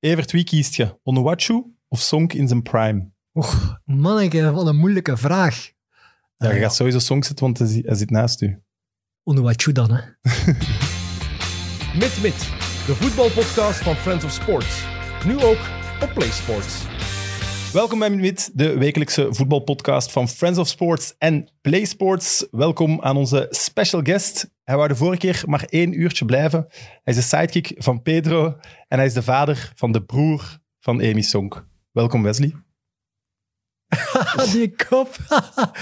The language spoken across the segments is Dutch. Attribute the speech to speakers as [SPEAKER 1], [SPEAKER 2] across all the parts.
[SPEAKER 1] Evert, wie kiest je? Onuachu of Sonk in zijn prime?
[SPEAKER 2] Och, manneke, wat een moeilijke vraag.
[SPEAKER 1] Ah, Ja, je
[SPEAKER 2] Eh,
[SPEAKER 1] gaat sowieso Sonk zitten, want hij zi- hij zit naast u.
[SPEAKER 2] Onuachu dan, hè.
[SPEAKER 3] Mit Mit, de voetbalpodcast van Friends of Sports. Nu ook op PlaySports.
[SPEAKER 1] Welkom bij Minuut, de wekelijkse voetbalpodcast van Friends of Sports en Play Sports. Welkom aan onze special guest. Hij wou de vorige keer maar één uurtje blijven. Hij is de sidekick van Pedro en hij is de vader van de broer van Amy Sonk. Welkom Wesley.
[SPEAKER 4] Ah,
[SPEAKER 2] Die kop.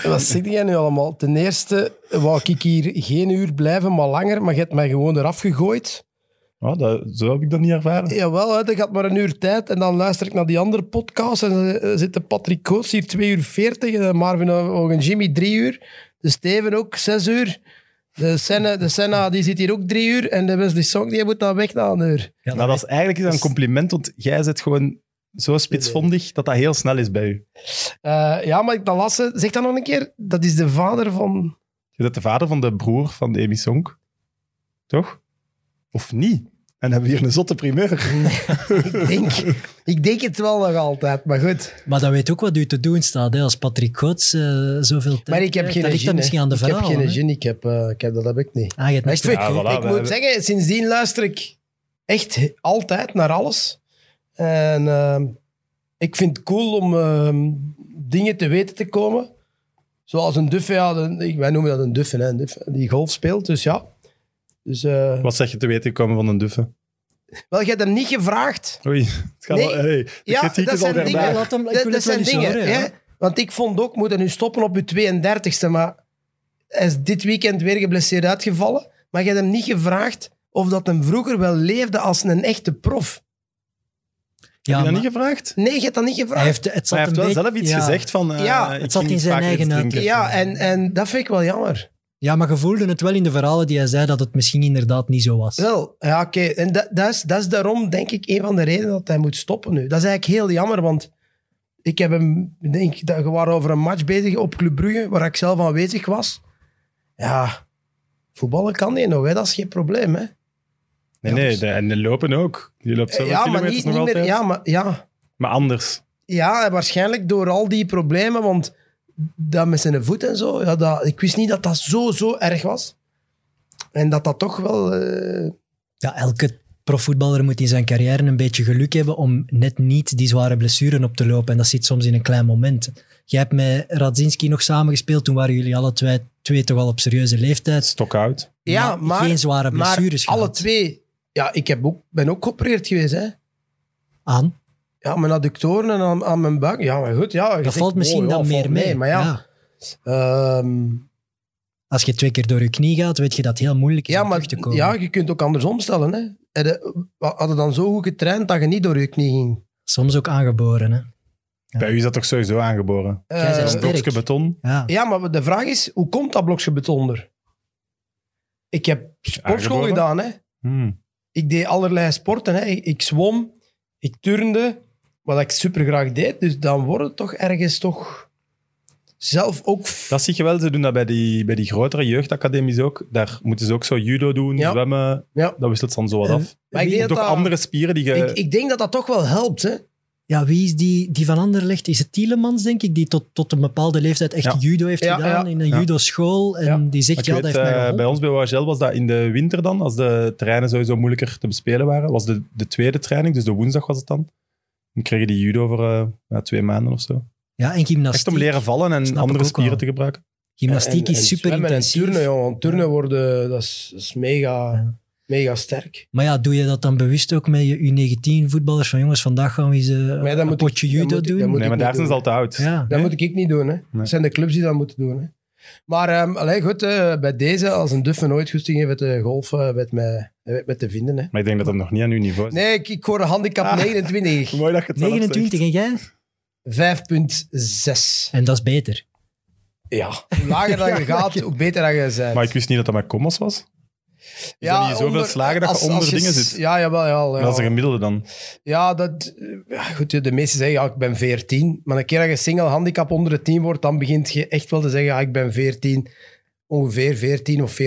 [SPEAKER 4] Wat zeg jij nu allemaal? Ten eerste wou ik hier geen uur blijven, maar langer. Maar je hebt mij gewoon eraf gegooid.
[SPEAKER 1] Oh, dat, zo heb ik dat niet ervaren.
[SPEAKER 4] Jawel, hè, ik had maar een uur tijd. En dan luister ik naar die andere podcast. En dan eh, zitten Patrick Koos hier 2 uur 40. en Marvin Oog en Jimmy 3 uur. De Steven ook 6 uur. De Senna, de Senna die zit hier ook 3 uur. En de Wesley Song die moet dan weg na een uur.
[SPEAKER 2] Ja,
[SPEAKER 1] Nou, dat is eigenlijk een compliment, want jij zit gewoon zo spitsvondig dat dat heel snel is bij u.
[SPEAKER 4] Eh, ja, maar ik dat las. ze- Zeg dat nog een keer. Dat is de vader van.
[SPEAKER 1] Je bent de vader van de broer van Amy Sonk. Toch? Of niet? En hebben we hier een zotte primeur.
[SPEAKER 4] Ik denk, ik denk het wel nog altijd, maar goed.
[SPEAKER 2] Maar dat weet ook wat u te doen staat, hè, als Patrick Goots eh, zoveel tijd
[SPEAKER 4] Maar ik heb
[SPEAKER 2] krijgt.
[SPEAKER 4] geen
[SPEAKER 2] Dat ligt
[SPEAKER 4] zin.
[SPEAKER 2] dan
[SPEAKER 4] hè.
[SPEAKER 2] misschien aan de
[SPEAKER 4] ik heb
[SPEAKER 2] verhalen.
[SPEAKER 4] geen
[SPEAKER 2] hè.
[SPEAKER 4] zin. Ik heb, eh, ik heb, dat heb ik niet.
[SPEAKER 2] Ah, je hebt
[SPEAKER 4] Maar
[SPEAKER 2] niks
[SPEAKER 4] echt, ik
[SPEAKER 1] Ja, voilà,
[SPEAKER 4] ik
[SPEAKER 1] we
[SPEAKER 4] moet
[SPEAKER 1] hebben-
[SPEAKER 4] zeggen, sindsdien luister ik echt he- altijd naar alles. En ehm, ik vind het cool om ehm, dingen te weten te komen. Zoals een duffe, ja, de- ik- wij noemen dat een duffe, hè, een duffe die golf speelt. Dus ja. Dus, eh,
[SPEAKER 1] Wat zeg je te weten komen van een duffe?
[SPEAKER 4] wel, jij hebt hem niet gevraagd.
[SPEAKER 1] Oei, het gaat
[SPEAKER 4] Nee.
[SPEAKER 1] al, hey, de
[SPEAKER 4] Ja,
[SPEAKER 1] kritiek
[SPEAKER 4] dat
[SPEAKER 1] is al
[SPEAKER 4] zijn dingen.
[SPEAKER 2] Ja,
[SPEAKER 1] daarbij.
[SPEAKER 2] laat hem, ik
[SPEAKER 4] Dat-
[SPEAKER 2] wil het
[SPEAKER 4] dat
[SPEAKER 2] wel
[SPEAKER 4] zijn
[SPEAKER 2] eens
[SPEAKER 4] dingen.
[SPEAKER 2] horen,
[SPEAKER 4] hè?
[SPEAKER 2] ja.
[SPEAKER 4] Want ik vond ook, moeten nu stoppen op je 32e. Maar hij is dit weekend weer geblesseerd uitgevallen. Maar je hebt hem niet gevraagd of dat hem vroeger wel leefde als een echte prof.
[SPEAKER 1] Heb
[SPEAKER 2] Ja,
[SPEAKER 1] je dat
[SPEAKER 2] maar
[SPEAKER 1] niet gevraagd?
[SPEAKER 4] Nee, je hebt dat niet
[SPEAKER 2] hij
[SPEAKER 4] gevraagd.
[SPEAKER 2] heeft, het zat
[SPEAKER 1] Maar hij heeft
[SPEAKER 2] een
[SPEAKER 1] wel
[SPEAKER 2] beetje-
[SPEAKER 1] zelf iets
[SPEAKER 2] ja.
[SPEAKER 1] gezegd van... eh,
[SPEAKER 4] Ja,
[SPEAKER 1] ik
[SPEAKER 2] het zat
[SPEAKER 1] ging
[SPEAKER 2] in zijn
[SPEAKER 1] vaker
[SPEAKER 2] eigen
[SPEAKER 1] iets drinken.
[SPEAKER 2] uitleg.
[SPEAKER 4] Ja, en, en dat vind ik wel jammer.
[SPEAKER 2] Ja, maar je voelde het wel in de verhalen die hij zei dat het misschien inderdaad niet zo was.
[SPEAKER 4] Wel, ja, oké. En dat, dat, is, dat is daarom, denk ik, een van de redenen dat hij moet stoppen nu. Dat is eigenlijk heel jammer, want ik heb hem, ik denk, dat we waren over een match bezig op Club Brugge, waar ik zelf aanwezig was. Ja, voetballen kan hij nog, hè? dat is geen probleem. Hè?
[SPEAKER 1] Nee, nee, de- en de lopen ook. Die loopt zoveel
[SPEAKER 4] Ja, maar
[SPEAKER 1] kilometers
[SPEAKER 4] niet,
[SPEAKER 1] nog
[SPEAKER 4] niet meer.
[SPEAKER 1] altijd.
[SPEAKER 4] Ja, maar, ja.
[SPEAKER 1] Maar anders.
[SPEAKER 4] ja, en waarschijnlijk door al die problemen, want dat met zijn voet en zo, ja, dat, ik wist niet dat dat zo, zo erg was. En dat dat toch wel. eh,
[SPEAKER 2] Ja, elke profvoetballer moet in zijn carrière een beetje geluk hebben om net niet die zware blessuren op te lopen. En dat zit soms in een klein moment. Jij hebt met Radzinski nog samengespeeld, toen waren jullie alle twee, twee toch al op serieuze leeftijd.
[SPEAKER 1] Stock-out.
[SPEAKER 4] ja, maar.
[SPEAKER 2] geen zware blessures
[SPEAKER 4] maar alle
[SPEAKER 2] gehad.
[SPEAKER 4] twee. Ja, ik heb ook, ben ook geopereerd geweest. Hè.
[SPEAKER 2] aan.
[SPEAKER 4] Ja, mijn adductoren en aan, aan mijn buik. Ja, maar goed. Ja, je
[SPEAKER 2] Dat
[SPEAKER 4] zegt,
[SPEAKER 2] valt misschien
[SPEAKER 4] wow, ja,
[SPEAKER 2] dan
[SPEAKER 4] valt
[SPEAKER 2] meer mee.
[SPEAKER 4] Maar ja, ehm,
[SPEAKER 2] Als je twee keer door je knie gaat, weet je dat het heel moeilijk is
[SPEAKER 4] ja,
[SPEAKER 2] om
[SPEAKER 4] maar
[SPEAKER 2] terug te komen.
[SPEAKER 4] ja, je kunt ook anders omstellen. Hè. Had je- Hadden dan zo goed getraind dat je niet door je knie ging.
[SPEAKER 2] Soms ook aangeboren. Hè?
[SPEAKER 1] Bij u is dat toch sowieso aangeboren?
[SPEAKER 2] Jij
[SPEAKER 4] Eh,
[SPEAKER 2] bent
[SPEAKER 1] Een
[SPEAKER 2] sterk.
[SPEAKER 1] blokje beton.
[SPEAKER 2] Ja.
[SPEAKER 4] ja, maar de vraag is, hoe komt dat blokje beton er? Ik heb sportschool
[SPEAKER 1] Aangeboren?
[SPEAKER 4] gedaan, hè.
[SPEAKER 1] Hmm.
[SPEAKER 4] ik deed allerlei sporten. Hè. Ik, ik zwom, ik turnde, wat ik super graag deed. Dus dan wordt het toch ergens toch zelf ook. f-
[SPEAKER 1] Dat zie je wel, ze doen dat bij die, bij die grotere jeugdacademies ook. Daar moeten ze ook zo judo doen,
[SPEAKER 4] Ja.
[SPEAKER 1] zwemmen.
[SPEAKER 4] Ja.
[SPEAKER 1] Dat wisselt dan zo wat
[SPEAKER 2] Eh,
[SPEAKER 1] af.
[SPEAKER 4] Maar
[SPEAKER 1] Je
[SPEAKER 4] ik denk
[SPEAKER 1] hebt
[SPEAKER 4] dat
[SPEAKER 1] toch
[SPEAKER 4] dat-
[SPEAKER 1] andere spieren die je...
[SPEAKER 4] ik, ik denk dat dat toch wel helpt. Hè.
[SPEAKER 2] Ja, wie is die, die van Anderlecht? Is het Tielemans, denk ik, die tot, tot een bepaalde leeftijd echt
[SPEAKER 1] Ja.
[SPEAKER 2] judo heeft
[SPEAKER 4] Ja,
[SPEAKER 2] gedaan
[SPEAKER 4] ja.
[SPEAKER 2] in een
[SPEAKER 1] Ja.
[SPEAKER 2] judo-school. En
[SPEAKER 4] Ja.
[SPEAKER 2] die zegt,
[SPEAKER 1] Want
[SPEAKER 2] ja,
[SPEAKER 1] je
[SPEAKER 2] dat heeft
[SPEAKER 1] weet,
[SPEAKER 2] mij
[SPEAKER 1] eh,
[SPEAKER 2] geholpen.
[SPEAKER 1] bij ons bij OHL was dat in de winter dan, als de terreinen sowieso moeilijker te bespelen waren, was de, de tweede training, dus de woensdag was het dan. Dan kregen die judo voor eh, ja, twee maanden of zo.
[SPEAKER 2] Ja, en
[SPEAKER 1] Echt
[SPEAKER 2] gymnastiek.
[SPEAKER 1] om leren vallen en
[SPEAKER 2] Snap ik
[SPEAKER 1] andere
[SPEAKER 2] ook
[SPEAKER 1] spieren
[SPEAKER 2] wel.
[SPEAKER 1] te gebruiken.
[SPEAKER 2] Gymnastiek
[SPEAKER 4] En- en
[SPEAKER 2] is super
[SPEAKER 4] zwemmen en
[SPEAKER 2] intensief.
[SPEAKER 4] turnen, jongen. Want turnen worden, dat is, dat is mega,
[SPEAKER 2] Ja.
[SPEAKER 4] mega sterk.
[SPEAKER 2] Maar ja, doe je dat dan bewust ook met je U19-voetballers? Van jongens, vandaag gaan we eens eh,
[SPEAKER 4] dat
[SPEAKER 2] een
[SPEAKER 4] moet ik-
[SPEAKER 2] potje judo
[SPEAKER 4] dat moet ik- dat
[SPEAKER 2] doen.
[SPEAKER 4] moet
[SPEAKER 1] Nee, maar
[SPEAKER 4] ik
[SPEAKER 1] daar
[SPEAKER 4] niet
[SPEAKER 1] zijn ze
[SPEAKER 4] doen.
[SPEAKER 1] al te oud.
[SPEAKER 2] ja.
[SPEAKER 4] Dat moet ik ik niet doen. Hè.
[SPEAKER 1] Nee.
[SPEAKER 4] Dat zijn de clubs die dat moeten doen. Hè. Maar ehm allee, goed, hè, bij deze, als een duffe nooit goesting heeft met de golf, eh, met, mij, eh, met te vinden. Hè.
[SPEAKER 1] Maar ik denk dat dat nog niet aan uw niveau is.
[SPEAKER 4] Nee, ik, ik hoor handicap
[SPEAKER 1] Ah.
[SPEAKER 4] 29.
[SPEAKER 1] Mooi dat je het zelf
[SPEAKER 2] 29
[SPEAKER 1] zegt.
[SPEAKER 2] en jij?
[SPEAKER 4] 5,6.
[SPEAKER 2] En dat is beter.
[SPEAKER 4] Ja. Hoe lager dat je gaat, hoe beter dat je bent.
[SPEAKER 1] Maar ik wist niet dat dat met commas was. dat niet zoveel slagen dat je onder dingen
[SPEAKER 4] s-
[SPEAKER 1] zit?
[SPEAKER 4] Ja, jawel, jawel.
[SPEAKER 1] Dat is een
[SPEAKER 4] jawel.
[SPEAKER 1] gemiddelde dan.
[SPEAKER 4] Ja, dat, ja, goed, de meesten zeggen, ja, ik ben 14. Maar een keer dat je single handicap onder de 10 wordt, dan begint je echt wel te zeggen, ja, ik ben 14. Ongeveer 14 of 14,2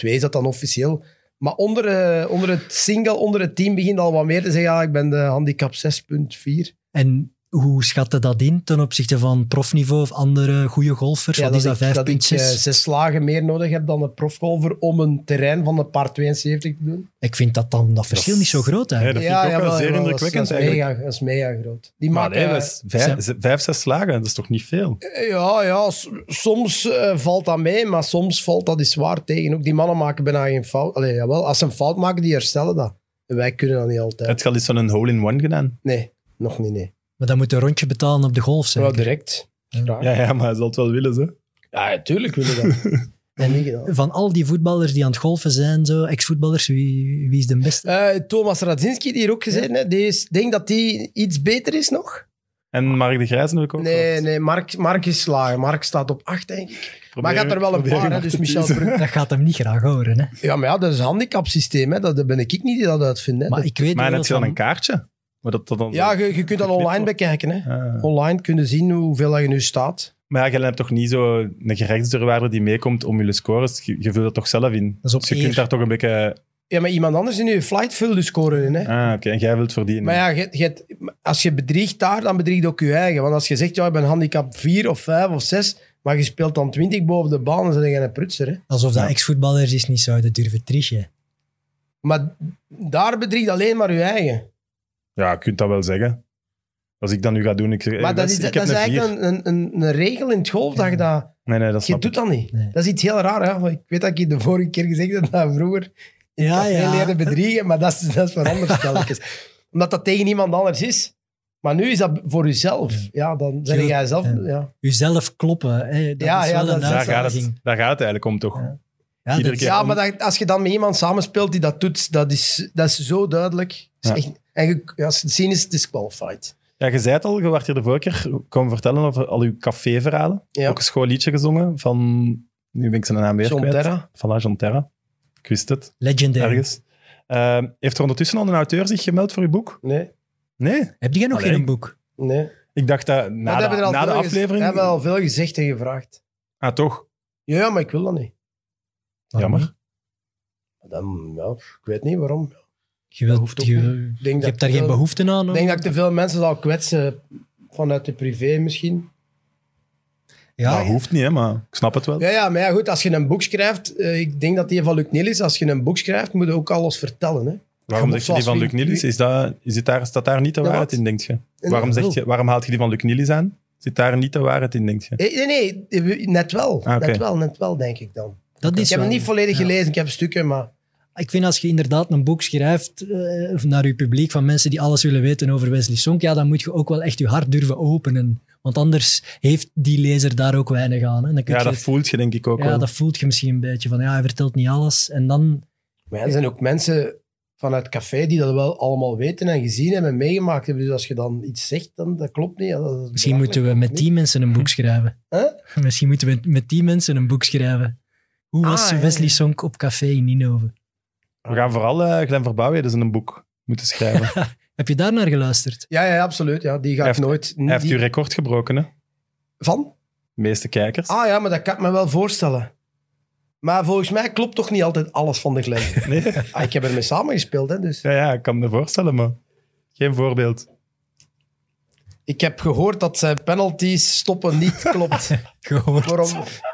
[SPEAKER 4] is dat dan officieel. Maar onder, eh, onder het single, onder het team begint al wat meer te zeggen. Ja, ik ben de handicap 6.4.
[SPEAKER 2] En hoe schatte dat in ten opzichte van profniveau of andere goede golfers?
[SPEAKER 4] Ja,
[SPEAKER 2] Wat is dat,
[SPEAKER 4] ik, dat ik
[SPEAKER 2] 5.6?
[SPEAKER 4] eh, zes slagen meer nodig heb dan een profgolfer om een terrein van een paar 72 te doen.
[SPEAKER 2] Ik vind dat dan dat verschil
[SPEAKER 1] is-
[SPEAKER 2] niet zo groot
[SPEAKER 1] Ja,
[SPEAKER 2] eigenlijk.
[SPEAKER 1] dat vind ik ook wel
[SPEAKER 4] jawel,
[SPEAKER 1] zeer
[SPEAKER 4] jawel, dat is-
[SPEAKER 1] indrukwekkend
[SPEAKER 4] dat is,
[SPEAKER 1] eigenlijk.
[SPEAKER 4] mega, dat is mega groot. Die
[SPEAKER 1] Maar
[SPEAKER 4] maken,
[SPEAKER 1] nee, dat is vijf,
[SPEAKER 2] zijn-
[SPEAKER 1] ze- vijf, zes slagen, dat is toch niet veel?
[SPEAKER 4] eh, ja, ja, s- soms eh, valt dat mee, maar soms valt dat is waar tegen. Ook die mannen maken bijna geen fout. Allee, jawel, als ze een fout maken, die herstellen dat. En wij kunnen dat niet altijd.
[SPEAKER 1] Het gaat iets van een hole-in-one gedaan.
[SPEAKER 4] Nee, nog niet, nee.
[SPEAKER 2] Maar dan moet je een rondje betalen op de golf, zeg.
[SPEAKER 4] Wel direct. Graag.
[SPEAKER 1] Ja, ja, maar hij zal het wel willen, ze.
[SPEAKER 4] Ja, natuurlijk willen dat. en niet gedaan.
[SPEAKER 2] Van al die voetballers die aan het golfen zijn, zo, ex-voetballers, wie, wie is de beste?
[SPEAKER 4] Eh, Thomas Radzinski, die hier ook gezeten heeft, die is, denk dat die iets beter is nog.
[SPEAKER 1] En Mark de Grijze heb ik ook
[SPEAKER 4] Nee,
[SPEAKER 1] gehoord.
[SPEAKER 4] nee, Mark, Mark is lager. Mark staat op 8, denk ik.
[SPEAKER 1] Probeer-
[SPEAKER 4] gaat er wel een
[SPEAKER 1] probeer
[SPEAKER 4] paar, hè,
[SPEAKER 1] hem
[SPEAKER 4] dus
[SPEAKER 1] te
[SPEAKER 4] Michel
[SPEAKER 1] teasen.
[SPEAKER 4] Brugge.
[SPEAKER 2] Dat gaat hem niet graag horen, hè.
[SPEAKER 4] Ja, maar ja, dat is een handicapsysteem. Hè. Dat dat ben ik niet die dat uitvindt. Hè.
[SPEAKER 2] Maar
[SPEAKER 4] Dat-
[SPEAKER 2] ik weet
[SPEAKER 1] Maar dan
[SPEAKER 2] wel
[SPEAKER 1] heb je dan
[SPEAKER 2] van-
[SPEAKER 1] een kaartje? Maar, dat, dat dan,
[SPEAKER 4] ja, je, je kunt dat online bekijken. Hè.
[SPEAKER 1] Ah.
[SPEAKER 4] Online kunnen zien hoeveel dat je nu staat.
[SPEAKER 1] maar ja, je hebt toch niet zo een gerechtsdeurwaarder die meekomt om je scores? Je, je vult dat toch zelf in?
[SPEAKER 2] is op
[SPEAKER 1] dus je
[SPEAKER 2] eer.
[SPEAKER 1] kunt daar toch een beetje...
[SPEAKER 4] Ja, maar iemand anders in je flight vult de score in. Hè.
[SPEAKER 1] Ah, oké. En jij wilt verdienen.
[SPEAKER 4] Maar ja, je- je- als je bedriegt daar, dan bedriegt ook je eigen. Want als je zegt, ja, ik ben handicap 4 of 5 of 6, maar je speelt dan 20 boven de baan, dan ben je een prutser. Hè.
[SPEAKER 2] Alsof dat
[SPEAKER 1] Ja.
[SPEAKER 2] ex-voetballers is niet zouden durven trichen.
[SPEAKER 4] Maar daar bedriegt alleen maar je eigen.
[SPEAKER 1] Ja, je kunt dat wel zeggen. Als ik dat nu ga doen, ik zeg... hey,
[SPEAKER 4] Maar dat
[SPEAKER 1] best,
[SPEAKER 4] is,
[SPEAKER 1] ik
[SPEAKER 4] dat
[SPEAKER 1] heb
[SPEAKER 4] is
[SPEAKER 1] een vier.
[SPEAKER 4] eigenlijk een, een, een, een regel in het golf dat je dat...
[SPEAKER 1] Nee, nee, dat
[SPEAKER 4] Je
[SPEAKER 1] snap ik.
[SPEAKER 4] doet dat niet.
[SPEAKER 2] Nee.
[SPEAKER 4] Dat is iets heel raar. Hè? Want Ik weet dat ik je de vorige keer gezegd heb dat vroeger in
[SPEAKER 2] Ja,
[SPEAKER 4] ja,
[SPEAKER 2] Ah, ja.
[SPEAKER 4] leerde bedriegen, maar dat is, dat is wat anders telkens. Omdat dat tegen iemand anders is. Maar nu is dat voor jezelf. Ja, dan zeg
[SPEAKER 2] Tuurlijk,
[SPEAKER 4] jij zelf...
[SPEAKER 2] ja.
[SPEAKER 4] Ja. Ja.
[SPEAKER 2] Uzelf kloppen, hè. dat
[SPEAKER 4] Ja,
[SPEAKER 2] is
[SPEAKER 4] ja,
[SPEAKER 2] wel
[SPEAKER 4] dat-
[SPEAKER 2] een
[SPEAKER 4] daar
[SPEAKER 1] Daar gaat,
[SPEAKER 2] uitdaging.
[SPEAKER 1] het, daar gaat het eigenlijk om, toch?
[SPEAKER 2] Ja. Ja,
[SPEAKER 1] Iedere
[SPEAKER 2] dat-
[SPEAKER 1] keer.
[SPEAKER 4] maar dat- als je dan met iemand samenspeelt die dat doet, dat is, dat is zo duidelijk. Dat is
[SPEAKER 1] Ja.
[SPEAKER 4] echt- en je, als je het ziet, is het disqualified.
[SPEAKER 1] Ja, je zei het al, je werd hier de vorige keer komen vertellen over al uw caféverhalen.
[SPEAKER 4] Ja.
[SPEAKER 1] Ook een schoon liedje gezongen van... Nu ben ik zijn naam weer
[SPEAKER 4] John
[SPEAKER 1] kwijt.
[SPEAKER 4] Terra.
[SPEAKER 1] Voilà, John Terra. Ik wist het,
[SPEAKER 2] Legendary.
[SPEAKER 1] ergens. Ehm, heeft er ondertussen al een auteur zich gemeld voor uw boek?
[SPEAKER 4] Nee,
[SPEAKER 1] Nee?
[SPEAKER 2] Heb jij nog
[SPEAKER 1] Allee.
[SPEAKER 2] geen boek?
[SPEAKER 4] nee.
[SPEAKER 1] Ik dacht dat
[SPEAKER 4] Maar
[SPEAKER 1] na
[SPEAKER 4] dat
[SPEAKER 1] de,
[SPEAKER 4] hebben we er al
[SPEAKER 1] na de
[SPEAKER 4] veel gez-
[SPEAKER 1] aflevering...
[SPEAKER 4] hebben we al veel gezegd en gevraagd.
[SPEAKER 1] Ah, toch?
[SPEAKER 4] Ja, maar ik wil dat niet.
[SPEAKER 2] Waarom
[SPEAKER 1] Jammer.
[SPEAKER 2] niet?
[SPEAKER 4] Dan, ja, ik weet niet waarom.
[SPEAKER 2] Je, wilt,
[SPEAKER 4] hoeft ook
[SPEAKER 2] je,
[SPEAKER 4] niet.
[SPEAKER 2] je
[SPEAKER 4] Ik denk dat
[SPEAKER 2] hebt daar
[SPEAKER 4] ik
[SPEAKER 2] geen
[SPEAKER 4] wel-
[SPEAKER 2] behoefte aan?
[SPEAKER 4] Ik
[SPEAKER 2] hoor.
[SPEAKER 4] denk dat ik te veel mensen zal kwetsen vanuit de privé misschien.
[SPEAKER 1] Ja,
[SPEAKER 2] ja,
[SPEAKER 1] hoeft niet, hè, maar ik snap het wel.
[SPEAKER 4] Ja, ja maar ja, goed, als je een boek schrijft, eh, ik denk dat die van Luc Nielis, als je een boek schrijft, moet je ook alles vertellen. Hè?
[SPEAKER 1] Waarom
[SPEAKER 4] Ja,
[SPEAKER 1] zeg je die
[SPEAKER 4] zoals
[SPEAKER 1] van
[SPEAKER 4] wie-
[SPEAKER 1] Luc Nielis? Is dat, is het daar, staat daar niet de
[SPEAKER 4] Ja,
[SPEAKER 1] waarheid
[SPEAKER 4] wat?
[SPEAKER 1] in, denk je?
[SPEAKER 4] En-
[SPEAKER 1] Waarom, zeg
[SPEAKER 2] wel.
[SPEAKER 1] je? waarom haalt je die van Luc Nielis aan? Zit daar niet de waarheid in, denk je?
[SPEAKER 4] Eh, Nee, nee, eh, net wel.
[SPEAKER 1] Ah, oké.
[SPEAKER 4] Net wel, net wel, denk ik dan.
[SPEAKER 2] dat
[SPEAKER 4] Ik
[SPEAKER 2] is
[SPEAKER 4] heb hem
[SPEAKER 2] wel-
[SPEAKER 4] niet volledig
[SPEAKER 2] ja.
[SPEAKER 4] gelezen, ik heb stukken, maar...
[SPEAKER 2] Ik vind als je inderdaad een boek schrijft eh, naar je publiek van mensen die alles willen weten over Wesley Sonk, ja, dan moet je ook wel echt je hart durven openen. Want anders heeft die lezer daar ook weinig aan. Hè. Dan kun
[SPEAKER 1] Ja,
[SPEAKER 2] je,
[SPEAKER 1] dat voelt je denk ik ook
[SPEAKER 2] ja,
[SPEAKER 1] wel.
[SPEAKER 2] dat voelt je misschien een beetje van, ja, hij vertelt niet alles. En dan,
[SPEAKER 4] Maar ja, er zijn ook mensen vanuit het café die dat wel allemaal weten en gezien hebben en meegemaakt hebben. Dus als je dan iets zegt, dan dat klopt niet. Ja, dat is
[SPEAKER 2] misschien moeten we
[SPEAKER 4] belachelijk,
[SPEAKER 2] met
[SPEAKER 4] klopt niet.
[SPEAKER 2] die mensen een boek schrijven.
[SPEAKER 4] Huh?
[SPEAKER 2] Misschien moeten we met die mensen een boek schrijven. Hoe
[SPEAKER 4] Ah,
[SPEAKER 2] was
[SPEAKER 4] ja,
[SPEAKER 2] Wesley
[SPEAKER 4] ja.
[SPEAKER 2] Sonk op café in Ninove?
[SPEAKER 1] We gaan vooral eh Glenn Verbouwen dus in een boek moeten schrijven. Hij
[SPEAKER 2] Heb je daar naar geluisterd?
[SPEAKER 4] Ja, ja, absoluut. Ja, die ga ik
[SPEAKER 1] Hij
[SPEAKER 4] nooit...
[SPEAKER 1] heeft
[SPEAKER 4] die-
[SPEAKER 1] uw record gebroken, hè?
[SPEAKER 4] Van?
[SPEAKER 1] De meeste kijkers.
[SPEAKER 4] Ah ja, maar dat kan ik me wel voorstellen. Maar volgens mij klopt toch niet altijd alles van de Glen.
[SPEAKER 1] Nee.
[SPEAKER 4] Ah, ik heb ermee samengespeeld, hè, dus.
[SPEAKER 1] Ja, ja, ik kan me voorstellen, maar geen voorbeeld.
[SPEAKER 4] Ik heb gehoord dat zijn penalties stoppen niet klopt.
[SPEAKER 2] Gehoord.
[SPEAKER 4] Waarom?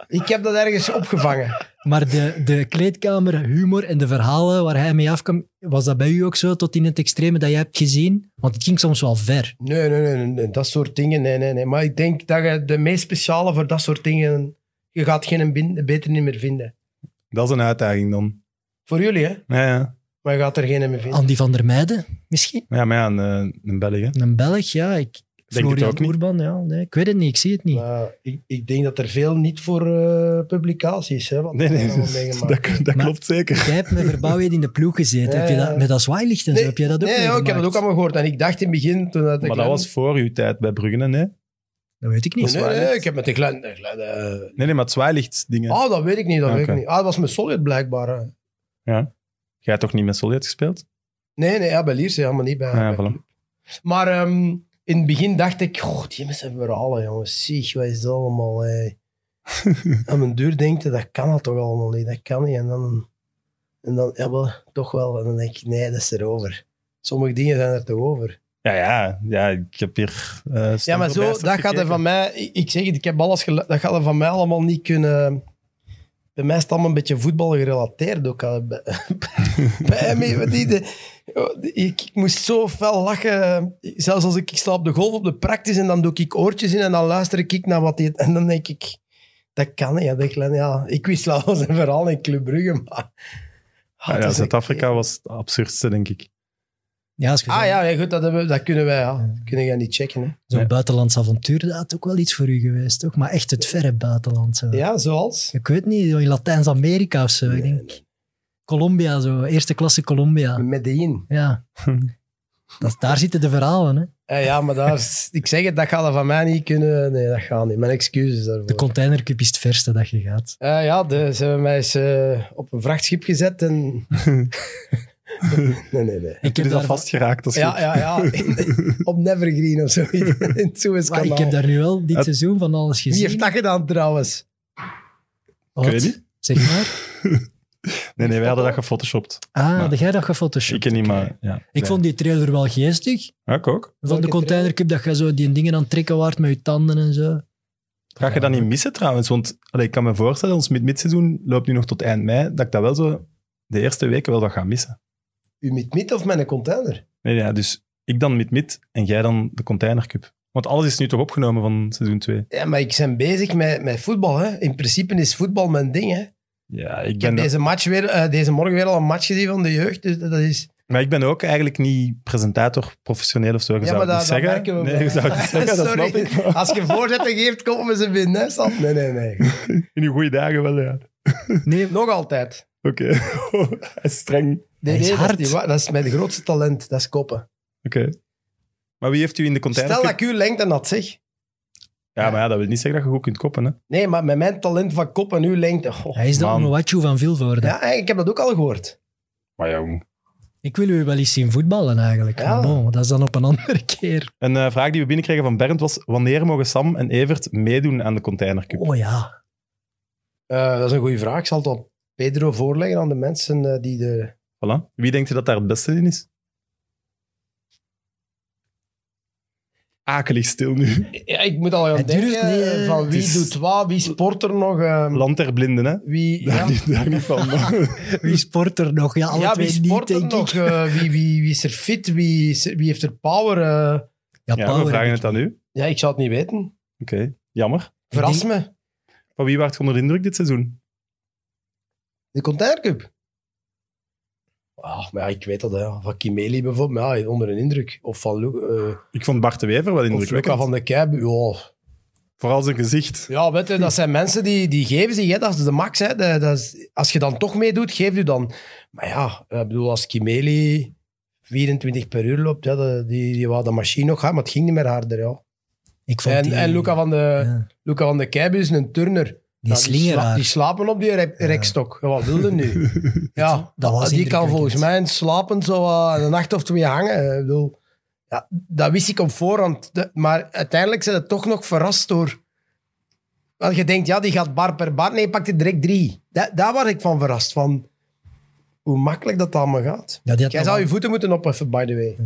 [SPEAKER 4] Ik heb dat ergens opgevangen.
[SPEAKER 2] Maar de, de kleedkamer, humor en de verhalen waar hij mee afkwam, was dat bij u ook zo tot in het extreme dat jij hebt gezien? Want het ging soms wel ver.
[SPEAKER 4] Nee, nee, nee, nee, nee, dat soort dingen, nee, nee, nee. Maar ik denk dat je de meest speciale voor dat soort dingen... Je gaat geen bin- beter niet meer vinden.
[SPEAKER 1] Dat is een uitdaging dan.
[SPEAKER 4] Voor jullie, hè.
[SPEAKER 1] Ja, ja.
[SPEAKER 4] Maar je gaat er geen meer vinden.
[SPEAKER 2] Andy van der Meijden, misschien?
[SPEAKER 1] ja maar ja, een, eh, een Belg, hè.
[SPEAKER 2] Een Belg, ja. Ik,
[SPEAKER 1] het
[SPEAKER 2] Florian
[SPEAKER 1] ook niet.
[SPEAKER 2] Oerban, ja. Nee, ik weet het niet, ik zie het niet.
[SPEAKER 4] Maar ik, ik denk dat er veel niet voor eh, publicaties, hè. Wat
[SPEAKER 1] Nee, nee,
[SPEAKER 4] we allemaal
[SPEAKER 1] dat,
[SPEAKER 4] meegemaakt
[SPEAKER 1] dat
[SPEAKER 4] hebben.
[SPEAKER 2] Maar-
[SPEAKER 1] klopt zeker.
[SPEAKER 2] Jij hebt met Verbouwheid in de ploeg gezeten.
[SPEAKER 4] Ja,
[SPEAKER 2] heb je dat,
[SPEAKER 4] ja.
[SPEAKER 2] met dat zwaailicht en zo, heb jij dat ook
[SPEAKER 4] Nee, ja, ik heb
[SPEAKER 2] meegemaakt?
[SPEAKER 4] dat ook allemaal gehoord. En ik dacht in het begin... Toen dat de
[SPEAKER 1] Maar dat
[SPEAKER 4] Glen-
[SPEAKER 1] was voor uw tijd bij Brugge, hè? Nee,
[SPEAKER 2] Dat weet ik niet.
[SPEAKER 4] Nee,
[SPEAKER 1] waar,
[SPEAKER 4] nee,
[SPEAKER 1] hè?
[SPEAKER 4] nee, ik heb met de Glen... de Glen, eh,
[SPEAKER 1] nee, maar het zwaailicht dingen.
[SPEAKER 4] Ah, dat weet ik niet, dat weet ik
[SPEAKER 1] Oké.
[SPEAKER 4] niet. Ah, dat was met Solid blijkbaar. hè.
[SPEAKER 1] Jij hebt toch niet met Solid gespeeld?
[SPEAKER 4] Nee, nee, ja, bij Lierse helemaal niet bij.
[SPEAKER 1] Ja,
[SPEAKER 4] bij
[SPEAKER 1] voilà.
[SPEAKER 4] Club. Maar ehm, in het begin dacht ik, goh, die mensen hebben verhalen, jongens. Zie, wat is dat allemaal, hé. Aan mijn duur denk je, dat kan dat toch allemaal niet, dat kan niet. En dan... En dan, ja, maar, toch wel. En dan denk ik, nee, dat is erover. Sommige dingen zijn er toch over.
[SPEAKER 1] Ja, ja, ja ik heb hier... eh,
[SPEAKER 4] Ja, maar
[SPEAKER 1] standaard
[SPEAKER 4] zo,
[SPEAKER 1] bijstand
[SPEAKER 4] dat gaat er
[SPEAKER 1] gekeken.
[SPEAKER 4] van mij... ik- Ik zeg het, ik heb alles gelu- Dat gaat er van mij allemaal niet kunnen... Bij mij is het allemaal een beetje voetbal gerelateerd ook. al. Bij, bij mij, want die, de- ik, ik moest zo fel lachen. Zelfs als ik, ik sta op de golf op de practice en dan doe ik oortjes in en dan luister ik naar wat die... En dan denk ik, dat kan niet. Ja, dat kan, ja. Ik wist wel zijn verhaal in Club Brugge, maar... Ah,
[SPEAKER 1] Ja,
[SPEAKER 4] dat
[SPEAKER 1] ja,
[SPEAKER 4] is
[SPEAKER 1] Zuid-Afrika was het absurdste, denk ik.
[SPEAKER 2] Ja, als je
[SPEAKER 4] echt- Ah
[SPEAKER 2] zo'n-
[SPEAKER 4] ja, ja, goed, dat, hebben, we- dat kunnen wij. Ja. Dat kunnen jij niet checken. Hè.
[SPEAKER 2] zo'n
[SPEAKER 1] Ja.
[SPEAKER 2] buitenlands avontuur, dat had ook wel iets voor u geweest, toch? Maar echt het verre buitenland. Zo.
[SPEAKER 4] Ja, zoals...
[SPEAKER 2] Ik weet niet, zo in Latijns-Amerika of zo.
[SPEAKER 4] Nee,
[SPEAKER 2] ik denk, Colombia, zo. Eerste klasse Colombia.
[SPEAKER 4] Medellin.
[SPEAKER 2] Ja. dat, daar zitten de verhalen, hè.
[SPEAKER 4] Eh, ja, maar daar, is- ik zeg het, dat gaat dat van mij niet kunnen. Nee, dat gaat niet. Mijn excuses daarvoor.
[SPEAKER 2] De containercup is het verste dat je gaat.
[SPEAKER 4] Eh, ja, de, ze hebben mij eens eh, op een vrachtschip gezet en... nee, nee, nee.
[SPEAKER 2] Ik
[SPEAKER 1] Je
[SPEAKER 2] heb,
[SPEAKER 1] is al
[SPEAKER 2] daar,
[SPEAKER 1] vastgeraakt. Dat is
[SPEAKER 4] Ja,
[SPEAKER 1] goed.
[SPEAKER 4] ja, ja. In- op Nevergreen of zoiets. In het
[SPEAKER 2] maar
[SPEAKER 4] Suezkanaal.
[SPEAKER 2] ik heb daar nu wel dit
[SPEAKER 1] Het-
[SPEAKER 2] seizoen van alles
[SPEAKER 4] Wie
[SPEAKER 2] gezien.
[SPEAKER 4] heeft dat gedaan trouwens?
[SPEAKER 2] Wat?
[SPEAKER 1] Ik weet niet.
[SPEAKER 2] Zeg maar.
[SPEAKER 1] Nee, nee, wij hadden dat gefotoshopt.
[SPEAKER 2] Ah,
[SPEAKER 1] Maar-
[SPEAKER 2] had jij dat gefotoshopt?
[SPEAKER 1] Ik ken niet, maar... Ja.
[SPEAKER 2] Ik vond die trailer wel geestig.
[SPEAKER 1] Ja, ik ook.
[SPEAKER 2] Van de
[SPEAKER 4] Welke
[SPEAKER 2] containercup dat je zo die dingen aan het trekken waart met je tanden en zo.
[SPEAKER 1] Ga je dat niet missen trouwens? Want allee, ik kan me voorstellen, ons mid-midseizoen loopt nu nog tot eind mei, dat ik dat wel zo de eerste weken wel wat ga missen.
[SPEAKER 4] U met mid of met een container?
[SPEAKER 1] Nee, ja, dus ik dan mid-mid en jij dan de containercup. Want alles is nu toch opgenomen van seizoen 2.
[SPEAKER 4] Ja, maar ik ben bezig met, met voetbal. Hè. In principe is voetbal mijn ding. Hè.
[SPEAKER 1] Ja, ik
[SPEAKER 4] Ik heb
[SPEAKER 1] ben,
[SPEAKER 4] deze, match weer, eh, deze morgen weer al een match gezien van de jeugd. Dus dat is...
[SPEAKER 1] maar ik ben ook eigenlijk niet presentator, professioneel of zo. Je
[SPEAKER 4] Ja,
[SPEAKER 1] zou
[SPEAKER 4] maar
[SPEAKER 1] het niet
[SPEAKER 4] dat, dat
[SPEAKER 1] zeggen.
[SPEAKER 4] merken we
[SPEAKER 1] nee,
[SPEAKER 4] wel.
[SPEAKER 1] je zou het niet zeggen, dat
[SPEAKER 4] Sorry.
[SPEAKER 1] snap ik. maar
[SPEAKER 4] Als je voorzetten geeft, komen we ze binnen. Hè, Sam? Nee, nee, nee.
[SPEAKER 1] In uw goede dagen wel, ja.
[SPEAKER 2] Nee,
[SPEAKER 4] Nog altijd.
[SPEAKER 1] Oké. Hij is streng.
[SPEAKER 4] Nee,
[SPEAKER 2] Hij is
[SPEAKER 4] nee,
[SPEAKER 2] hard.
[SPEAKER 4] Dat, is niet waar. dat is mijn grootste talent, dat is koppen.
[SPEAKER 1] Oké. Maar wie heeft u in de
[SPEAKER 4] Stel dat
[SPEAKER 1] containercup...
[SPEAKER 4] ik uw lengte had, zeg.
[SPEAKER 1] Ja, maar ja, dat wil niet zeggen dat je goed kunt koppen, hè.
[SPEAKER 4] Nee, maar met mijn talent van kop en uw lengte. oh.
[SPEAKER 2] hij is de
[SPEAKER 1] Man.
[SPEAKER 2] Onowachu van Vilvoorde.
[SPEAKER 4] Ja, ik heb dat ook al gehoord.
[SPEAKER 1] Maar ja, jong.
[SPEAKER 2] Ik wil u wel eens zien voetballen eigenlijk.
[SPEAKER 4] Ja.
[SPEAKER 2] Maar bon, dat is dan op een andere keer.
[SPEAKER 1] Een eh, vraag die we binnenkregen van Bernd was: wanneer mogen Sam en Evert meedoen aan de containercup?
[SPEAKER 2] Oh ja.
[SPEAKER 4] Eh, dat is een goede vraag. Ik zal het op Pedro voorleggen aan de mensen eh, die de...
[SPEAKER 1] Voilà. Wie denkt u dat daar het beste in is? Akelig stil nu.
[SPEAKER 4] Ja, ik moet al gaan
[SPEAKER 2] Het
[SPEAKER 4] denken
[SPEAKER 2] duurt niet,
[SPEAKER 4] eh,
[SPEAKER 2] eh,
[SPEAKER 4] van wie
[SPEAKER 1] het is-
[SPEAKER 4] doet wat, wie sport er nog, eh,
[SPEAKER 1] Land der blinden, hè?
[SPEAKER 4] wie...
[SPEAKER 1] Daar,
[SPEAKER 4] Ja,
[SPEAKER 1] niet, daar niet van. maar-
[SPEAKER 2] Wie sport er nog? Ja, alle
[SPEAKER 4] ja,
[SPEAKER 2] twee
[SPEAKER 4] wie sport
[SPEAKER 2] niet,
[SPEAKER 4] er
[SPEAKER 2] denk
[SPEAKER 4] nog,
[SPEAKER 2] ik.
[SPEAKER 4] eh, wie, wie, wie is er fit, wie, is- wie heeft er power. eh.
[SPEAKER 1] Ja,
[SPEAKER 2] Ja,
[SPEAKER 1] we
[SPEAKER 2] Power.
[SPEAKER 1] vragen het aan u. Oké,
[SPEAKER 4] ja, ik zou het niet weten.
[SPEAKER 1] jammer.
[SPEAKER 4] Verras me.
[SPEAKER 1] Van wie waart je onder de indruk dit seizoen?
[SPEAKER 4] De containercup? Ah, maar ja, ik weet dat, hè. van Kimeli bijvoorbeeld, maar ja, onder een indruk. Of van, Lu- eh,
[SPEAKER 1] Ik vond Bart de Wever wel
[SPEAKER 4] of Luca
[SPEAKER 1] indrukwekkend.
[SPEAKER 4] van de Kuip. Ja.
[SPEAKER 1] Vooral zijn gezicht.
[SPEAKER 4] ja, weet je, dat zijn mensen die, die geven zich, hè. dat is de max. Hè. Dat, dat is, als je dan toch meedoet, geef je dan. Maar ja, ik bedoel, als Kimeli 24 per uur loopt, ja, dat- die, die wou de machine nog gaan, maar het ging niet meer harder. Ja.
[SPEAKER 2] Ik vond
[SPEAKER 4] En,
[SPEAKER 2] die,
[SPEAKER 4] en Luca van de,
[SPEAKER 2] ja,
[SPEAKER 4] Luca van de Kuip is een turner.
[SPEAKER 2] die
[SPEAKER 4] Ja, sla-
[SPEAKER 2] slingeraar.
[SPEAKER 4] die slapen op die rek-
[SPEAKER 2] Ja.
[SPEAKER 4] rekstok. Ja, Wat wilde nu? Ja,
[SPEAKER 2] dat was
[SPEAKER 4] die kan
[SPEAKER 2] indrukwekkend.
[SPEAKER 4] volgens mij in slapen zo eh, een nacht of twee hangen. Ik bedoel, ja, dat wist ik op voorhand. De- maar uiteindelijk zijn ze toch nog verrast door... Want je denkt, ja, die gaat bar per bar. Nee, je pakt er direct drie. Da- daar was ik van verrast. Van hoe makkelijk dat allemaal gaat.
[SPEAKER 2] Ja, die had
[SPEAKER 4] Jij
[SPEAKER 2] nog
[SPEAKER 4] zou je
[SPEAKER 2] wel-
[SPEAKER 4] voeten moeten opheffen, by the way.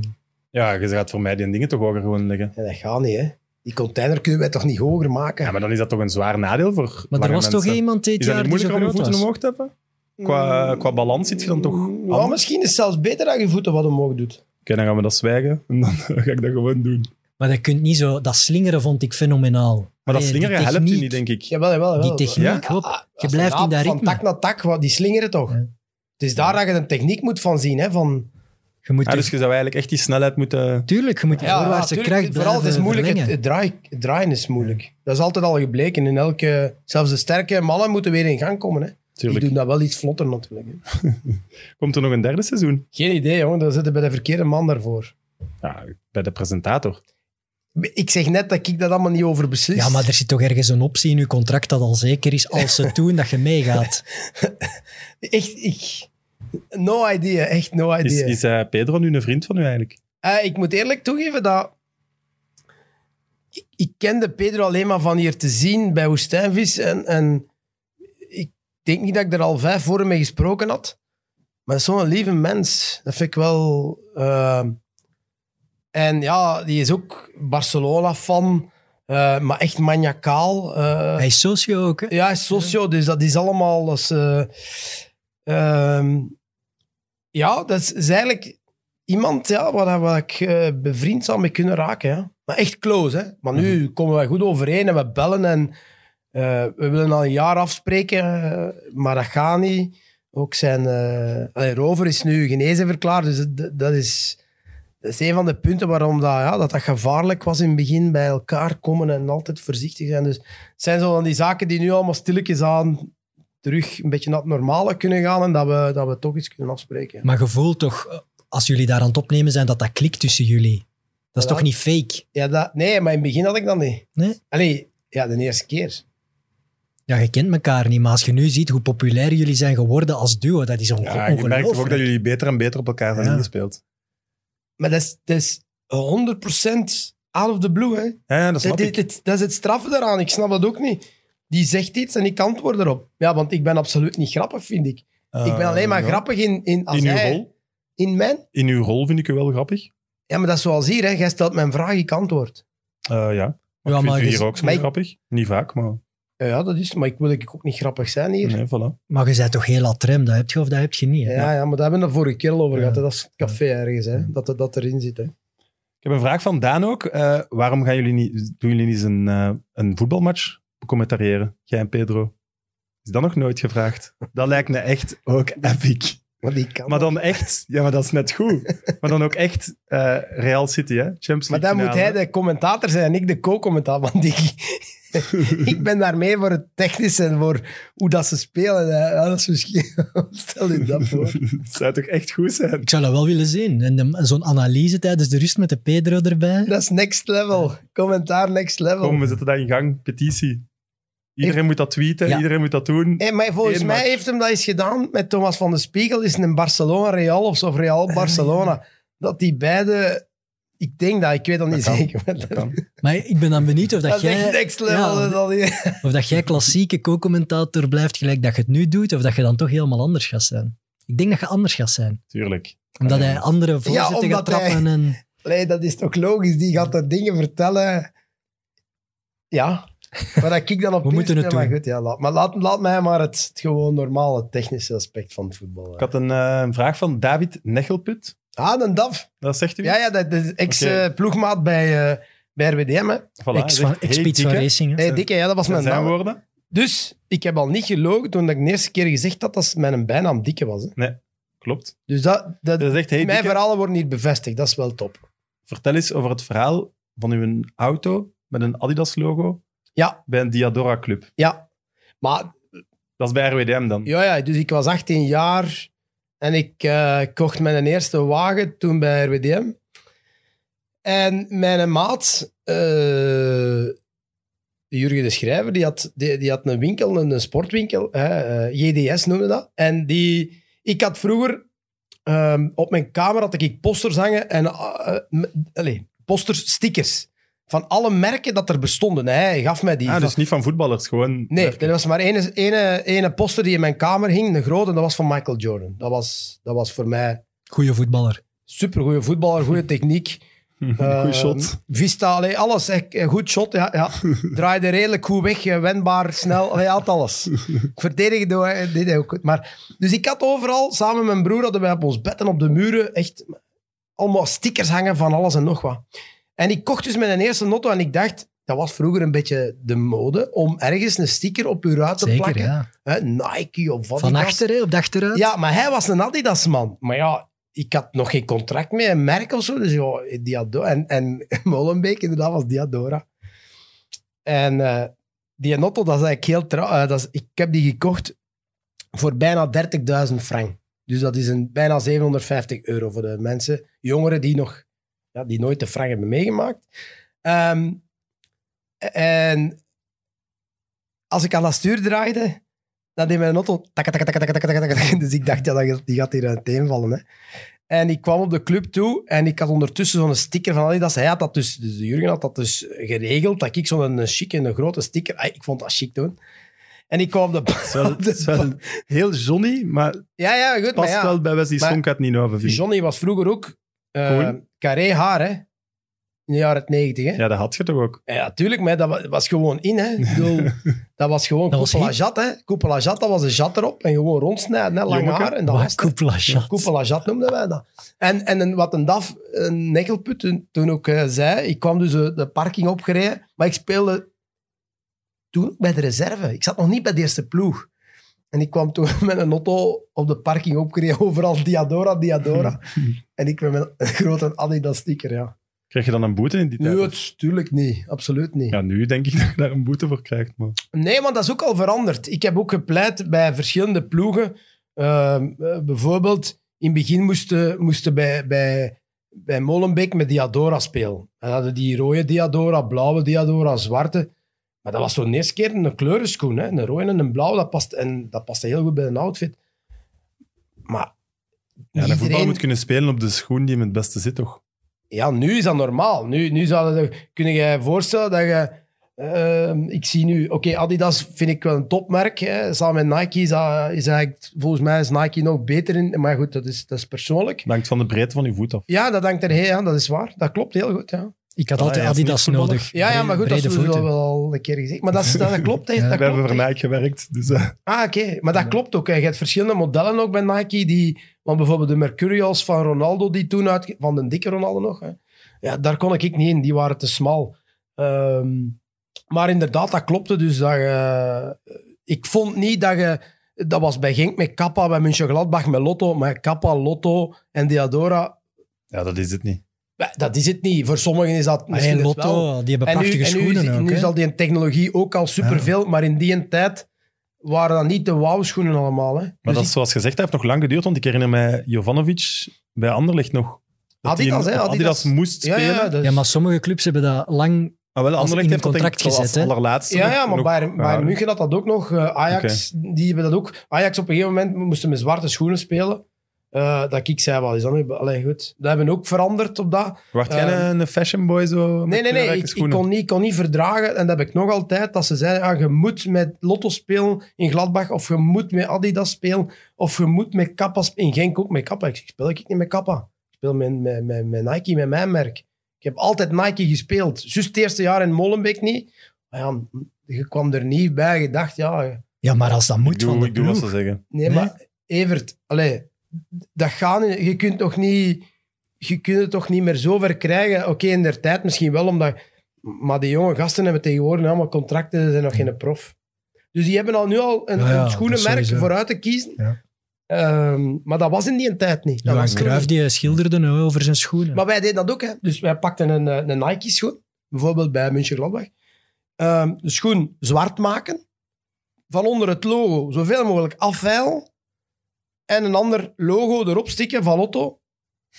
[SPEAKER 1] Ja, je gaat voor mij die dingen toch hoger gewoon leggen.
[SPEAKER 4] Ja, dat gaat niet, hè. Die container kunnen wij toch niet hoger maken?
[SPEAKER 1] Ja, maar dan is dat toch een zwaar nadeel voor
[SPEAKER 2] Maar er
[SPEAKER 1] lange
[SPEAKER 2] was toch
[SPEAKER 1] mensen.
[SPEAKER 2] iemand dit
[SPEAKER 1] Is dat
[SPEAKER 2] jaar
[SPEAKER 1] niet
[SPEAKER 2] die zo
[SPEAKER 1] moeilijker om je
[SPEAKER 2] groot
[SPEAKER 1] voeten
[SPEAKER 2] was?
[SPEAKER 1] omhoog te hebben? Qua, qua balans zit je dan toch
[SPEAKER 4] Ja,
[SPEAKER 1] anders?
[SPEAKER 4] misschien is het zelfs beter dat je voeten wat omhoog doet.
[SPEAKER 1] Oké, dan gaan we dat zwijgen en dan ga ik dat gewoon doen.
[SPEAKER 2] Maar dat kunt niet zo... Dat slingeren vond ik fenomenaal.
[SPEAKER 1] Maar dat
[SPEAKER 2] Allee,
[SPEAKER 1] slingeren
[SPEAKER 2] die
[SPEAKER 1] helpt je
[SPEAKER 2] techniek-
[SPEAKER 1] niet, denk ik.
[SPEAKER 4] Jawel, jawel, jawel.
[SPEAKER 2] Die techniek,
[SPEAKER 4] Ja,
[SPEAKER 2] hop. Je
[SPEAKER 4] Als
[SPEAKER 2] blijft
[SPEAKER 4] een
[SPEAKER 2] in dat
[SPEAKER 4] aap Van tak
[SPEAKER 2] ritme.
[SPEAKER 4] naar tak, wat, die slingeren toch.
[SPEAKER 2] Ja.
[SPEAKER 4] Het is daar dat je een techniek moet van zien. Hè, van,
[SPEAKER 2] Je moet
[SPEAKER 1] Ja, dus je zou eigenlijk echt die snelheid moeten...
[SPEAKER 2] Tuurlijk, je moet die voorwaartse
[SPEAKER 4] tuurlijk,
[SPEAKER 2] kracht
[SPEAKER 4] Vooral, het is
[SPEAKER 2] blijven
[SPEAKER 4] moeilijk, het,
[SPEAKER 2] verlengen.
[SPEAKER 4] het draai- het draaien is moeilijk. eh, Dat is altijd al gebleken. In elke, zelfs de sterke mannen moeten weer in gang komen. Hè. Die doen dat wel iets vlotter natuurlijk. hè.
[SPEAKER 1] Komt er nog een derde seizoen?
[SPEAKER 4] Geen idee, jongen. Dan zitten bij de verkeerde man daarvoor.
[SPEAKER 1] Ja, bij de presentator.
[SPEAKER 4] Ik zeg net dat ik dat allemaal niet over beslis.
[SPEAKER 2] Ja, maar er zit toch ergens een optie in je contract dat al zeker is als ze doen dat je meegaat.
[SPEAKER 4] Echt, ik... No idea, echt no idea.
[SPEAKER 1] Is, is eh, Pedro nu een vriend van u eigenlijk?
[SPEAKER 4] Eh, ik moet eerlijk toegeven dat... Ik, ik kende Pedro alleen maar van hier te zien bij Woestijnvis. En, en ik denk niet dat ik er al vijf voor hem mee gesproken had. Maar dat is zo'n lieve mens. Dat vind ik wel... eh, en ja, die is ook Barcelona-fan, eh, maar echt maniacaal. eh.
[SPEAKER 2] Hij is socio ook, hè?
[SPEAKER 4] Ja, hij is socio, dus dat is allemaal. Dat is, eh, ehm, ja, dat is, is eigenlijk iemand ja, waar, dat- waar ik eh, bevriend zou mee kunnen raken. Ja. Maar echt close, hè? Maar nu
[SPEAKER 2] Mhm.
[SPEAKER 4] komen wij goed overeen en we bellen en eh, we willen al een jaar afspreken, eh, maar dat gaat niet. Ook zijn eh, allee, rover is nu genezen verklaard, dus dat, dat is. Dat is een van de punten waarom dat, ja, dat, dat gevaarlijk was in het begin. Bij elkaar komen en altijd voorzichtig zijn. Dus het zijn zo van die zaken die nu allemaal stilletjes aan terug een beetje naar het normale kunnen gaan en dat we, dat we toch iets kunnen afspreken.
[SPEAKER 2] Maar gevoel toch, eh, als jullie daar aan het opnemen zijn, dat dat klikt tussen jullie. Dat is
[SPEAKER 4] Ja.
[SPEAKER 2] toch niet fake?
[SPEAKER 4] Ja, dat, nee, maar in het begin had ik dat niet.
[SPEAKER 2] Nee?
[SPEAKER 4] Allee, ja, de eerste keer.
[SPEAKER 2] Ja, je kent elkaar niet, maar als je nu ziet hoe populair jullie zijn geworden als duo, dat is onge-
[SPEAKER 1] Ja, je merkt ook dat
[SPEAKER 2] ongelooflijk.
[SPEAKER 1] jullie beter en beter op elkaar zijn
[SPEAKER 2] Ja.
[SPEAKER 1] ingespeeld.
[SPEAKER 4] Maar dat is, dat is 100% out of the blue. Hè.
[SPEAKER 1] Ja, ja, dat snap
[SPEAKER 4] Dat,
[SPEAKER 1] ik.
[SPEAKER 4] dit- dit- dat is het straffe daaraan. Ik snap dat ook niet. Die zegt iets en ik antwoord erop. Ja, want ik ben absoluut niet grappig, vind ik. ik ben alleen maar
[SPEAKER 1] Eh, ja.
[SPEAKER 4] grappig in, in, als
[SPEAKER 1] In uw
[SPEAKER 4] hij-
[SPEAKER 1] rol?
[SPEAKER 4] in mijn...
[SPEAKER 1] In uw rol vind ik u wel grappig.
[SPEAKER 4] Ja, maar dat is zoals hier. Hè. Jij stelt mijn vraag, ik antwoord.
[SPEAKER 1] Eh, ja. Maar
[SPEAKER 2] Ja,
[SPEAKER 1] ik vind
[SPEAKER 2] maar
[SPEAKER 1] u
[SPEAKER 2] je-
[SPEAKER 1] hier ook zo
[SPEAKER 4] maar ik-
[SPEAKER 1] grappig. Niet vaak, maar
[SPEAKER 4] Ja, Ja, dat is Maar ik wil ook niet grappig zijn hier.
[SPEAKER 1] nee, voilà.
[SPEAKER 2] Maar je bent toch heel atrem, dat heb je of dat heb je niet. hè?
[SPEAKER 4] Ja, ja, maar daar hebben we het vorige keer al over
[SPEAKER 2] Ja.
[SPEAKER 4] gehad. hè. Dat is het café ergens, hè. Dat, dat erin zit. Hè.
[SPEAKER 1] Ik heb een vraag van Daan ook. Eh, waarom gaan jullie niet, doen jullie niet eens een, eh, een voetbalmatch commentariëren? Jij en Pedro. Is dat nog nooit gevraagd? Dat lijkt me echt ook epic.
[SPEAKER 4] Maar die kan.
[SPEAKER 1] Maar
[SPEAKER 4] dat.
[SPEAKER 1] dan echt, ja, maar dat is net goed. Maar dan ook echt eh, Real City, hè? Champions
[SPEAKER 4] maar
[SPEAKER 1] League
[SPEAKER 4] dan moet hij
[SPEAKER 1] finale.
[SPEAKER 4] de commentator zijn en ik de co-commentator. Want ik, ik ben daarmee voor het technische en voor hoe dat ze spelen. hè. Ja, dat is misschien... Stel je dat voor.
[SPEAKER 1] Het zou toch echt goed zijn?
[SPEAKER 2] Ik zou dat wel willen zien. En de- zo'n analyse tijdens de rust met de Pedro erbij.
[SPEAKER 4] Dat is next level. Commentaar next level.
[SPEAKER 1] Kom, we zetten dat in gang. Petitie. Iedereen moet dat tweeten,
[SPEAKER 2] Ja.
[SPEAKER 1] iedereen moet dat doen.
[SPEAKER 4] Hé, maar volgens
[SPEAKER 1] Eén
[SPEAKER 4] mij
[SPEAKER 1] match.
[SPEAKER 4] heeft hem dat eens gedaan met Thomas van der Spiegel. Is het een Barcelona-Real of zo,
[SPEAKER 1] Ah,
[SPEAKER 4] Real-Barcelona. Dat die beide... Ik denk dat, ik weet dat niet
[SPEAKER 1] kan.
[SPEAKER 4] zeker. maar Dat,
[SPEAKER 1] Dat kan.
[SPEAKER 2] Maar ik ben dan benieuwd of dat,
[SPEAKER 4] dat is
[SPEAKER 2] jij...
[SPEAKER 4] echt next level.
[SPEAKER 2] Ja,
[SPEAKER 4] hè, dat die-
[SPEAKER 2] Of dat jij klassieke co-commentator blijft gelijk dat je het nu doet, of dat je dan toch helemaal anders gaat zijn. Ik denk dat je anders gaat zijn.
[SPEAKER 1] Tuurlijk.
[SPEAKER 2] Omdat hij andere voorzetten
[SPEAKER 4] omdat
[SPEAKER 2] gaat trappen. En...
[SPEAKER 4] Nee, dat is toch logisch? Die gaat er dingen vertellen. Ja. Maar dat ik dan op
[SPEAKER 2] We moeten het
[SPEAKER 4] inspel, maar
[SPEAKER 2] doen.
[SPEAKER 4] Goed, ja, laat, maar laat, laat mij maar het, het gewoon normale technische aspect van het voetbal.
[SPEAKER 1] Ik
[SPEAKER 4] hè.
[SPEAKER 1] had een eh, een vraag van David Nechelput.
[SPEAKER 4] Ah, dan DAF.
[SPEAKER 1] Dat zegt u?
[SPEAKER 4] Ja, ja, dat dat is
[SPEAKER 1] Oké.
[SPEAKER 4] ex-ploegmaat bij, eh bij RWDM. Hè.
[SPEAKER 1] Voilà, hij
[SPEAKER 2] Ex
[SPEAKER 1] zegt,
[SPEAKER 2] van,
[SPEAKER 1] hey,
[SPEAKER 2] ex-Piet van
[SPEAKER 1] dikke.
[SPEAKER 2] Racing. hè.
[SPEAKER 4] Nee, dikke, ja, dat was
[SPEAKER 1] Dat
[SPEAKER 4] mijn
[SPEAKER 1] zijn
[SPEAKER 4] naam.
[SPEAKER 1] woorden.
[SPEAKER 4] Dus ik heb al niet gelogen toen ik de eerste keer gezegd had dat mijn bijnaam Dikke was. Hè.
[SPEAKER 1] Klopt.
[SPEAKER 4] Dus dat, dat,
[SPEAKER 1] Dat zegt, hey,
[SPEAKER 4] mijn
[SPEAKER 1] dikke,
[SPEAKER 4] verhalen worden hier bevestigd. Dat is wel top.
[SPEAKER 1] vertel eens over het verhaal van uw auto met een Adidas-logo
[SPEAKER 4] Ja,
[SPEAKER 1] bij een Diadora-club.
[SPEAKER 4] Ja, maar
[SPEAKER 1] Dat is bij RWDM dan.
[SPEAKER 4] ja, ja, dus ik was 18 jaar en ik eh, kocht mijn eerste wagen toen bij RWDM. En mijn maat, eh, Jurgen de Schrijver, die had, die, die had een winkel, een, een sportwinkel, hè, eh, JDS noemde dat. En die, ik had vroeger ehm, op mijn kamer had ik posters hangen en eh, eh, m- allee, posters, stickers. Van alle merken dat er bestonden. Hij gaf mij die.
[SPEAKER 1] Ah,
[SPEAKER 4] Van-
[SPEAKER 1] dus niet van voetballers, gewoon...
[SPEAKER 4] Nee,
[SPEAKER 1] werken.
[SPEAKER 4] er was maar ene, ene, ene poster die in mijn kamer hing, de grote, en dat was van Michael Jordan. Dat was, dat was voor mij
[SPEAKER 2] Goeie voetballer.
[SPEAKER 4] supergoeie voetballer, goede techniek.
[SPEAKER 1] Goeie
[SPEAKER 4] Eh,
[SPEAKER 1] shot.
[SPEAKER 4] Vista, allee, alles. echt, eh, goed shot, ja, ja. Draaide redelijk goed weg, eh, wendbaar, snel. Hij had alles. Verdedigen doe- eh, deed hij ook goed. Maar, dus ik had overal, samen met mijn broer, hadden wij op ons bed en op de muren echt allemaal stickers hangen van alles en nog wat. En ik kocht dus mijn eerste notto en ik dacht, dat was vroeger een beetje de mode, om ergens een sticker op je ruit te
[SPEAKER 2] Zeker,
[SPEAKER 4] plakken.
[SPEAKER 2] ja.
[SPEAKER 4] Hè, Nike of wat
[SPEAKER 2] Van
[SPEAKER 4] dan ook.
[SPEAKER 2] achteren, op de achteruit.
[SPEAKER 4] Ja, maar hij was een Adidas-man. Maar ja, ik had nog geen contract met een merk of zo. Dus ja, Diadora. En, en Molenbeek inderdaad was Diadora. En eh, die Notto, dat is eigenlijk heel trouw. eh, dat is, ik heb die gekocht voor bijna 30.000 frank. Dus dat is een, bijna 750 euro voor de mensen, jongeren die nog ja, die nooit de frank hebben meegemaakt. Ehm, en als ik aan dat stuur draaide, dan deed mijn auto takka, takka, takka, takka, takka, takka. Dus ik dacht, ja, dat gaat- die gaat hier uiteenvallen. Hè. En ik kwam op de club toe en ik had ondertussen zo'n sticker van Adidas. Hij had dat dus, dus Jurgen had dat dus geregeld, dat ik zo'n een chique, een grote sticker... Ah, Ik vond dat chic doen. En ik kwam op de...
[SPEAKER 1] is wel,
[SPEAKER 4] op
[SPEAKER 1] het
[SPEAKER 4] de
[SPEAKER 1] is wel heel Johnny, maar het
[SPEAKER 4] ja, ja, goed. Maar
[SPEAKER 1] past
[SPEAKER 4] ja,
[SPEAKER 1] wel bij Wesley
[SPEAKER 4] Maar-
[SPEAKER 1] Sonkat niet over, vind ik.
[SPEAKER 4] Johnny was vroeger ook eh,
[SPEAKER 1] Cool.
[SPEAKER 4] carré haar, hè. In de jaren 90, hè.
[SPEAKER 1] Ja, dat had je toch ook.
[SPEAKER 4] Ja, tuurlijk, maar dat wa- was gewoon in, hè. Ik bedoel, dat was gewoon
[SPEAKER 2] Dat was
[SPEAKER 4] coupe la
[SPEAKER 2] hip.
[SPEAKER 4] jatte, hè. Coupe la jatte, dat was een jat erop. En gewoon rondsnijden, hè. Lang
[SPEAKER 1] Jongeke,
[SPEAKER 4] haar. En dat was
[SPEAKER 2] Waar
[SPEAKER 4] het.
[SPEAKER 2] koepelachat.
[SPEAKER 4] Coupe la jatte noemden wij dat. En, en een- wat een DAF, een nekkelput, toen, toen ook eh, zei... Ik kwam dus eh, de parking opgereden, maar ik speelde toen ook bij de reserve. Ik zat nog niet bij de eerste ploeg. En ik kwam toen met een auto op de parking opgereden, overal Diadora, Diadora. en ik ben met een grote Adidas-sticker, ja.
[SPEAKER 1] Kreeg je dan een boete in die tijd?
[SPEAKER 4] Nu, het, tuurlijk niet. Absoluut niet.
[SPEAKER 1] Ja, nu denk ik dat je daar een boete voor krijgt. Maar...
[SPEAKER 4] Nee, want dat is ook al veranderd. Ik heb ook gepleit bij verschillende ploegen. Ehm, eh, bijvoorbeeld, in het begin moesten, moesten bij, bij, bij Molenbeek met Diadora spelen. En hadden die rode Diadora, blauwe Diadora, zwarte. Maar dat was zo'n eerste keer een kleurenschoen. Hè? Een rode en een blauw, dat past, en dat paste heel goed bij een outfit. Maar
[SPEAKER 1] Ja, de voetbal
[SPEAKER 4] iedereen-
[SPEAKER 1] moet kunnen spelen op de schoen die hem het beste zit, toch?
[SPEAKER 4] ja, nu is dat normaal. Nu, nu zou dat, kun je je voorstellen dat je... ehm, ik zie nu... Oké, Adidas vind ik wel een topmerk. Hè. Samen met Nike is, dat, is eigenlijk... Volgens mij is Nike nog beter in... Maar goed, dat is, dat is persoonlijk.
[SPEAKER 1] Het hangt van de breedte van je voet af.
[SPEAKER 4] Ja, dat hangt er heel aan. Dat is waar. Dat klopt heel goed, ja.
[SPEAKER 2] Ik had
[SPEAKER 1] Ah,
[SPEAKER 2] altijd
[SPEAKER 1] ja, als
[SPEAKER 2] Adidas
[SPEAKER 1] niet voetballer.
[SPEAKER 2] nodig.
[SPEAKER 4] Ja, ja maar goed, dat
[SPEAKER 2] Brede
[SPEAKER 4] is wel,
[SPEAKER 2] voeten.
[SPEAKER 4] wel een keer gezegd. Maar dat, is, dat, dat klopt, hè.
[SPEAKER 2] Ja.
[SPEAKER 4] Dat
[SPEAKER 1] We hebben
[SPEAKER 4] klopt,
[SPEAKER 1] voor
[SPEAKER 4] hè.
[SPEAKER 1] Nike gewerkt, dus... eh,
[SPEAKER 4] Ah, oké. Maar dat klopt ook. hè. Je hebt verschillende modellen ook bij Nike. Die, want bijvoorbeeld de Mercurials van Ronaldo, die toen uit... Van de dikke Ronaldo nog. Hè. Ja, daar kon ik niet in. Die waren te smal. Ehm, maar inderdaad, dat klopte. Dus dat je- eh, ik vond niet dat je... Dat was bij Genk met Kappa, bij Mönchengladbach met Lotto. Maar Kappa, Lotto en Diadora...
[SPEAKER 1] Ja, dat is het niet.
[SPEAKER 4] bah, Dat is het niet. Voor sommigen is dat
[SPEAKER 2] Maar hey,
[SPEAKER 4] misschien het wel.
[SPEAKER 2] Lotto, die hebben
[SPEAKER 4] En nu,
[SPEAKER 2] prachtige
[SPEAKER 4] en nu,
[SPEAKER 2] schoenen
[SPEAKER 4] is,
[SPEAKER 2] ook.
[SPEAKER 4] nu
[SPEAKER 2] hè.
[SPEAKER 4] is al die technologie ook al superveel, maar in die tijd waren dat niet de wauwschoenen allemaal. Hè.
[SPEAKER 1] Maar
[SPEAKER 4] Dus
[SPEAKER 1] dat is zoals gezegd, dat heeft nog lang geduurd, want ik herinner mij Jovanovic bij Anderlecht nog. Dat die
[SPEAKER 4] Adidas,
[SPEAKER 1] hem-
[SPEAKER 4] hè,
[SPEAKER 1] Adidas,
[SPEAKER 4] Adidas.
[SPEAKER 1] moest
[SPEAKER 4] ik- ja,
[SPEAKER 1] spelen.
[SPEAKER 4] ja, dus- dat is-
[SPEAKER 2] Ja, maar sommige clubs hebben dat lang...
[SPEAKER 1] Ah, wel, Anderlecht
[SPEAKER 2] in
[SPEAKER 1] heeft
[SPEAKER 2] een
[SPEAKER 1] dat denk ik
[SPEAKER 2] contract
[SPEAKER 1] wel
[SPEAKER 2] gezet, hè?
[SPEAKER 1] als allerlaatste.
[SPEAKER 4] ja,
[SPEAKER 1] nog-
[SPEAKER 4] ja, maar
[SPEAKER 1] nog
[SPEAKER 4] Bayern, Bayern
[SPEAKER 1] gehouden.
[SPEAKER 4] München had dat ook nog. Eh, Ajax, die hebben dat ook. Ajax op een gegeven moment moesten met zwarte schoenen spelen. Eh, dat ik zei, wat is dat nu? Allee, goed. Dat hebben ook veranderd op dat.
[SPEAKER 1] Word jij
[SPEAKER 4] Ehm,
[SPEAKER 1] een- een fashion boy zo? met
[SPEAKER 4] Nee, nee, nee.
[SPEAKER 1] kleurrijke
[SPEAKER 4] Ik, ik
[SPEAKER 1] schoenen?
[SPEAKER 4] kon, niet, ik kon niet verdragen, en dat heb ik nog altijd, dat ze zeiden, ah, je moet met Lotto spelen in Gladbach, of je moet met Adidas spelen, of je moet met Kappa spelen. In Genk ook met Kappa. Ik zeg, speel ik niet met Kappa. Ik speel met, met, met, met Nike, met mijn merk. Ik heb altijd Nike gespeeld. Juist het eerste jaar in Molenbeek niet. Maar ja, je kwam er niet bij. Je dacht, ja...
[SPEAKER 2] Ja, maar als dat moet
[SPEAKER 1] Ik doe,
[SPEAKER 2] van de
[SPEAKER 1] ik doe wat
[SPEAKER 2] ploeg.
[SPEAKER 1] ze zeggen.
[SPEAKER 4] Nee,
[SPEAKER 2] Nee.
[SPEAKER 4] maar Evert, allee, dat gaat niet. Je kunt toch niet, je kunt het toch niet meer zo ver krijgen. Oké, in der tijd misschien wel, omdat, maar die jonge gasten hebben tegenwoordig allemaal contracten, ze zijn nog geen prof. Dus die hebben al nu al een,
[SPEAKER 2] Ja, ja,
[SPEAKER 4] een schoenenmerk
[SPEAKER 2] dat sowieso.
[SPEAKER 4] vooruit te kiezen.
[SPEAKER 2] Ja.
[SPEAKER 4] Ehm, maar dat was in die tijd niet. Dat
[SPEAKER 2] Johan
[SPEAKER 4] was toen
[SPEAKER 2] Cruijff die schilderde nou over zijn schoenen.
[SPEAKER 4] maar wij deden dat ook. Hè. Dus wij pakten een, eh, een Nike-schoen, bijvoorbeeld bij München-Gladbach. Ehm, de schoen zwart maken, van onder het logo zoveel mogelijk afveilen en een ander logo erop stikken van Lotto,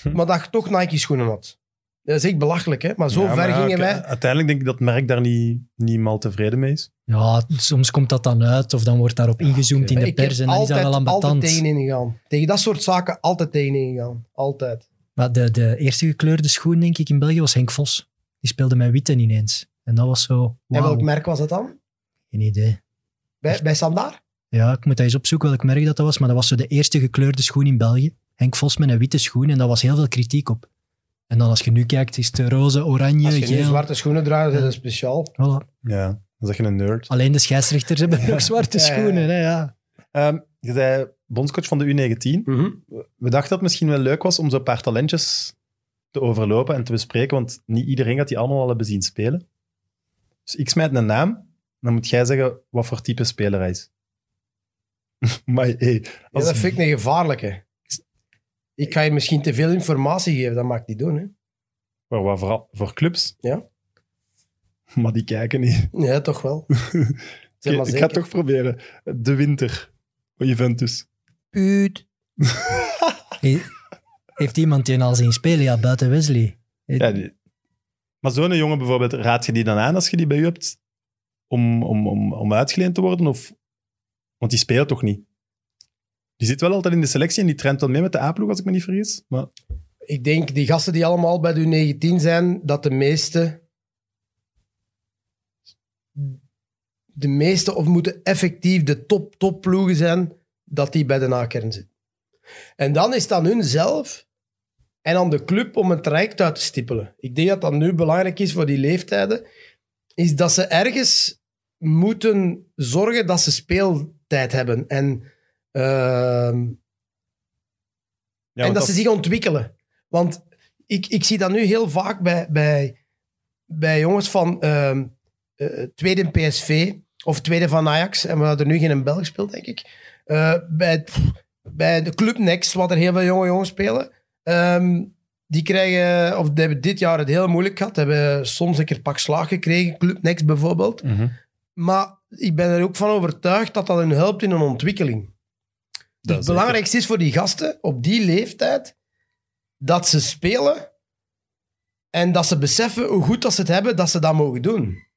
[SPEAKER 1] Hm.
[SPEAKER 4] maar dat je toch Nike-schoenen had. Dat is echt belachelijk, hè? maar zo
[SPEAKER 1] Ja,
[SPEAKER 4] ver
[SPEAKER 1] maar ja,
[SPEAKER 4] gingen
[SPEAKER 1] oké,
[SPEAKER 4] wij.
[SPEAKER 1] Uiteindelijk denk ik dat het merk daar niet, niet mal tevreden mee is.
[SPEAKER 2] Ja, soms komt dat dan uit of dan wordt daarop ingezoomd in de
[SPEAKER 4] Ik heb
[SPEAKER 2] pers en dan is dat wel
[SPEAKER 4] altijd
[SPEAKER 2] ambetant.
[SPEAKER 4] tegenin gegaan. Tegen dat soort zaken altijd tegenin gegaan. Altijd.
[SPEAKER 2] Maar de, de eerste gekleurde schoen, denk ik, in België was Henk Vos. Die speelde met witte ineens. En dat was zo,
[SPEAKER 4] En
[SPEAKER 2] wauw,
[SPEAKER 4] welk merk was dat dan?
[SPEAKER 2] geen idee.
[SPEAKER 4] Bij, bij Sandaar?
[SPEAKER 2] Ja, ik moet dat eens opzoeken welk merk dat, dat was. Maar dat was zo de eerste gekleurde schoen in België. Henk Vos met een witte schoen en daar was heel veel kritiek op. En dan als je nu kijkt, is het roze, oranje,
[SPEAKER 4] Als je nu
[SPEAKER 2] geel.
[SPEAKER 4] zwarte schoenen draagt, is dat speciaal.
[SPEAKER 2] Voilà.
[SPEAKER 1] Ja, dan zeg je een nerd.
[SPEAKER 2] Alleen de scheidsrechters hebben nog zwarte
[SPEAKER 4] Ja, ja, ja.
[SPEAKER 2] schoenen. Hè, ja.
[SPEAKER 1] Ehm, je zei bondscoach van de U19. We dachten dat het misschien wel leuk was om zo'n paar talentjes te overlopen en te bespreken, want niet iedereen gaat die allemaal al hebben zien spelen. Dus ik smijt een naam, dan moet jij zeggen wat voor type speler hij is. maar hey,
[SPEAKER 4] Ja,
[SPEAKER 1] als-
[SPEAKER 4] dat vind ik een gevaarlijke. Ik ga je misschien te veel informatie geven, dat mag ik niet doen. Hè?
[SPEAKER 1] voor, wat vooral voor clubs.
[SPEAKER 4] Ja.
[SPEAKER 1] Maar die kijken niet.
[SPEAKER 4] Ja, toch wel. Zeg
[SPEAKER 1] Oké,
[SPEAKER 4] maar
[SPEAKER 1] ik ga
[SPEAKER 4] zeker.
[SPEAKER 1] het toch proberen. De winter. Juventus.
[SPEAKER 4] Puut.
[SPEAKER 2] He- Heeft iemand die al zien spelen? Ja, buiten Wesley.
[SPEAKER 1] Ja, die- Maar zo'n jongen bijvoorbeeld, raad je die dan aan als je die bij u hebt om, om, om, om uitgeleend te worden? Of... Want die speelt toch niet? Die zit wel altijd in de selectie en die trent wel mee met de A-ploeg, als ik me niet vergis. Maar
[SPEAKER 4] Ik denk, die gasten die allemaal bij de U19 zijn, dat de meeste de meeste, of moeten effectief de top, top ploegen zijn, dat die bij de nakern zitten. En dan is het aan hun zelf en aan de club om een traject uit te stippelen. Ik denk dat dat nu belangrijk is voor die leeftijden, is dat ze ergens moeten zorgen dat ze speeltijd hebben. En, ehm,
[SPEAKER 1] Ja,
[SPEAKER 4] en
[SPEAKER 1] want
[SPEAKER 4] dat, ze zich ontwikkelen. Want ik, ik zie dat nu heel vaak bij, bij, bij jongens van ehm, eh, tweede in PSV of tweede van Ajax. En we hadden er nu geen in België speelt, denk ik. Eh, bij, pff, bij de Club Next, wat er heel veel jonge jongens spelen. ehm, die krijgen, of die hebben dit jaar het heel moeilijk gehad. Hebben soms een keer pak slaag gekregen. Club Next bijvoorbeeld.
[SPEAKER 1] Mhm.
[SPEAKER 4] Maar ik ben er ook van overtuigd dat dat hun helpt in hun ontwikkeling. Dus
[SPEAKER 1] is
[SPEAKER 4] het belangrijkste is voor die gasten op die leeftijd dat ze spelen en dat ze beseffen hoe goed dat ze het hebben dat ze dat mogen doen.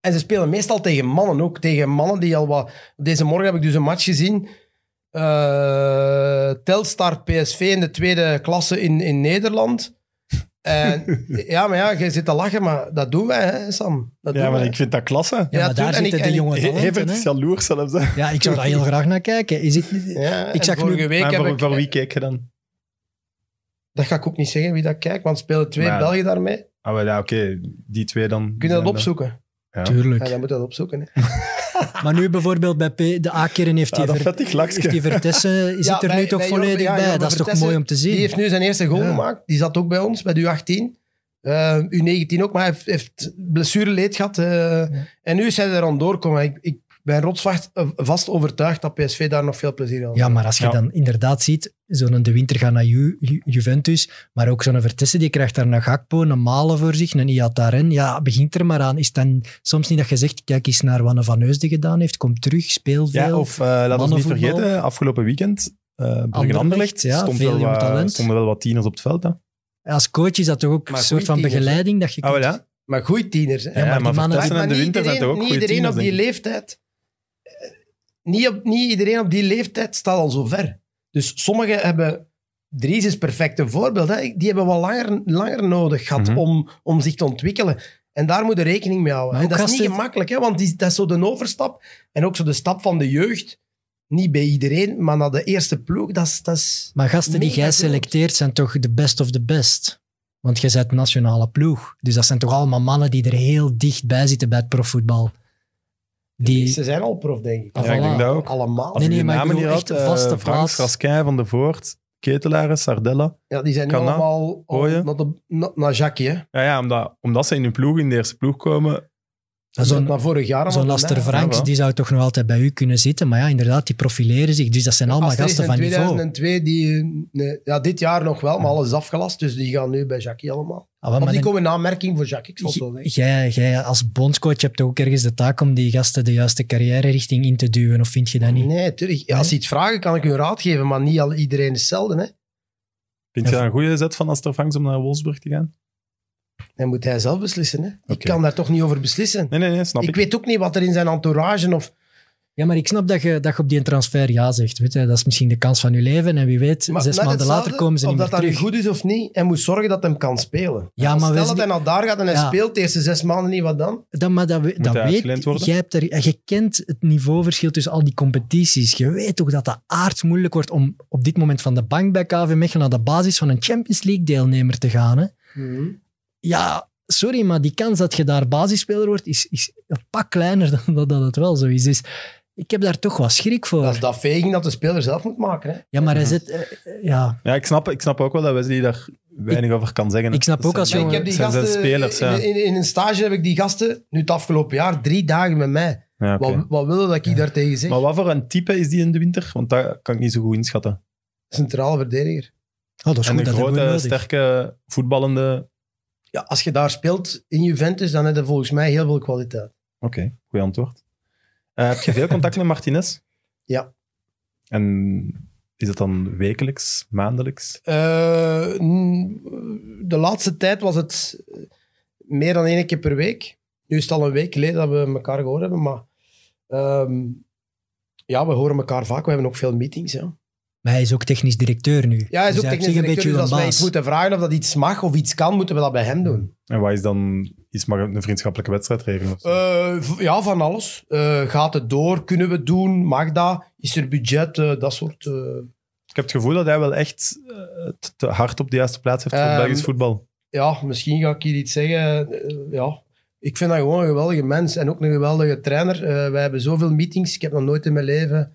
[SPEAKER 4] En ze spelen meestal tegen mannen ook. Tegen mannen die al wat... Deze morgen heb ik dus een match gezien. eh, Telstar PSV in de tweede klasse in, in Nederland. En, ja, maar ja, je zit te lachen, maar dat doen wij, hè, Sam. Dat
[SPEAKER 1] Ja,
[SPEAKER 4] doen
[SPEAKER 1] maar
[SPEAKER 4] wij.
[SPEAKER 1] ik vind dat klasse.
[SPEAKER 2] Ja,
[SPEAKER 4] Ja,
[SPEAKER 2] maar
[SPEAKER 4] tuurlijk.
[SPEAKER 2] daar
[SPEAKER 4] En
[SPEAKER 2] zitten de
[SPEAKER 4] ik- en ik-
[SPEAKER 2] jonge
[SPEAKER 1] Hevert
[SPEAKER 2] talenten.
[SPEAKER 1] is
[SPEAKER 2] hè.
[SPEAKER 1] jaloers zelfs. Hè.
[SPEAKER 2] Ja, ik zou daar heel graag naar kijken. Is het,
[SPEAKER 4] Ja,
[SPEAKER 2] Ik zag
[SPEAKER 4] en vorige
[SPEAKER 2] nu-
[SPEAKER 4] week
[SPEAKER 1] Maar
[SPEAKER 4] heb
[SPEAKER 1] voor,
[SPEAKER 4] ik...
[SPEAKER 1] voor wie kijk je dan?
[SPEAKER 4] Dat ga ik ook niet zeggen wie dat kijkt, want spelen twee
[SPEAKER 1] Maar-
[SPEAKER 4] Belgen daarmee.
[SPEAKER 1] Ah, wel, ja, oké. Die twee dan.
[SPEAKER 4] Kun je dat
[SPEAKER 1] zijn eh,
[SPEAKER 4] opzoeken?
[SPEAKER 1] Ja.
[SPEAKER 4] Ja,
[SPEAKER 2] Tuurlijk.
[SPEAKER 4] dan moet je dat opzoeken. Hè.
[SPEAKER 2] Maar nu bijvoorbeeld bij P, de A-keren heeft
[SPEAKER 1] dan- Ah,
[SPEAKER 2] hij
[SPEAKER 1] dat
[SPEAKER 2] Ver-
[SPEAKER 1] vettig
[SPEAKER 2] heeft
[SPEAKER 1] lakske.
[SPEAKER 2] die Vertessen zit
[SPEAKER 4] Ja,
[SPEAKER 2] er nu
[SPEAKER 4] bij-
[SPEAKER 2] toch
[SPEAKER 4] bij
[SPEAKER 2] volledig
[SPEAKER 4] Jorgen- ja,
[SPEAKER 2] bij.
[SPEAKER 4] Jorgen
[SPEAKER 2] Dat is toch
[SPEAKER 4] Vertessen,
[SPEAKER 2] mooi om te zien.
[SPEAKER 4] Die heeft nu zijn eerste goal
[SPEAKER 2] Ja.
[SPEAKER 4] gemaakt. Die zat ook bij ons, bij de U18. Eh, U19 ook, maar hij heeft, heeft blessureleed gehad. eh, En nu is hij er aan doorkomen. Ik, ik ben rotsvast eh, vast overtuigd dat PSV daar nog veel plezier aan
[SPEAKER 2] Ja, maar als je
[SPEAKER 1] Ja.
[SPEAKER 2] dan inderdaad ziet, zo'n De Winter gaat naar Ju- Ju- Juventus, maar ook zo'n Vertessen, die krijgt daar een Gakpo, een Malen voor zich, een Iataren. Ja, begint er maar aan. Is het dan soms niet dat je zegt, kijk eens naar wat een Van Heusden gedaan heeft, kom terug, speel veel.
[SPEAKER 1] Ja, of eh laten we niet
[SPEAKER 2] Mannenvoetbal.
[SPEAKER 1] vergeten, afgelopen weekend, eh Bruggen
[SPEAKER 2] Anderlecht,
[SPEAKER 1] Anderlecht,
[SPEAKER 2] ja,
[SPEAKER 1] stond
[SPEAKER 2] veel
[SPEAKER 1] wel
[SPEAKER 2] jong
[SPEAKER 1] wat-
[SPEAKER 2] talent.
[SPEAKER 1] stonden wel wat tieners op het veld. Hè.
[SPEAKER 2] Als coach is dat toch ook
[SPEAKER 4] Maar
[SPEAKER 2] een soort
[SPEAKER 4] goeie
[SPEAKER 2] van
[SPEAKER 4] team, hè.
[SPEAKER 2] begeleiding dat je
[SPEAKER 1] eh, Ah, wel,
[SPEAKER 2] kunt-
[SPEAKER 1] ja.
[SPEAKER 4] Maar goeie tieners. Hè.
[SPEAKER 1] Ja, maar,
[SPEAKER 2] die mannen-
[SPEAKER 1] Vertessen
[SPEAKER 4] Maar-
[SPEAKER 1] en De
[SPEAKER 4] maar niet
[SPEAKER 1] Winter zijn toch
[SPEAKER 4] iedereen-
[SPEAKER 1] ook
[SPEAKER 4] niet
[SPEAKER 1] goede
[SPEAKER 4] iedereen
[SPEAKER 1] tieners,
[SPEAKER 4] op die
[SPEAKER 1] denk ik.
[SPEAKER 4] leeftijd. eh, Niet, op, niet iedereen op die leeftijd staat al zo ver. Dus sommigen hebben. Dries is perfect een voorbeeld. Hè. Die hebben wel langer, langer nodig gehad
[SPEAKER 1] Mhm.
[SPEAKER 4] om, om zich te ontwikkelen. En daar moet je rekening mee houden.
[SPEAKER 2] Maar
[SPEAKER 4] En
[SPEAKER 2] ook
[SPEAKER 4] dat is niet
[SPEAKER 2] gasten-
[SPEAKER 4] gemakkelijk, hè, want die, dat is zo de overstap. En ook zo de stap van de jeugd. Niet bij iedereen, maar naar de eerste ploeg. Dat is, dat is,
[SPEAKER 2] Maar gasten die
[SPEAKER 4] Mega
[SPEAKER 2] jij
[SPEAKER 4] groot.
[SPEAKER 2] selecteert zijn toch de best of the best. Want jij bent nationale ploeg. Dus dat zijn toch allemaal mannen die er heel dichtbij zitten bij het profvoetbal. Die,
[SPEAKER 4] Ze zijn al prof, denk ik.
[SPEAKER 2] Ah,
[SPEAKER 1] Ja, ik
[SPEAKER 2] voilà.
[SPEAKER 1] denk dat ook.
[SPEAKER 4] Allemaal.
[SPEAKER 1] Als
[SPEAKER 2] Nee,
[SPEAKER 1] je
[SPEAKER 2] nee,
[SPEAKER 1] die
[SPEAKER 2] maar ik
[SPEAKER 1] namen
[SPEAKER 2] bedoel
[SPEAKER 1] hier
[SPEAKER 2] echt
[SPEAKER 1] had, eh,
[SPEAKER 2] vaste
[SPEAKER 1] Franks,
[SPEAKER 2] plaats.
[SPEAKER 1] Raskin, Van de Voort, Ketelaren, Sardella.
[SPEAKER 4] Ja, die zijn nu
[SPEAKER 1] Kan dat?
[SPEAKER 4] allemaal al-
[SPEAKER 1] Gooien.
[SPEAKER 4] naar, de- na- naar Jackie. Hè.
[SPEAKER 1] Ja, ja omdat, omdat ze in hun ploeg, in de eerste ploeg komen.
[SPEAKER 2] zo'n
[SPEAKER 4] naar vorig jaar.
[SPEAKER 2] Zo'n Laster Franks,
[SPEAKER 1] wel.
[SPEAKER 2] die zou toch nog altijd bij u kunnen zitten. Maar ja, inderdaad, die profileren zich. Dus dat zijn allemaal
[SPEAKER 4] Aster is
[SPEAKER 2] gasten
[SPEAKER 4] in
[SPEAKER 2] van niveau.
[SPEAKER 4] 2002, die, eh, nee, ja, dit jaar nog wel, maar alles is afgelast. Dus die gaan nu bij Jackie allemaal.
[SPEAKER 2] Ah, wel,
[SPEAKER 4] Of
[SPEAKER 2] maar
[SPEAKER 4] die
[SPEAKER 2] dan-
[SPEAKER 4] komen in aanmerking voor Jackie. Ik zal het zo
[SPEAKER 2] J-
[SPEAKER 4] zeggen.
[SPEAKER 2] jij, jij als bondscoach hebt toch ook ergens de taak om die gasten de juiste carrière richting in te duwen, of vind je dat niet?
[SPEAKER 4] Nee, tuurlijk. Ja, als ze iets vragen, kan ik hun raad geven, maar niet al iedereen is hetzelfde. Hè.
[SPEAKER 1] Vind je dat een goede zet van Aster Franks om naar Wolfsburg te gaan?
[SPEAKER 4] Dan moet hij zelf beslissen. Hè. Ik
[SPEAKER 1] Oké.
[SPEAKER 4] kan daar toch niet over beslissen.
[SPEAKER 1] Nee, nee, nee, snap
[SPEAKER 4] ik,
[SPEAKER 1] ik.
[SPEAKER 4] weet ook niet wat er in zijn entourage of...
[SPEAKER 2] Ja, maar ik snap dat je, dat je op die transfer ja zegt. Weet je, dat is misschien de kans van je leven. En wie weet,
[SPEAKER 4] Maar
[SPEAKER 2] zes
[SPEAKER 4] net
[SPEAKER 2] maanden
[SPEAKER 4] hetzelfde,
[SPEAKER 2] later komen ze niet
[SPEAKER 4] Of
[SPEAKER 2] meer
[SPEAKER 4] dat dat nu
[SPEAKER 2] terug.
[SPEAKER 4] goed is of niet, hij moet zorgen dat hij kan spelen.
[SPEAKER 2] Ja,
[SPEAKER 4] Want
[SPEAKER 2] maar
[SPEAKER 4] Stel
[SPEAKER 2] wees
[SPEAKER 4] dat hij naar daar gaat en hij
[SPEAKER 2] Ja.
[SPEAKER 4] speelt de eerste zes maanden niet, wat dan?
[SPEAKER 2] Dat, maar dat, we- dat
[SPEAKER 1] hij uitgeleend
[SPEAKER 2] weet
[SPEAKER 1] worden?
[SPEAKER 2] jij. Hebt er, je kent het niveauverschil tussen al die competities. Je weet ook dat dat aardsmoeilijk wordt om op dit moment van de bank bij KV Mechelen naar de basis van een Champions League deelnemer te gaan. Hè? Ja, sorry, maar die kans dat je daar basisspeler wordt is, is een pak kleiner dan dat, dat het wel zo is. Dus ik heb daar toch wat schrik voor.
[SPEAKER 4] Dat is dat veging dat de speler zelf moet maken. Hè.
[SPEAKER 2] ja, maar hij zit... eh, eh, ja.
[SPEAKER 1] Ja, ik snap, ik snap ook wel dat Wesley daar weinig over kan zeggen. hè.
[SPEAKER 2] ik snap
[SPEAKER 1] Dat
[SPEAKER 2] ook als
[SPEAKER 1] zijn-
[SPEAKER 4] Maar ik
[SPEAKER 2] jongen-
[SPEAKER 4] heb die
[SPEAKER 1] zijn
[SPEAKER 4] gasten,
[SPEAKER 1] zijn spelers,
[SPEAKER 4] in,
[SPEAKER 1] ja.
[SPEAKER 4] in, in een stage heb ik die gasten, nu het afgelopen jaar, drie dagen met mij.
[SPEAKER 1] Ja, oké.
[SPEAKER 4] Wat, wat willen dat ik
[SPEAKER 2] Ja.
[SPEAKER 4] daar tegen zeg?
[SPEAKER 1] Maar wat voor een type is die in de winter? Want dat kan ik niet zo goed inschatten.
[SPEAKER 4] Centraal verdediger.
[SPEAKER 2] Oh, dat is
[SPEAKER 1] en
[SPEAKER 2] goed,
[SPEAKER 1] een
[SPEAKER 2] dat hebben we
[SPEAKER 1] grote,
[SPEAKER 2] nodig.
[SPEAKER 1] sterke, voetballende...
[SPEAKER 4] Ja, als je daar speelt in Juventus, dan heb je volgens mij heel veel kwaliteit.
[SPEAKER 1] Oké, goed antwoord. Eh, heb je veel contact met Martinez?
[SPEAKER 4] Ja.
[SPEAKER 1] En is dat dan wekelijks, maandelijks?
[SPEAKER 4] Eh, n- de laatste tijd was het eh, meer dan één keer per week. Nu is het al een week geleden dat we elkaar gehoord hebben, maar ehm, ja, we horen elkaar vaak. We hebben ook veel meetings. Ja.
[SPEAKER 2] Maar hij is ook technisch directeur nu.
[SPEAKER 4] Ja, hij is
[SPEAKER 2] Dus
[SPEAKER 4] ook
[SPEAKER 2] heeft
[SPEAKER 4] technisch
[SPEAKER 2] zich
[SPEAKER 4] directeur, dus
[SPEAKER 2] een
[SPEAKER 4] als
[SPEAKER 2] beetje
[SPEAKER 4] wij
[SPEAKER 2] uw
[SPEAKER 4] iets
[SPEAKER 2] baas.
[SPEAKER 4] moeten vragen of dat iets mag of iets kan, moeten we dat bij hem doen.
[SPEAKER 1] En wat is dan iets, maar een vriendschappelijke wedstrijdregel? of zo?
[SPEAKER 4] Eh, v- ja, van alles. Eh, gaat het door? Kunnen we het doen? Mag dat? Is er budget? Eh, dat soort... eh,
[SPEAKER 1] Ik heb het gevoel dat hij wel echt eh, het te hard op de juiste plaats heeft voor
[SPEAKER 4] Ehm,
[SPEAKER 1] Belgisch voetbal.
[SPEAKER 4] ja, misschien ga ik hier iets zeggen. eh, ja. Ik vind dat gewoon een geweldige mens en ook een geweldige trainer. Eh, wij hebben zoveel meetings. Ik heb nog nooit in mijn leven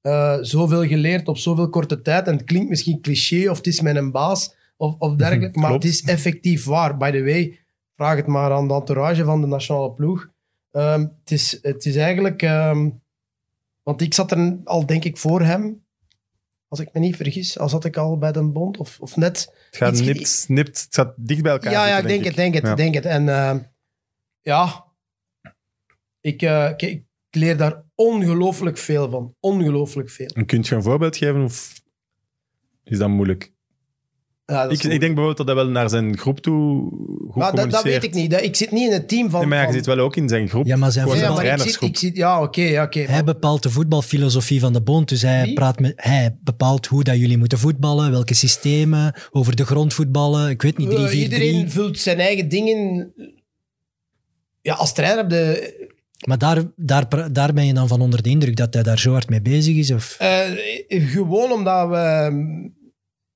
[SPEAKER 4] eh, zoveel geleerd op zoveel korte tijd. En het klinkt misschien cliché of het is mijn baas of, of dergelijke. maar het
[SPEAKER 1] Klopt.
[SPEAKER 4] is effectief waar. By the way, vraag het maar aan de entourage van de nationale ploeg. Ehm, het, is, het is eigenlijk... ehm, want ik zat er al, denk ik, voor hem. Als ik me niet vergis, al zat ik al bij Den Bond of, of net...
[SPEAKER 1] Het gaat,
[SPEAKER 4] iets-
[SPEAKER 1] nipt, nipt, het gaat dicht bij elkaar.
[SPEAKER 4] Ja, ja,
[SPEAKER 1] zitten,
[SPEAKER 4] ik denk, het, denk het,
[SPEAKER 1] Ja.
[SPEAKER 4] denk het. En eh, ja, ik, eh, ik, ik leer daar ongelooflijk veel van. Ongelooflijk veel.
[SPEAKER 1] En kun je een voorbeeld geven of is dat moeilijk?
[SPEAKER 4] Ja, dat
[SPEAKER 1] Ik,
[SPEAKER 4] is
[SPEAKER 1] ik
[SPEAKER 4] moeilijk.
[SPEAKER 1] denk bijvoorbeeld dat hij wel naar zijn groep toe goed
[SPEAKER 4] maar dat, dat
[SPEAKER 1] communiceert.
[SPEAKER 4] weet ik niet. Dat- Ik zit niet in het team van...
[SPEAKER 1] Nee, maar ja, je
[SPEAKER 4] van-
[SPEAKER 1] zit wel ook in zijn groep.
[SPEAKER 2] Ja, maar zijn
[SPEAKER 1] Gewoon
[SPEAKER 4] Ja,
[SPEAKER 1] een
[SPEAKER 2] voetbal-
[SPEAKER 4] maar ik zit,
[SPEAKER 1] trainersgroep.
[SPEAKER 4] ik zit... Ja, oké, ja, oké.
[SPEAKER 2] Hij bepaalt de voetbalfilosofie van de bond. Dus hij,
[SPEAKER 4] Wie?
[SPEAKER 2] praat met, hij bepaalt hoe dat jullie moeten voetballen, welke systemen, over de grond voetballen. Ik weet niet, 3-4-3.
[SPEAKER 4] Eh, Iedereen vult zijn eigen dingen... Ja, als trainer heb je...
[SPEAKER 2] Maar daar, daar, pra- daar ben je dan van onder de indruk dat hij daar zo hard mee bezig is? Of?
[SPEAKER 4] Eh, gewoon omdat we... ehm,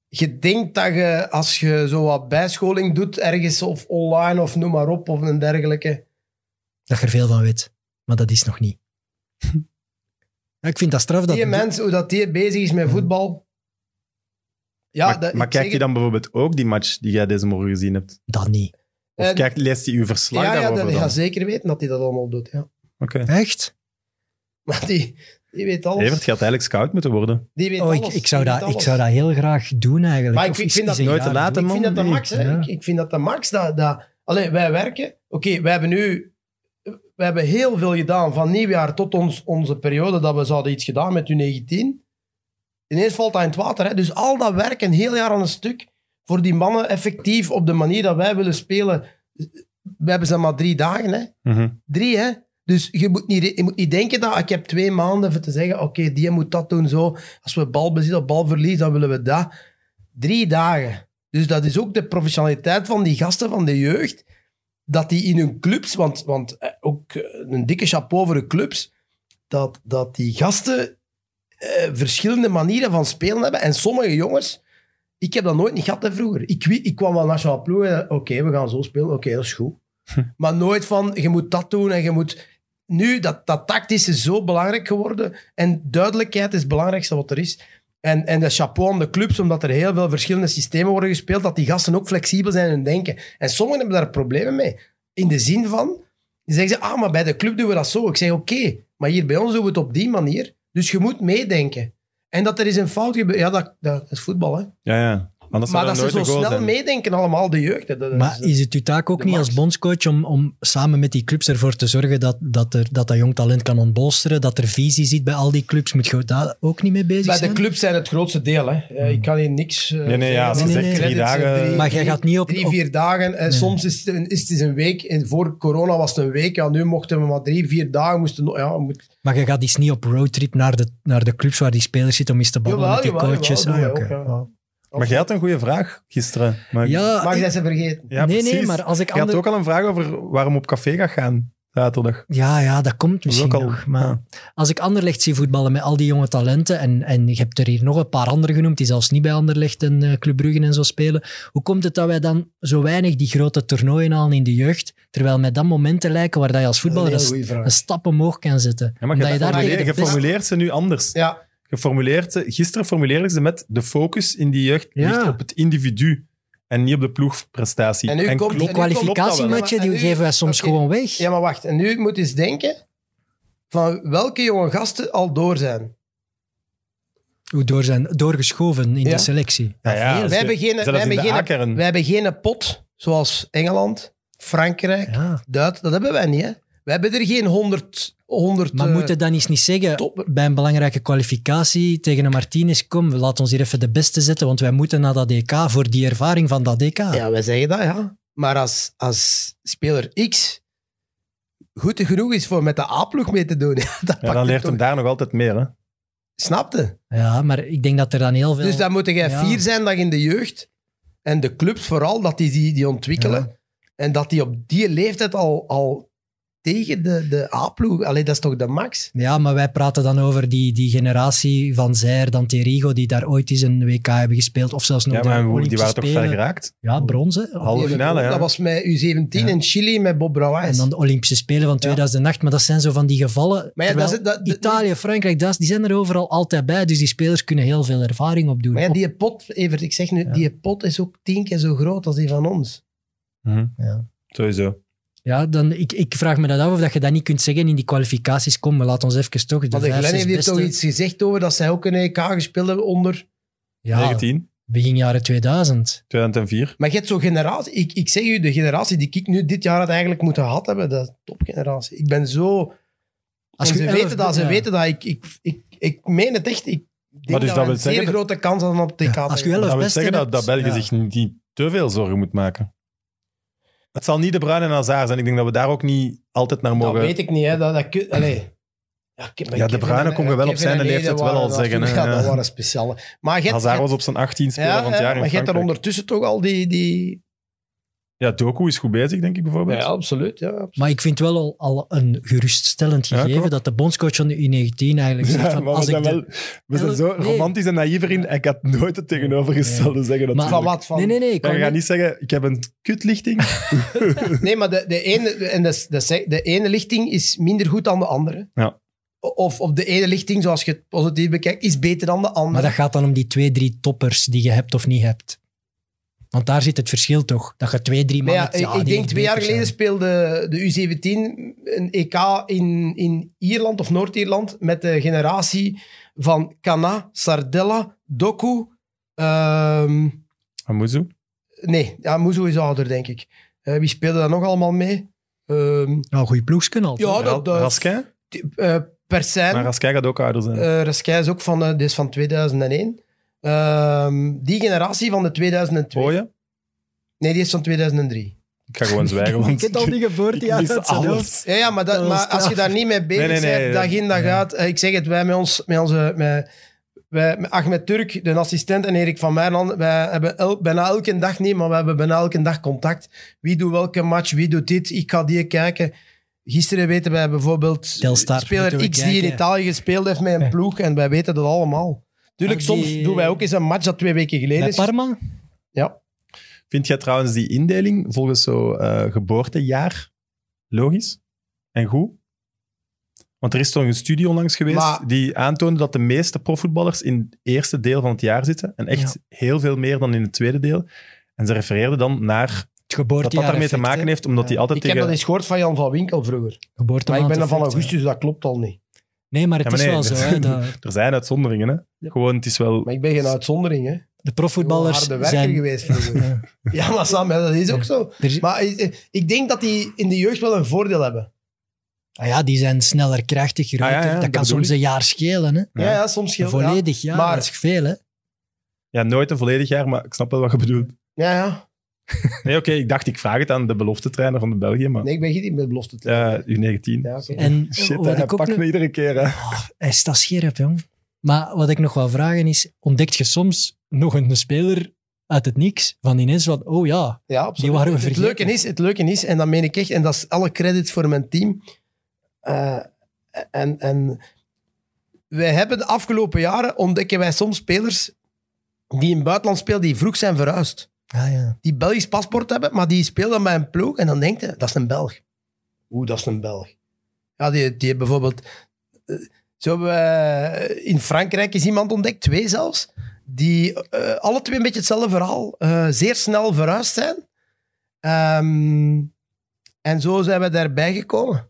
[SPEAKER 4] Je denkt dat je, als je zo wat bijscholing doet, ergens of online of noem maar op, of een dergelijke...
[SPEAKER 2] Dat je er veel van weet. Maar dat is nog niet. Ja, ik vind dat straf dat...
[SPEAKER 4] die mens, hoe dat die bezig is met voetbal. Ja,
[SPEAKER 1] Hmm. maar
[SPEAKER 4] dat-
[SPEAKER 1] maar
[SPEAKER 4] ik
[SPEAKER 1] kijk
[SPEAKER 4] zeg
[SPEAKER 1] je
[SPEAKER 4] het.
[SPEAKER 1] dan bijvoorbeeld ook die match die jij deze morgen gezien hebt?
[SPEAKER 2] Dat niet.
[SPEAKER 1] Of
[SPEAKER 4] Eh,
[SPEAKER 1] kijkt, leest hij uw verslag
[SPEAKER 4] Ja, ja,
[SPEAKER 1] daarover
[SPEAKER 4] dat
[SPEAKER 1] dan?
[SPEAKER 4] gaat zeker weten dat hij dat allemaal doet. Ja.
[SPEAKER 1] Oké.
[SPEAKER 2] Echt?
[SPEAKER 4] Maar die, die weet alles.
[SPEAKER 1] Evert gaat eigenlijk scout moeten worden.
[SPEAKER 4] die weet
[SPEAKER 2] Oh, ik,
[SPEAKER 4] alles.
[SPEAKER 2] ik, zou
[SPEAKER 4] Die
[SPEAKER 2] dat,
[SPEAKER 4] weet
[SPEAKER 2] ik zou
[SPEAKER 4] alles.
[SPEAKER 2] dat heel graag doen eigenlijk.
[SPEAKER 4] Maar ik-
[SPEAKER 2] Of
[SPEAKER 4] ik
[SPEAKER 2] is-
[SPEAKER 4] vind
[SPEAKER 2] is
[SPEAKER 4] dat
[SPEAKER 2] een
[SPEAKER 1] nooit
[SPEAKER 2] jaar
[SPEAKER 1] te laat,
[SPEAKER 2] doen?
[SPEAKER 1] hè,
[SPEAKER 4] Ik vind dat de
[SPEAKER 2] Nee.
[SPEAKER 4] max. Hè.
[SPEAKER 2] Ja.
[SPEAKER 4] Ik, ik vind dat de max. Dat, dat, allee, wij werken. Oké, wij hebben nu... We hebben heel veel gedaan van nieuwjaar tot ons, onze periode dat we zouden iets gedaan met U19. Ineens valt dat in het water. Hè. Dus al dat werk een heel jaar aan een stuk voor die mannen effectief op de manier dat wij willen spelen. We hebben ze maar drie dagen. Hè.
[SPEAKER 1] Mhm.
[SPEAKER 4] Drie, hè? Dus je moet niet, je moet niet denken dat ik heb twee maanden voor te zeggen: oké, die moet dat doen zo. Als we balbezit of balverlies, dan willen we dat. Drie dagen. Dus dat is ook de professionaliteit van die gasten van de jeugd. Dat die in hun clubs, want, want eh, ook eh, een dikke chapeau voor de clubs, dat, dat die gasten eh, verschillende manieren van spelen hebben. En sommige jongens, ik heb dat nooit niet gehad hè, vroeger. Ik, wi- ik kwam wel nationaal ploeg en eh, oké, we gaan zo spelen, oké, dat is goed. Maar nooit van, je moet dat doen en je moet... Nu, dat, dat tactisch is zo belangrijk geworden. En duidelijkheid is het belangrijkste wat er is. En, en de chapeau aan de clubs, omdat er heel veel verschillende systemen worden gespeeld, dat die gasten ook flexibel zijn in hun denken. En sommigen hebben daar problemen mee. In de zin van, dan zeggen ze, ah, maar bij de club doen we dat zo. Ik zeg, oké, maar hier bij ons doen we het op die manier. Dus je moet meedenken. En dat er is een fout gebeurd, ja, dat, dat is voetbal, hè.
[SPEAKER 1] Ja, ja. Anders
[SPEAKER 4] Maar
[SPEAKER 1] zou
[SPEAKER 4] dat
[SPEAKER 1] dat
[SPEAKER 4] ze
[SPEAKER 1] nooit
[SPEAKER 4] zo
[SPEAKER 1] een goal
[SPEAKER 4] snel
[SPEAKER 1] zijn.
[SPEAKER 4] meedenken, allemaal, de jeugd. hè, Dat, dat
[SPEAKER 2] Maar
[SPEAKER 4] is-
[SPEAKER 2] is het uw taak ook
[SPEAKER 4] Dus, eh,
[SPEAKER 2] niet
[SPEAKER 4] de max.
[SPEAKER 2] als bondscoach om, om samen met die clubs ervoor te zorgen dat dat, er, dat, dat jong talent kan ontbolsteren, dat er visie zit bij al die clubs? Moet je daar ook niet mee bezig
[SPEAKER 4] Bij de
[SPEAKER 2] zijn?
[SPEAKER 4] clubs zijn het grootste deel. Hè. Eh, Ik kan hier niks. eh,
[SPEAKER 1] Hmm. nee,
[SPEAKER 4] zeggen,
[SPEAKER 1] ja, als
[SPEAKER 2] je
[SPEAKER 4] want
[SPEAKER 2] zegt
[SPEAKER 4] de
[SPEAKER 2] drie
[SPEAKER 4] credits zijn
[SPEAKER 1] dagen-
[SPEAKER 2] Maar jij gaat niet op-
[SPEAKER 4] Drie,
[SPEAKER 2] op-
[SPEAKER 4] vier dagen. En soms is het, een, is het een week. En voor corona was het een week. Ja, nu mochten we maar drie, vier dagen. Moesten, no- ja, we moeten-
[SPEAKER 2] Maar je gaat eens niet op roadtrip naar de, naar de clubs waar die spelers zitten om eens te babbelen
[SPEAKER 4] Jawel,
[SPEAKER 2] met die
[SPEAKER 4] jawel,
[SPEAKER 2] coaches.
[SPEAKER 4] jawel,
[SPEAKER 2] Ah,
[SPEAKER 4] doen
[SPEAKER 2] oké.
[SPEAKER 4] wij ook, ja.
[SPEAKER 1] Maar jij had een goede vraag gisteren. Maar...
[SPEAKER 2] Ja,
[SPEAKER 4] Mag
[SPEAKER 2] ik-
[SPEAKER 4] jij ze vergeten?
[SPEAKER 1] Ja,
[SPEAKER 2] nee, nee,
[SPEAKER 1] precies.
[SPEAKER 2] maar als ik
[SPEAKER 1] Je had
[SPEAKER 2] ander-
[SPEAKER 1] ook al een vraag over waarom op café gaat gaan zaterdag.
[SPEAKER 2] Ja, ja, dat komt
[SPEAKER 1] is
[SPEAKER 2] misschien
[SPEAKER 1] ook al-
[SPEAKER 2] nog. Maar als ik Anderlecht zie voetballen met al die jonge talenten, en, en je hebt er hier nog een paar anderen genoemd, die zelfs niet bij Anderlecht en eh, Club Brugge en zo spelen, hoe komt het dat wij dan zo weinig die grote toernooien halen in de jeugd, terwijl met dat momenten lijken waar dat je als voetballer
[SPEAKER 4] Dat
[SPEAKER 2] een,
[SPEAKER 4] is een hele
[SPEAKER 2] st-
[SPEAKER 4] goeie vraag.
[SPEAKER 2] een stap omhoog kan zetten?
[SPEAKER 1] Ja, maar
[SPEAKER 2] Omdat
[SPEAKER 1] je,
[SPEAKER 2] je daar
[SPEAKER 1] formuleert-
[SPEAKER 2] tegen de
[SPEAKER 1] je
[SPEAKER 2] beste-
[SPEAKER 1] formuleert ze nu anders.
[SPEAKER 4] Ja,
[SPEAKER 1] Je formuleert ze, gisteren formuleerde ze met de focus in die jeugd
[SPEAKER 2] Ja.
[SPEAKER 1] ligt op het individu en niet op de ploegprestatie.
[SPEAKER 4] En nu komt-
[SPEAKER 1] klopt-
[SPEAKER 2] Die
[SPEAKER 4] en nu komt-
[SPEAKER 1] klopt
[SPEAKER 2] kwalificatiematchen,
[SPEAKER 4] dat wel.
[SPEAKER 2] die geven wij soms
[SPEAKER 4] Oké.
[SPEAKER 2] gewoon weg.
[SPEAKER 4] ja, maar wacht. En nu moet je eens denken van welke jonge gasten al door zijn.
[SPEAKER 2] Hoe door zijn, doorgeschoven in
[SPEAKER 4] Ja.
[SPEAKER 2] de selectie.
[SPEAKER 1] Ja, ja,
[SPEAKER 2] veel.
[SPEAKER 1] dat is-
[SPEAKER 4] Wij hebben geen-
[SPEAKER 1] zelfs
[SPEAKER 4] wij
[SPEAKER 1] in de
[SPEAKER 4] hebben geen-
[SPEAKER 1] Akeren.
[SPEAKER 4] Wij hebben geen pot zoals Engeland, Frankrijk,
[SPEAKER 2] Ja.
[SPEAKER 4] Duitsland. Dat hebben wij niet. Hè. Wij hebben er geen 100. 100
[SPEAKER 2] Maar
[SPEAKER 4] eh,
[SPEAKER 2] moet het dan eens niet zeggen,
[SPEAKER 4] top.
[SPEAKER 2] bij een belangrijke kwalificatie tegen een Martinez, kom, laat ons hier even de beste zetten, want wij moeten naar dat DK voor die ervaring van dat DK.
[SPEAKER 4] Ja, wij zeggen dat, ja. Maar als, als speler X goed genoeg is voor met de A-ploeg mee te doen, dat
[SPEAKER 1] Ja, dan leert hem daar nog altijd meer. Hè?
[SPEAKER 4] Snapte?
[SPEAKER 2] Ja, maar ik denk dat er dan heel veel...
[SPEAKER 4] Dus dan moet jij
[SPEAKER 2] Ja.
[SPEAKER 4] fier zijn dat je in de jeugd en de clubs vooral, dat die die, die ontwikkelen. En dat die op die leeftijd al, al tegen de, de A-ploeg... Allee, dat is toch de max?
[SPEAKER 2] Ja, maar wij praten dan over die, die generatie van Zijr, dan Terigo, die daar ooit eens een WK hebben gespeeld. Of zelfs nog
[SPEAKER 1] Ja,
[SPEAKER 2] de
[SPEAKER 1] maar hoe-
[SPEAKER 2] Olympische
[SPEAKER 1] die waren toch
[SPEAKER 2] Spelen.
[SPEAKER 1] ver geraakt?
[SPEAKER 2] Ja, bronzen.
[SPEAKER 1] Halve finale, ja.
[SPEAKER 4] Dat was met U17 in Chili met Bob Brouwers.
[SPEAKER 2] En dan de Olympische Spelen van 2008. Maar dat zijn zo van die gevallen.
[SPEAKER 4] Maar ja, dat
[SPEAKER 2] Terwijl
[SPEAKER 4] is het- dat-
[SPEAKER 2] Italië, Frankrijk, dat, is- die zijn er overal altijd bij. Dus die spelers kunnen heel veel ervaring opdoen.
[SPEAKER 4] Maar ja,
[SPEAKER 2] Op-
[SPEAKER 4] die pot, Evert, ik zeg nu,
[SPEAKER 2] Ja.
[SPEAKER 4] die pot is ook tien keer zo groot als die van ons.
[SPEAKER 2] Ja.
[SPEAKER 1] Sowieso.
[SPEAKER 2] Ja, dan, ik, ik vraag me dat af of dat je dat niet kunt zeggen in die kwalificaties. Kom, maar laat ons even toch de
[SPEAKER 4] Want de
[SPEAKER 2] vijf,
[SPEAKER 4] Glenn
[SPEAKER 2] zes
[SPEAKER 4] heeft hier
[SPEAKER 2] beste...
[SPEAKER 4] toch iets gezegd over dat zij ook een EK gespeeld hebben onder...
[SPEAKER 2] Ja,
[SPEAKER 1] 19,
[SPEAKER 2] begin jaren 2000.
[SPEAKER 1] 2004.
[SPEAKER 4] Maar je hebt zo'n generatie... Ik, ik zeg u, de generatie die ik nu dit jaar had eigenlijk moeten gehad hebben, dat is topgeneratie. Ik ben zo...
[SPEAKER 2] Als
[SPEAKER 4] en
[SPEAKER 2] je
[SPEAKER 4] ze
[SPEAKER 2] elf-
[SPEAKER 4] weten dat, ze
[SPEAKER 2] ja.
[SPEAKER 4] weten dat. Ik, ik, ik, ik meen het echt. Ik denk
[SPEAKER 1] dus
[SPEAKER 4] dat,
[SPEAKER 1] dat
[SPEAKER 4] we
[SPEAKER 1] wil
[SPEAKER 4] een zeer
[SPEAKER 1] zeggen dat-
[SPEAKER 4] grote kans hadden op E TK.
[SPEAKER 2] Ja, als je
[SPEAKER 4] tegen-
[SPEAKER 2] elf-
[SPEAKER 1] Dat wil
[SPEAKER 2] beste
[SPEAKER 1] zeggen dat,
[SPEAKER 2] hebt.
[SPEAKER 1] dat België
[SPEAKER 2] Ja.
[SPEAKER 1] zich niet niet te veel zorgen moet maken. Het zal niet de Bruin en Hazard zijn. Ik denk dat we daar ook niet altijd naar
[SPEAKER 4] Dat
[SPEAKER 1] mogen...
[SPEAKER 4] Nou, weet ik niet, hè. Dat, dat kun- Allee. Ja, ik-
[SPEAKER 1] Ja, de
[SPEAKER 4] Kevin
[SPEAKER 1] Bruyne
[SPEAKER 4] en-
[SPEAKER 1] kon je wel op
[SPEAKER 4] Kevin
[SPEAKER 1] zijn
[SPEAKER 4] en
[SPEAKER 1] leeftijd
[SPEAKER 4] Eden
[SPEAKER 1] wel
[SPEAKER 4] waren
[SPEAKER 1] al
[SPEAKER 4] dat-
[SPEAKER 1] zeggen, hè.
[SPEAKER 4] Ja, dat
[SPEAKER 1] Ja.
[SPEAKER 4] waren speciale. Maar je hebt-
[SPEAKER 1] Hazard
[SPEAKER 4] je
[SPEAKER 1] was
[SPEAKER 4] hebt-
[SPEAKER 1] op zijn 18 speler
[SPEAKER 4] ja,
[SPEAKER 1] van het jaar
[SPEAKER 4] maar
[SPEAKER 1] in
[SPEAKER 4] je hebt daar
[SPEAKER 1] Frankrijk.
[SPEAKER 4] ondertussen toch al die... die...
[SPEAKER 1] Ja, Doku is goed bezig, denk ik, bijvoorbeeld.
[SPEAKER 4] absoluut. Ja, absoluut.
[SPEAKER 2] Maar ik vind wel al, al een geruststellend
[SPEAKER 1] Ja,
[SPEAKER 2] gegeven
[SPEAKER 1] klopt.
[SPEAKER 2] dat de bondscoach van de U19 eigenlijk zegt van,
[SPEAKER 1] maar we
[SPEAKER 2] als ik
[SPEAKER 1] zijn,
[SPEAKER 2] de-
[SPEAKER 1] wel, we zijn zo
[SPEAKER 2] Nee.
[SPEAKER 1] romantisch en naïef erin. En ik had nooit het tegenovergestelde zeggen. Dat
[SPEAKER 2] Maar-
[SPEAKER 4] Van wat? Van...
[SPEAKER 2] Nee, nee, nee. Ik
[SPEAKER 1] Maar
[SPEAKER 2] kan
[SPEAKER 1] je gaat niet zeggen, ik heb een kutlichting.
[SPEAKER 4] Nee, maar de, de, ene, en dat is- dat is- de ene lichting is minder goed dan de andere.
[SPEAKER 1] Ja.
[SPEAKER 4] Of, of de ene lichting, zoals je het positief bekijkt, is beter dan de andere.
[SPEAKER 2] Maar dat gaat dan om die twee, drie toppers die je hebt of niet hebt. Want daar zit het verschil toch. Dat je twee, drie
[SPEAKER 4] Maar
[SPEAKER 2] mannen...
[SPEAKER 4] ja, ik- ik denk twee jaar geleden speelde de U17 een EK in, in Ierland of Noord-Ierland met de generatie van Kana, Sardella, Doku. ehm,
[SPEAKER 1] Amuzu.
[SPEAKER 4] nee, ja, Muzo is ouder, denk ik. Eh, wie speelde daar nog allemaal mee? Ehm,
[SPEAKER 2] Nou, goede ploegsken al.
[SPEAKER 4] ja, dat, dat,
[SPEAKER 1] Raskin?
[SPEAKER 4] eh, Persijn.
[SPEAKER 1] Maar Raskin gaat ook ouder zijn.
[SPEAKER 4] Eh Raskai is ook van, eh, die is van 2001. Ehm, die generatie van de 2002.
[SPEAKER 1] Hoor je?
[SPEAKER 4] Nee, die is van 2003.
[SPEAKER 1] Ik ga gewoon zwijgen, want ik,
[SPEAKER 2] die
[SPEAKER 1] ik
[SPEAKER 2] geboortejaar
[SPEAKER 1] mis alles.
[SPEAKER 4] Ja, ja maar, dat,
[SPEAKER 2] Dat was
[SPEAKER 4] maar als je
[SPEAKER 2] straf.
[SPEAKER 4] daar niet mee bezig
[SPEAKER 1] Nee, nee, nee,
[SPEAKER 4] bent, dag in, dag uit. eh, Ik zeg het, wij met ons, met onze, met, wij, met Ahmed Turk, de assistent, en Erik van Meijland, wij hebben el- bijna elke dag niet, maar we hebben bijna elke dag contact. Wie doet welke match, wie doet dit, ik ga die kijken. Gisteren weten wij bijvoorbeeld
[SPEAKER 2] Telstar moeten
[SPEAKER 4] speler
[SPEAKER 2] we
[SPEAKER 4] X die in
[SPEAKER 2] kijken.
[SPEAKER 4] Italië gespeeld heeft met een ploeg, en wij weten dat allemaal. Tuurlijk,
[SPEAKER 2] Ah,
[SPEAKER 4] soms
[SPEAKER 2] die-
[SPEAKER 4] doen wij ook eens een match dat twee weken geleden
[SPEAKER 2] Bij
[SPEAKER 4] is.
[SPEAKER 2] Parma?
[SPEAKER 4] Ja.
[SPEAKER 1] Vind jij trouwens die indeling volgens zo eh, geboortejaar logisch en goed? Want er is toch een studie onlangs geweest
[SPEAKER 4] Maar-
[SPEAKER 1] die aantoonde dat de meeste profvoetballers in het eerste deel van het jaar zitten. En echt heel veel meer dan in het tweede deel. En ze refereerden dan naar
[SPEAKER 2] Het
[SPEAKER 1] dat
[SPEAKER 2] geboortejaar
[SPEAKER 1] dat daarmee te maken heeft, omdat die altijd
[SPEAKER 4] Ik heb
[SPEAKER 1] tegen...
[SPEAKER 4] dat eens gehoord van Jan van Winkel vroeger. Maar ik ben dan van augustus, dat klopt al niet.
[SPEAKER 2] Nee, maar het
[SPEAKER 1] Ja, maar
[SPEAKER 2] is
[SPEAKER 1] nee, dus-
[SPEAKER 2] wel zo.
[SPEAKER 1] dat-
[SPEAKER 2] Hè, dat-
[SPEAKER 1] Er zijn uitzonderingen, hè. Gewoon, het is wel...
[SPEAKER 4] Maar ik ben geen uitzondering, hè.
[SPEAKER 2] de profvoetballers
[SPEAKER 4] Gewoon harde werker
[SPEAKER 2] zijn...
[SPEAKER 4] geweest vroeger.
[SPEAKER 2] Ja.
[SPEAKER 4] ja, maar Sam, ja, dat is ook zo.
[SPEAKER 2] Er is-
[SPEAKER 4] Maar eh, eh, ik denk dat die in de jeugd wel een voordeel hebben.
[SPEAKER 2] Ah ja, die zijn sneller, krachtig, groter.
[SPEAKER 1] Ah ja, ja,
[SPEAKER 2] dat
[SPEAKER 1] dat
[SPEAKER 2] kan
[SPEAKER 1] bedoel
[SPEAKER 2] soms
[SPEAKER 1] ik.
[SPEAKER 2] een jaar schelen. Hè.
[SPEAKER 1] Ja.
[SPEAKER 4] Ja, ja soms scheelt ja.
[SPEAKER 2] Volledig, ja.
[SPEAKER 4] Maar-
[SPEAKER 2] dat is veel, hè.
[SPEAKER 1] Ja, nooit een volledig jaar, maar ik snap wel wat je bedoelt.
[SPEAKER 4] Ja, ja.
[SPEAKER 1] Nee, oké, ik dacht, ik vraag het aan de belofte trainer van de België, maar...
[SPEAKER 4] Nee, ik ben geen met belofte te
[SPEAKER 1] eh, U19.
[SPEAKER 4] ja, oké.
[SPEAKER 2] En
[SPEAKER 1] Shit,
[SPEAKER 2] wat
[SPEAKER 1] hij
[SPEAKER 2] ik ook
[SPEAKER 1] pakt
[SPEAKER 2] nog-
[SPEAKER 1] me iedere keer, hè.
[SPEAKER 2] Oh, hij staat scherp, jong. Maar wat ik nog wil vragen is, ontdekt je soms nog een speler uit het niks van ineens van, oh ja,
[SPEAKER 4] ja, absoluut.
[SPEAKER 2] die waren we
[SPEAKER 4] het,
[SPEAKER 2] vergeten.
[SPEAKER 4] leuke is, het leuke is, en dat meen ik echt, en dat is alle credit voor mijn team. Eh, en, en wij hebben de afgelopen jaren ontdekken wij soms spelers die in het buitenland spelen, die vroeg zijn verhuisd.
[SPEAKER 2] Ah, ja.
[SPEAKER 4] die Belgisch paspoort hebben, maar die speelt dan bij een ploeg en dan denkt hij, dat is een Belg. Oeh, dat is een Belg. Ja, die, die heeft bijvoorbeeld... eh, Zo hebben we, eh, in Frankrijk is iemand ontdekt, twee zelfs, die eh, alle twee een beetje hetzelfde verhaal, eh, zeer snel verhuisd zijn. Ehm, en zo zijn we daarbij gekomen.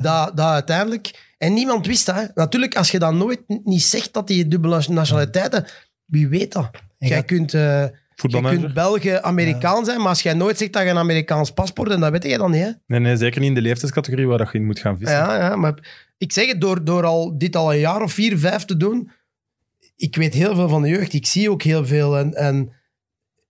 [SPEAKER 4] Dat, dat uiteindelijk... En niemand wist dat. hè. Natuurlijk, als je dat nooit n- niet zegt, dat die dubbele nationaliteiten... Wie weet dat?
[SPEAKER 2] En
[SPEAKER 4] Jij
[SPEAKER 2] gaat-
[SPEAKER 4] kunt... eh, je
[SPEAKER 1] Voetbalmanager?
[SPEAKER 4] kunt Belgen Amerikaan zijn, maar als jij nooit zegt dat je een Amerikaans paspoort hebt, dan weet je dat niet. Hè?
[SPEAKER 1] Nee, nee, zeker niet in de leeftijdscategorie waar dat je in moet gaan vissen.
[SPEAKER 4] Ja, ja, maar ik zeg het, door, door al, dit al een jaar of vier, vijf te doen, ik weet heel veel van de jeugd. Ik zie ook heel veel. En, en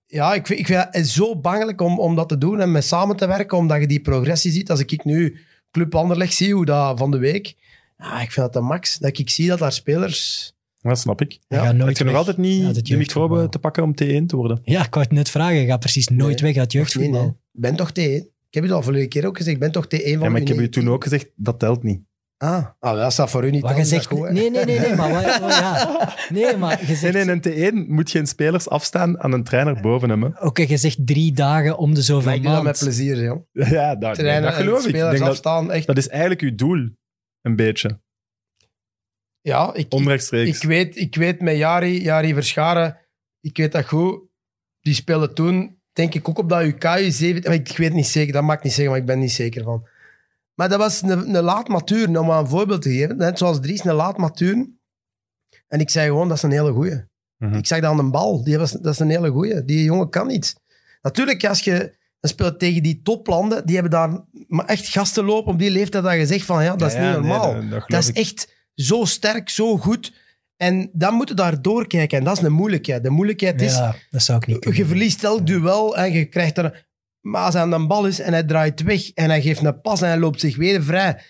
[SPEAKER 4] ja, ik, vind- ik vind het zo bangelijk om, om dat te doen en met samen te werken, omdat je die progressie ziet. Als ik nu Club Anderlecht zie, hoe dat van de week... Ah, ik vind dat de max. Dat ik zie dat daar spelers...
[SPEAKER 1] Dat snap ik.
[SPEAKER 2] Hij
[SPEAKER 4] Ja,
[SPEAKER 2] gaat
[SPEAKER 1] Heb
[SPEAKER 2] nooit
[SPEAKER 1] je nog
[SPEAKER 2] weg.
[SPEAKER 1] altijd niet
[SPEAKER 2] Ja, dat
[SPEAKER 1] de microbe
[SPEAKER 2] jeugdvoetbal.
[SPEAKER 1] te pakken om T1 te worden?
[SPEAKER 2] Ja, ik wou het net vragen. Hij gaat precies nooit
[SPEAKER 4] Nee.
[SPEAKER 2] weg uit
[SPEAKER 4] Nee,
[SPEAKER 2] jeugdvoetbal.
[SPEAKER 4] nee. Ik ben toch T1. Ik heb het al vorige keer ook gezegd. Ik ben toch T1 van
[SPEAKER 1] Ja, maar ik heb
[SPEAKER 4] U19.
[SPEAKER 1] je toen ook gezegd, dat telt niet.
[SPEAKER 4] Ah, ah dat staat voor u niet.
[SPEAKER 2] Wat
[SPEAKER 4] dan
[SPEAKER 2] je
[SPEAKER 4] is dat
[SPEAKER 2] zegt,
[SPEAKER 4] goed, hè.
[SPEAKER 2] nee, nee, nee, nee, maar wat, oh ja. nee, maar je
[SPEAKER 1] Nee,
[SPEAKER 2] zegt,
[SPEAKER 1] nee, in een T1 moet geen spelers afstaan aan een trainer boven hem. hè.
[SPEAKER 2] oké, je zegt drie dagen om de zoveel
[SPEAKER 4] Maar ik doe dat met
[SPEAKER 2] maand.
[SPEAKER 4] plezier, joh.
[SPEAKER 1] Ja, Ah, dat,
[SPEAKER 4] Trainen
[SPEAKER 1] dat geloof
[SPEAKER 4] en
[SPEAKER 1] ik. Ik
[SPEAKER 4] spelers
[SPEAKER 1] denk dat,
[SPEAKER 4] afstaan. Echt.
[SPEAKER 1] dat is eigenlijk uw doel, een beetje,
[SPEAKER 4] Ja, ik, ik,
[SPEAKER 1] onrechtstreeks.
[SPEAKER 4] ik weet, ik weet met Jari, Jari Verscharen, ik weet dat goed. Die speelde toen, denk ik, ook op dat UK 17. maar Ik weet niet zeker, dat mag ik niet zeggen, maar ik ben niet zeker van. Maar dat was een, een laat matuur, om maar een voorbeeld te geven. Net zoals Dries, een laat matuur. En ik zei gewoon, dat is een hele goeie.
[SPEAKER 1] Mhm.
[SPEAKER 4] Ik zag dat aan een bal. Die was, dat is een hele goeie. Die jongen kan iets. Natuurlijk, als je dan speelt tegen die toplanden, die hebben daar maar echt gasten lopen op die leeftijd dat je zegt van, ja, dat is
[SPEAKER 1] Ja, ja,
[SPEAKER 4] niet
[SPEAKER 1] nee,
[SPEAKER 4] normaal.
[SPEAKER 1] dat- dat geloof
[SPEAKER 4] Dat is
[SPEAKER 1] ik.
[SPEAKER 4] echt zo sterk, zo goed. En dan moeten je daar doorkijken. En dat is een moeilijkheid. De moeilijkheid is,
[SPEAKER 2] Ja, dat zou ik niet kunnen.
[SPEAKER 4] je verliest elk duel en je krijgt er... Maar als hij aan de bal is en hij draait weg en hij geeft een pas en hij loopt zich weer vrij,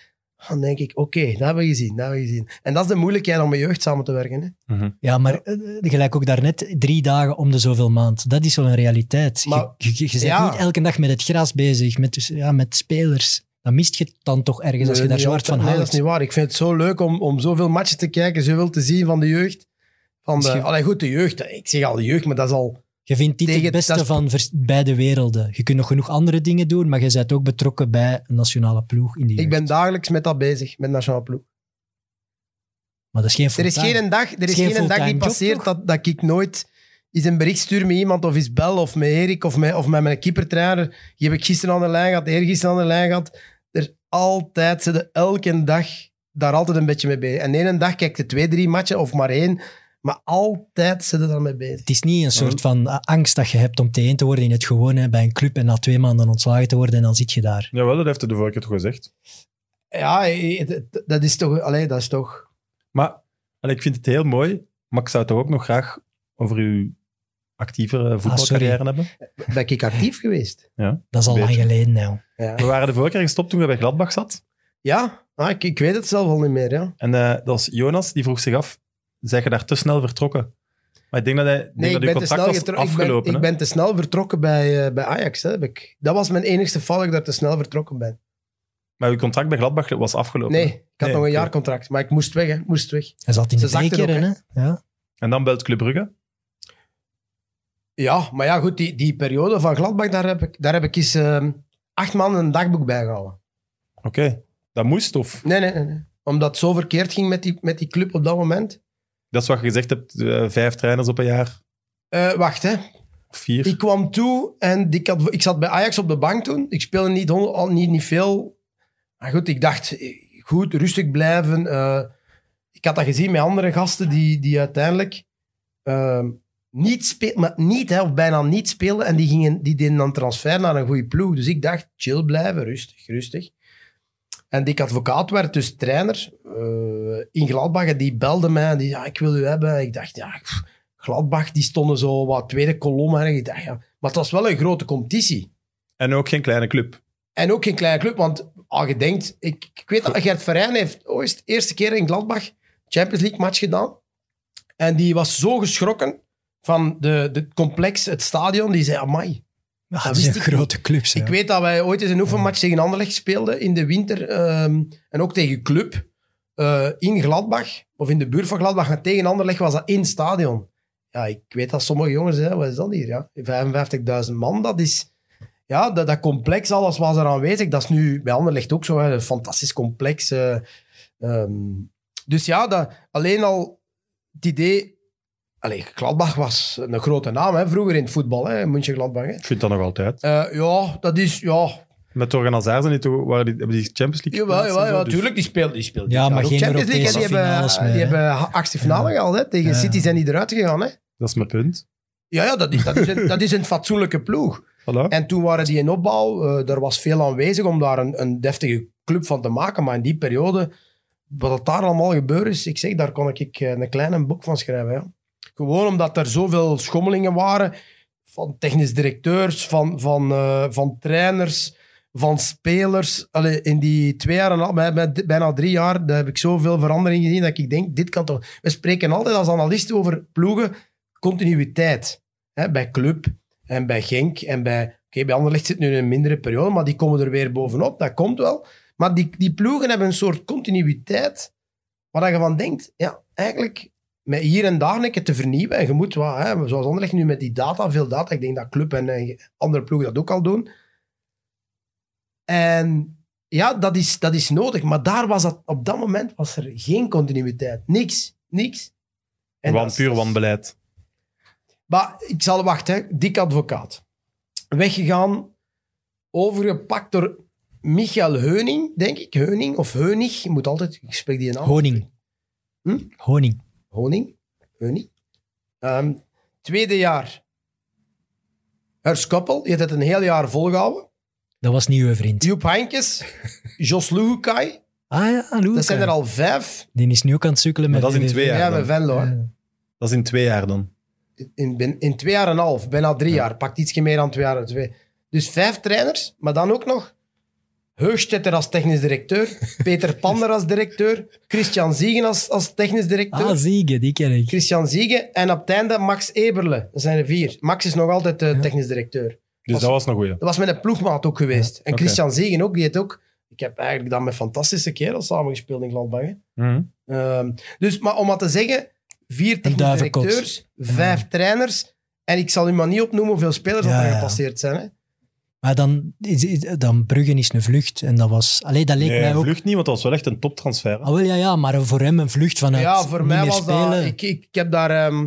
[SPEAKER 4] dan denk ik, oké, dat hebben we gezien, dat hebben we gezien. En dat is de moeilijkheid om met jeugd samen te werken. Hè?
[SPEAKER 1] Mhm.
[SPEAKER 2] Ja, maar eh, gelijk ook daarnet, drie dagen om de zoveel maand. Dat is wel een realiteit. Je-
[SPEAKER 4] Maar-
[SPEAKER 2] je, je, bent
[SPEAKER 4] ja.
[SPEAKER 2] niet elke dag met het gras bezig, met, dus, ja, met spelers. Dan mist je het dan toch ergens als je
[SPEAKER 4] Nee,
[SPEAKER 2] daar
[SPEAKER 4] niet
[SPEAKER 2] zwart van
[SPEAKER 4] altijd. Nee,
[SPEAKER 2] houdt.
[SPEAKER 4] dat is niet waar. Ik vind het zo leuk om, om zoveel matchen te kijken, zoveel te zien van de jeugd. Van de,
[SPEAKER 2] Misschien-
[SPEAKER 4] allee, goed, de jeugd. Ik zeg al de jeugd, maar dat is al...
[SPEAKER 2] Je vindt dit
[SPEAKER 4] Tegen-
[SPEAKER 2] het beste
[SPEAKER 4] dat is-
[SPEAKER 2] van vers- beide werelden. Je kunt nog genoeg andere dingen doen, maar je bent ook betrokken bij een nationale ploeg in die
[SPEAKER 4] Ik
[SPEAKER 2] jeugd.
[SPEAKER 4] ben dagelijks met dat bezig, met nationale ploeg.
[SPEAKER 2] Maar dat is geen
[SPEAKER 4] Er is
[SPEAKER 2] fulltime.
[SPEAKER 4] geen dag, er
[SPEAKER 2] is
[SPEAKER 4] is
[SPEAKER 2] geen
[SPEAKER 4] geen een dag
[SPEAKER 2] fulltime
[SPEAKER 4] die
[SPEAKER 2] job,
[SPEAKER 4] passeert
[SPEAKER 2] toch?
[SPEAKER 4] dat, dat ik nooit eens een bericht stuur met iemand of eens bel of met Erik of met, of met mijn keepertrainer. Die heb ik gisteren aan de lijn gehad, eergisteren aan de lijn gehad. Er is altijd, ze de elke dag daar altijd een beetje mee bezig. En één dag kijk je twee, drie matchen of maar één. Maar altijd zitten daar mee bezig.
[SPEAKER 2] Het is niet een
[SPEAKER 4] Hm.
[SPEAKER 2] soort van eh, angst dat je hebt om T1 te worden in het gewone bij een club en na twee maanden ontslagen te worden en dan zit je daar.
[SPEAKER 1] Jawel, dat heeft hij de vorige keer toch gezegd.
[SPEAKER 4] Ja, het- het- dat is toch... Allee, dat is toch...
[SPEAKER 1] Maar allee, ik vind het heel mooi, maar ik zou het toch ook nog graag over uw actievere voetbalcarrière hebben.
[SPEAKER 4] Ben ik actief geweest?
[SPEAKER 2] Dat is al
[SPEAKER 1] Een
[SPEAKER 2] lang
[SPEAKER 1] beetje.
[SPEAKER 2] geleden nou.
[SPEAKER 4] Ja,
[SPEAKER 1] We waren de vorige keer gestopt toen we bij Gladbach zat.
[SPEAKER 4] ja? Ah, ik, ik weet het zelf al niet meer, ja.
[SPEAKER 1] En eh, dat was Jonas, die vroeg zich af, zijn je daar te snel vertrokken? Maar ik denk dat, hij, ik denk
[SPEAKER 4] Nee, ik
[SPEAKER 1] dat
[SPEAKER 4] ben,
[SPEAKER 1] uw
[SPEAKER 4] te snel
[SPEAKER 1] contract was
[SPEAKER 4] getro- ik, ben,
[SPEAKER 1] afgelopen.
[SPEAKER 4] ik
[SPEAKER 1] hè?
[SPEAKER 4] ben te snel vertrokken bij, eh, bij Ajax. Hè, heb ik. Dat was mijn enigste val dat ik daar te snel vertrokken ben.
[SPEAKER 1] Maar uw contract bij Gladbach was afgelopen.
[SPEAKER 4] Nee,
[SPEAKER 1] hè?
[SPEAKER 4] ik had
[SPEAKER 1] Nee,
[SPEAKER 4] nog een
[SPEAKER 1] oké.
[SPEAKER 4] jaar contract, maar ik moest weg. Hè, moest weg.
[SPEAKER 2] Hij zat in
[SPEAKER 4] Ze
[SPEAKER 2] de
[SPEAKER 4] zakte
[SPEAKER 2] beker,
[SPEAKER 4] ook,
[SPEAKER 2] hè? Ja.
[SPEAKER 1] En dan belt Club Brugge.
[SPEAKER 4] Ja, maar ja, goed, die, die periode van Gladbach, daar heb ik, daar heb ik eens ehm, acht maanden een dagboek bij gehouden.
[SPEAKER 1] Oké, dat moest of?
[SPEAKER 4] Nee, nee, nee. nee. Omdat het zo verkeerd ging met die, met die club op dat moment.
[SPEAKER 1] Dat is wat je gezegd hebt, eh, vijf trainers op een jaar,
[SPEAKER 4] Eh, wacht, hè.
[SPEAKER 1] of vier.
[SPEAKER 4] Ik kwam toe en ik, had, ik zat bij Ajax op de bank toen. Ik speelde niet, honderd- al niet, niet veel. Maar goed, ik dacht, eh, goed, rustig blijven. Eh, ik had dat gezien met andere gasten die, die uiteindelijk eh, niet speelden, maar niet, hè, of bijna niet speelden. En die, gingen, die deden dan transfer naar een goede ploeg. Dus ik dacht, chill blijven, rustig, rustig. En Dick Advocaat werd dus trainer eh, in Gladbach. En die belde mij en die ja, ik wil u hebben. Ik dacht, ja, pff, Gladbach, die stonden zo wat tweede kolom. En ik dacht, ja. Maar het was wel een grote competitie.
[SPEAKER 1] En ook geen kleine club.
[SPEAKER 4] En ook geen kleine club, want al je denkt... Ik, ik weet dat Gert Verijn heeft ooit de eerste keer in Gladbach Champions League match gedaan. En die was zo geschrokken van de, de complex, het stadion. Die zei, amai,
[SPEAKER 2] Ja,
[SPEAKER 4] dat
[SPEAKER 2] dat zijn
[SPEAKER 4] Ah, wist ik
[SPEAKER 2] grote clubs.
[SPEAKER 4] ik weet dat wij ooit eens een oefenmatch tegen Anderlecht speelden in de winter. ehm, en ook tegen Club eh, in Gladbach, of in de buurt van Gladbach. Maar tegen Anderlecht was dat in het stadion. Ja, ik weet dat sommige jongens, hè, wat is dat hier? Ja? 55.000 man, dat is... Ja, dat, dat complex, alles was er aanwezig. Dat is nu bij Anderlecht ook zo, hè, een fantastisch complex. eh, ehm. dus ja, dat, alleen al het idee... Allee, Gladbach was een grote naam hè, vroeger in het voetbal, hè, München-Gladbach. hè.
[SPEAKER 1] Ik vind dat nog altijd.
[SPEAKER 4] Eh, ja, dat is... Ja,
[SPEAKER 1] Met Torgan Hazard zijn die toch, waren die, hebben die Champions League
[SPEAKER 4] Jawel,
[SPEAKER 1] geplaatst en
[SPEAKER 4] jawel,
[SPEAKER 1] zo,
[SPEAKER 4] ja,
[SPEAKER 1] dus-
[SPEAKER 4] tuurlijk, die speelt, die
[SPEAKER 2] Ja,
[SPEAKER 4] speelt dit jaar
[SPEAKER 2] maar
[SPEAKER 4] ook
[SPEAKER 2] geen
[SPEAKER 4] Champions League, hè,
[SPEAKER 2] Europese
[SPEAKER 4] die hebben, eh,
[SPEAKER 2] finales meer,
[SPEAKER 4] Die
[SPEAKER 2] hè?
[SPEAKER 4] hebben ha- achtste finale
[SPEAKER 2] Ja.
[SPEAKER 4] gehaald, hè. tegen
[SPEAKER 2] Ja.
[SPEAKER 4] City zijn die eruit gegaan. Hè.
[SPEAKER 1] Dat is mijn punt.
[SPEAKER 4] Ja, ja dat, is, dat, is een, dat is een fatsoenlijke ploeg.
[SPEAKER 1] Voilà.
[SPEAKER 4] En toen waren die in opbouw, eh, er was veel aanwezig om daar een, een deftige club van te maken, maar in die periode, wat dat daar allemaal gebeurd is, ik zeg, daar kon ik eh, een klein boek van schrijven. Ja. Gewoon omdat er zoveel schommelingen waren, van technisch directeurs, van, van, eh, van trainers, van spelers. Allee, in die twee jaar, en een half, bij- bij- bijna drie jaar, daar heb ik zoveel verandering gezien dat ik denk, dit kan toch... We spreken altijd als analisten over ploegen, continuïteit. Hè, bij Club en bij Genk en bij... Oké, bij Anderlecht zit nu in een mindere periode, maar die komen er weer bovenop, dat komt wel. Maar die, die ploegen hebben een soort continuïteit waar je van denkt, ja, eigenlijk met hier en daar een keer te vernieuwen. En je moet, wat, hè, zoals Anderlecht nu met die data, veel data, ik denk dat Club en eh, andere ploegen dat ook al doen. En ja, dat is, dat is nodig. Maar daar was dat, op dat moment was er geen continuïteit. Niks. Niks.
[SPEAKER 1] Wan-
[SPEAKER 4] dat is-
[SPEAKER 1] puur wanbeleid.
[SPEAKER 4] maar ik zal wachten, hè. dik advocaat. Weggegaan, overgepakt door Michael Heuning, denk ik. Heuning of Heunig, je moet altijd, ik spreek die naam.
[SPEAKER 2] Honing.
[SPEAKER 4] Hm?
[SPEAKER 2] Honing.
[SPEAKER 4] Honing, Heuning. Ehm, tweede jaar, Herskoppel, je hebt het een heel jaar volgehouden.
[SPEAKER 2] Dat was niet uw vriend.
[SPEAKER 4] Joep Heinkes, Jos Luhukai,
[SPEAKER 2] Ah ja, Louis.
[SPEAKER 4] dat zijn er al vijf.
[SPEAKER 2] Die is nu ook aan het sukkelen
[SPEAKER 1] Maar
[SPEAKER 2] met...
[SPEAKER 1] dat is in
[SPEAKER 2] VVV.
[SPEAKER 1] twee
[SPEAKER 4] Ja,
[SPEAKER 1] jaar. dan.
[SPEAKER 4] met Venlo. hè.
[SPEAKER 2] Ja.
[SPEAKER 1] Dat is in twee jaar dan.
[SPEAKER 4] in, ben- in twee jaar en een half, bijna drie jaar. Pakt ietsje meer dan twee jaar. en Twee. Dus vijf trainers, maar dan ook nog Heugstetter als technisch directeur, Peter Pander als directeur, Christian Ziegen als, als technisch directeur,
[SPEAKER 2] Ah, Ziege, die ken ik.
[SPEAKER 4] Christian Ziegen en op het einde Max Eberle. Dat zijn er vier. Max is nog altijd de technisch directeur.
[SPEAKER 1] Dus
[SPEAKER 4] Als-
[SPEAKER 1] dat was nog goeie.
[SPEAKER 4] Dat was met een ploegmaat ook geweest. En
[SPEAKER 1] oké.
[SPEAKER 4] Christian Ziegen ook, die het ook. Ik heb eigenlijk dan met fantastische kerels samengespeeld in Gladbach.
[SPEAKER 1] Mhm.
[SPEAKER 4] Ehm, dus, maar om maar te zeggen, vier technische
[SPEAKER 2] duivenkot.
[SPEAKER 4] directeurs, vijf trainers. En ik zal u maar niet opnoemen hoeveel spelers
[SPEAKER 2] Ja,
[SPEAKER 4] dat er
[SPEAKER 2] ja.
[SPEAKER 4] gepasseerd zijn. Hè?
[SPEAKER 2] Maar dan, is- is- dan Bruggen is een vlucht. En dat was... Allee, dat leek
[SPEAKER 1] Nee,
[SPEAKER 2] mij ook...
[SPEAKER 1] vlucht niet, want dat was wel echt een toptransfer. hè.
[SPEAKER 2] Ah, wel, ja, ja, maar voor hem een vlucht vanuit
[SPEAKER 4] ja, voor mij was
[SPEAKER 2] spelen.
[SPEAKER 4] dat... Ik, ik, ik heb daar... ehm,